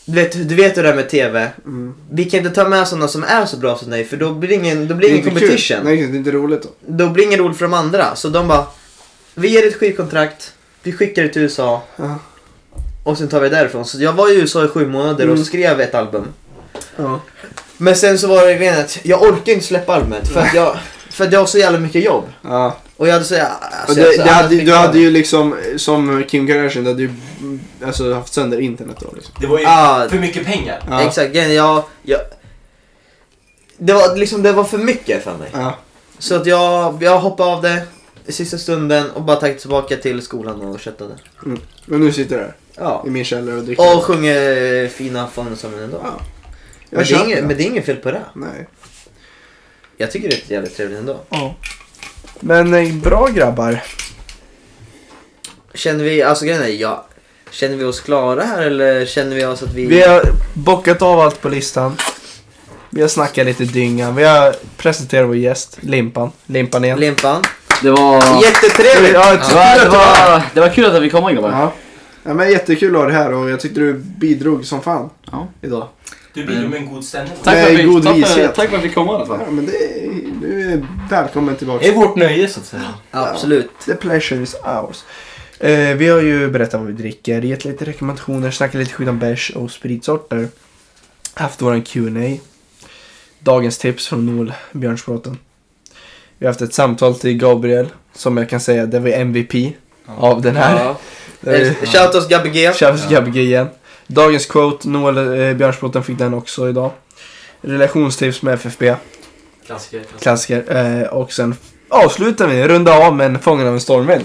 Speaker 3: du, vet, du vet hur det är med TV.
Speaker 4: Mm.
Speaker 3: Vi kan inte ta med sådana som är så bra som dig för då blir det ingen, då blir det ingen
Speaker 4: inte kul.
Speaker 3: competition.
Speaker 4: Nej, det är inte roligt då.
Speaker 3: Då blir det ingen roligt för de andra. Så de bara, vi ger dig ett skivkontrakt, vi skickar dig till USA.
Speaker 4: Ja.
Speaker 3: Och sen tar vi därifrån. Så jag var i USA i sju månader
Speaker 4: Mm.
Speaker 3: och skrev ett album.
Speaker 4: Ja.
Speaker 3: Men sen så var det grejen att jag orkade inte släppa albumet för att jag, för att jag har så jävla mycket jobb.
Speaker 4: ja.
Speaker 3: Och jag hade så, jag-
Speaker 4: Och
Speaker 3: alltså, jag
Speaker 4: det,
Speaker 3: så
Speaker 4: det hade,
Speaker 3: mycket
Speaker 4: du hade
Speaker 3: jobb.
Speaker 4: ju liksom, som Kim Kardashian, du hade ju mm, alltså, haft sönder internet då. Liksom.
Speaker 7: Det var ju
Speaker 3: Ah.
Speaker 7: för mycket pengar.
Speaker 4: Ja.
Speaker 3: Exakt, grejen är, jag, jag... Det var liksom, det var för mycket för mig.
Speaker 4: Ja.
Speaker 3: Så att jag, jag hoppade av det i sista stunden och bara taggade tillbaka till skolan och köttade.
Speaker 4: Men nu sitter du här
Speaker 3: Ja.
Speaker 4: i min källare och dricker.
Speaker 3: Och sjunger fina fansomen ändå.
Speaker 4: Ja, Jag
Speaker 3: men, det är
Speaker 4: köper
Speaker 3: inget,
Speaker 4: det.
Speaker 3: men det är inget fel på det.
Speaker 4: Nej.
Speaker 3: Jag tycker det är jävligt trevligt ändå.
Speaker 4: Ja. Men eh, bra grabbar.
Speaker 3: Känner vi, alltså grejen är, ja, känner vi oss klara här eller känner vi oss att vi...
Speaker 4: Vi har bockat av allt på listan. Vi har snackat lite dynga. Vi har presenterat vår gäst, Limpan. Limpan igen.
Speaker 3: Limpan.
Speaker 6: Det var...
Speaker 3: Jättetrevligt!
Speaker 4: Ja,
Speaker 6: Det var, det,
Speaker 4: var...
Speaker 6: var, det var kul att vi kom in grabbar.
Speaker 4: Ja. ja, men jättekul att ha dig här och jag tyckte du bidrog som fan
Speaker 6: Ja.
Speaker 4: idag.
Speaker 7: Du bidrog med en god stämning.
Speaker 6: Tack, för
Speaker 4: Med
Speaker 6: att vi,
Speaker 4: god
Speaker 6: tack, för,
Speaker 4: vishet.
Speaker 6: tack för att vi fick komma i alla fall.
Speaker 4: Ja, men det är, du är välkommen tillbaka.
Speaker 5: Det är vårt nöje så att säga.
Speaker 3: Absolut.
Speaker 4: The pleasure is ours. Eh, vi har ju berättat vad vi dricker, gett lite rekommendationer, snackat lite skit om bärs och spritsorter. Haft våran Q&A Dagens tips från Noel Björnsbråten. Vi har haft ett samtal till Gabriel som jag kan säga, det var MVP av den här.
Speaker 5: Ja.
Speaker 4: Eh,
Speaker 3: Shout oss Gabby G.
Speaker 4: Chefs Gbg igen. Dagens quote, Noel eh, Björnsbråten fick den också idag. Relationstips med FFB,
Speaker 7: Klassiker. klassiker.
Speaker 4: klassiker. Eh, och sen avslutar vi, runda av med en Fången av en stormvind.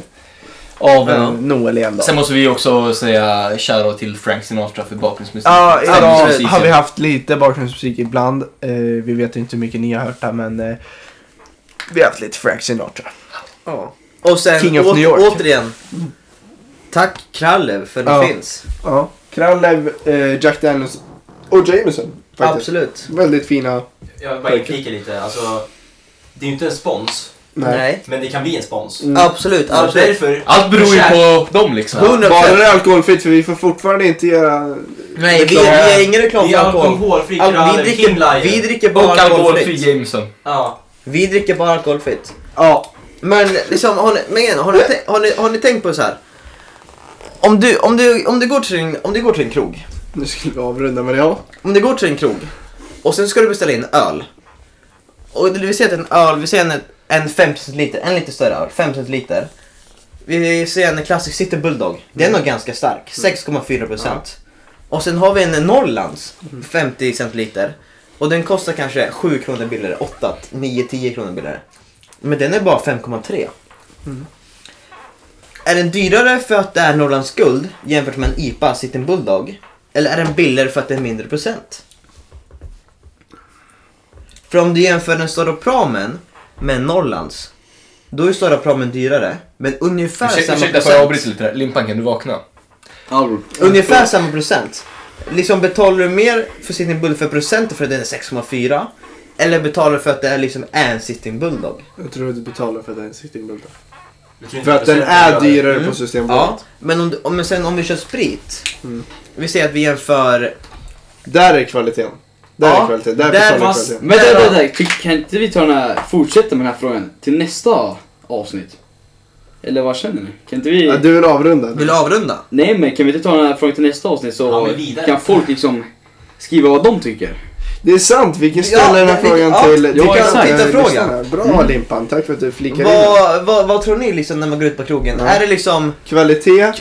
Speaker 4: Av eh,
Speaker 5: Ja.
Speaker 4: Noel igen då.
Speaker 5: Sen måste vi också säga shoutout till Frank Sinatra för bakgrundsmusiken.
Speaker 4: Ja, idag
Speaker 5: Stämningsmusiken.
Speaker 4: har vi haft lite bakgrundsmusik ibland. Eh, vi vet inte hur mycket ni har hört där men eh, vi har haft lite Frank Sinatra.
Speaker 3: Ja. Och sen
Speaker 4: King of
Speaker 3: åt-
Speaker 4: New York.
Speaker 3: återigen. Tack Kralle för det
Speaker 4: Ja.
Speaker 3: finns.
Speaker 4: Ja. Krallev, eh, Jack Daniels och Jameson. Faktiskt.
Speaker 3: Absolut.
Speaker 4: Väldigt fina.
Speaker 7: Jag bara inflikar lite. Alltså, det är ju inte en spons,
Speaker 3: Nej.
Speaker 7: men det kan bli en spons.
Speaker 4: Mm.
Speaker 3: Absolut,
Speaker 7: Så
Speaker 3: absolut.
Speaker 7: därför,
Speaker 5: Allt beror ju på dem liksom.
Speaker 3: 100%.
Speaker 4: Bara det är alkoholfritt för vi får fortfarande inte göra...
Speaker 3: Nej, vi, vi är ingen reklam
Speaker 7: det
Speaker 3: för
Speaker 7: är
Speaker 3: alkohol.
Speaker 7: alkoholfri
Speaker 3: Al-
Speaker 7: kraller,
Speaker 3: vi,
Speaker 7: Kim
Speaker 3: dricker,
Speaker 7: Lion.
Speaker 3: vi dricker bara
Speaker 5: Och alkoholfri
Speaker 3: alkoholfritt.
Speaker 5: Jameson.
Speaker 7: Ja.
Speaker 3: Vi dricker bara alkoholfritt.
Speaker 4: Ja.
Speaker 3: Men liksom, har ni, men igen, har ni, tän- har ni, har ni tänkt på så här? Om du, om, du, om, du går till en, om du går till en krog.
Speaker 4: Nu skulle vi avrunda men ja.
Speaker 3: Om du går till en krog och sen ska du beställa in öl. Och vi ser att en öl, vi ser en, en 50 liter, en lite större öl, 50 liter. Vi ser en klassisk City Bulldog. Den är nog ganska stark, 6,4 procent. Och sen har vi en Norrlands, 50 centiliter. Och den kostar kanske 7 kronor billigare, 8, 9, 10 kronor billigare. Men den är bara 5,3. Är den dyrare för att det är Norrlands guld jämfört med en IPA, City Bulldog? Eller är den billigare för att det är mindre procent? För om du jämför den Stora Pramen med Norrlands, då är Stora Pramen dyrare, men ungefär
Speaker 5: Ursäkta,
Speaker 3: samma
Speaker 5: ursäkta får jag
Speaker 3: procent.
Speaker 5: avbryta lite där? Limpan, kan du vakna?
Speaker 6: Ja, bror.
Speaker 3: Ungefär samma procent. Liksom betalar du mer för Sitting Bull för procenten för att den är 6,4? Eller betalar du för att det är liksom är en Sitting Bulldog?
Speaker 4: Jag tror att du betalar för den Citybull.
Speaker 7: Jag tror inte
Speaker 4: För att den
Speaker 7: procenten
Speaker 4: är
Speaker 7: gör det.
Speaker 4: dyrare
Speaker 3: Mm.
Speaker 4: på Systembolaget.
Speaker 3: Ja, men om, du- om, men sen om vi kör sprit.
Speaker 4: Mm.
Speaker 3: Vi säger att vi jämför...
Speaker 4: Där är kvaliteten. Där
Speaker 3: Ja,
Speaker 4: är kvaliteten. Där,
Speaker 3: där
Speaker 4: betalar
Speaker 3: fast-
Speaker 4: kvaliteten.
Speaker 6: Men vänta, vänta, vänta. Kan inte vi ta den här, fortsätta med den här frågan till nästa avsnitt? Eller vad känner ni? Kan inte vi...
Speaker 4: Ja, du vill avrunda?
Speaker 3: Vill du avrunda?
Speaker 6: Nej men kan vi inte ta den här frågan till nästa avsnitt
Speaker 7: Ja,
Speaker 6: så
Speaker 7: men vidare.
Speaker 6: kan folk liksom skriva vad de tycker?
Speaker 4: Det är sant, vi kan ställa
Speaker 3: Ja,
Speaker 4: den här
Speaker 3: vi-
Speaker 4: frågan
Speaker 3: ja,
Speaker 4: till...
Speaker 3: vi
Speaker 4: till
Speaker 6: kan
Speaker 4: eh,
Speaker 6: ställa
Speaker 4: lyssnarna.
Speaker 3: frågan. Mm.
Speaker 4: Bra Limpan, tack för att du flikar in.
Speaker 3: Vad, vad, vad tror ni liksom när man går ut på krogen?
Speaker 4: Ja.
Speaker 3: Är det liksom...
Speaker 4: Kvalitet.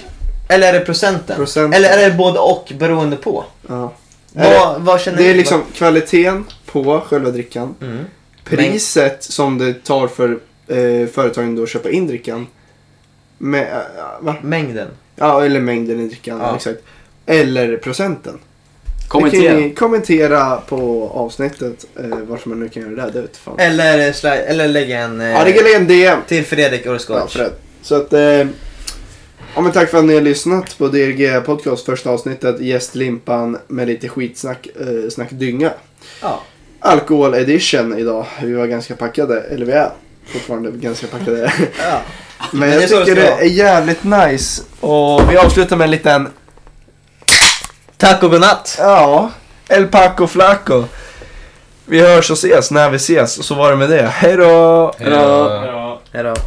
Speaker 3: Eller är det procenten?
Speaker 4: Procenten.
Speaker 3: Eller är det både och beroende på?
Speaker 4: Ja. Är det-
Speaker 3: Vad, vad känner
Speaker 4: Det
Speaker 3: ni?
Speaker 4: är liksom kvaliteten på själva drickan.
Speaker 3: Mm.
Speaker 4: Priset som det tar för eh, företagen då att köpa in drickan. Med, eh, va?
Speaker 3: Mängden.
Speaker 4: Ja, eller mängden i drickan.
Speaker 3: Ja.
Speaker 4: Exakt. Eller procenten. Det kan
Speaker 6: Kommentera.
Speaker 4: ni kommentera på avsnittet eh, vart man nu kan göra det där. Det vet
Speaker 3: Eh.
Speaker 4: fan.
Speaker 3: Eller, sli- eller lägga en... eh,
Speaker 4: Ja, det kan lägga en DM.
Speaker 3: till Fredrik
Speaker 4: Ja,
Speaker 3: Orskovic.
Speaker 4: Fred. Så att, eh, ja, men tack för att ni har lyssnat på DRG Podcast första avsnittet. Gästlimpan med lite skitsnack, eh, snack dynga.
Speaker 3: Ja.
Speaker 4: Alkohol edition idag. Vi var ganska packade, eller vi är fortfarande ganska packade.
Speaker 3: Ja.
Speaker 4: Men
Speaker 3: det är
Speaker 4: jag
Speaker 3: så det
Speaker 4: tycker
Speaker 3: ska
Speaker 4: det
Speaker 3: vara.
Speaker 4: är jävligt nice. Och vi avslutar med en liten,
Speaker 3: Tack och godnatt!
Speaker 4: ja, El Paco Flaco. Vi hörs och ses när vi ses. Och så var det med det. Hej då!
Speaker 5: Eh,
Speaker 6: Eller-
Speaker 7: Ja.
Speaker 3: Hejdå.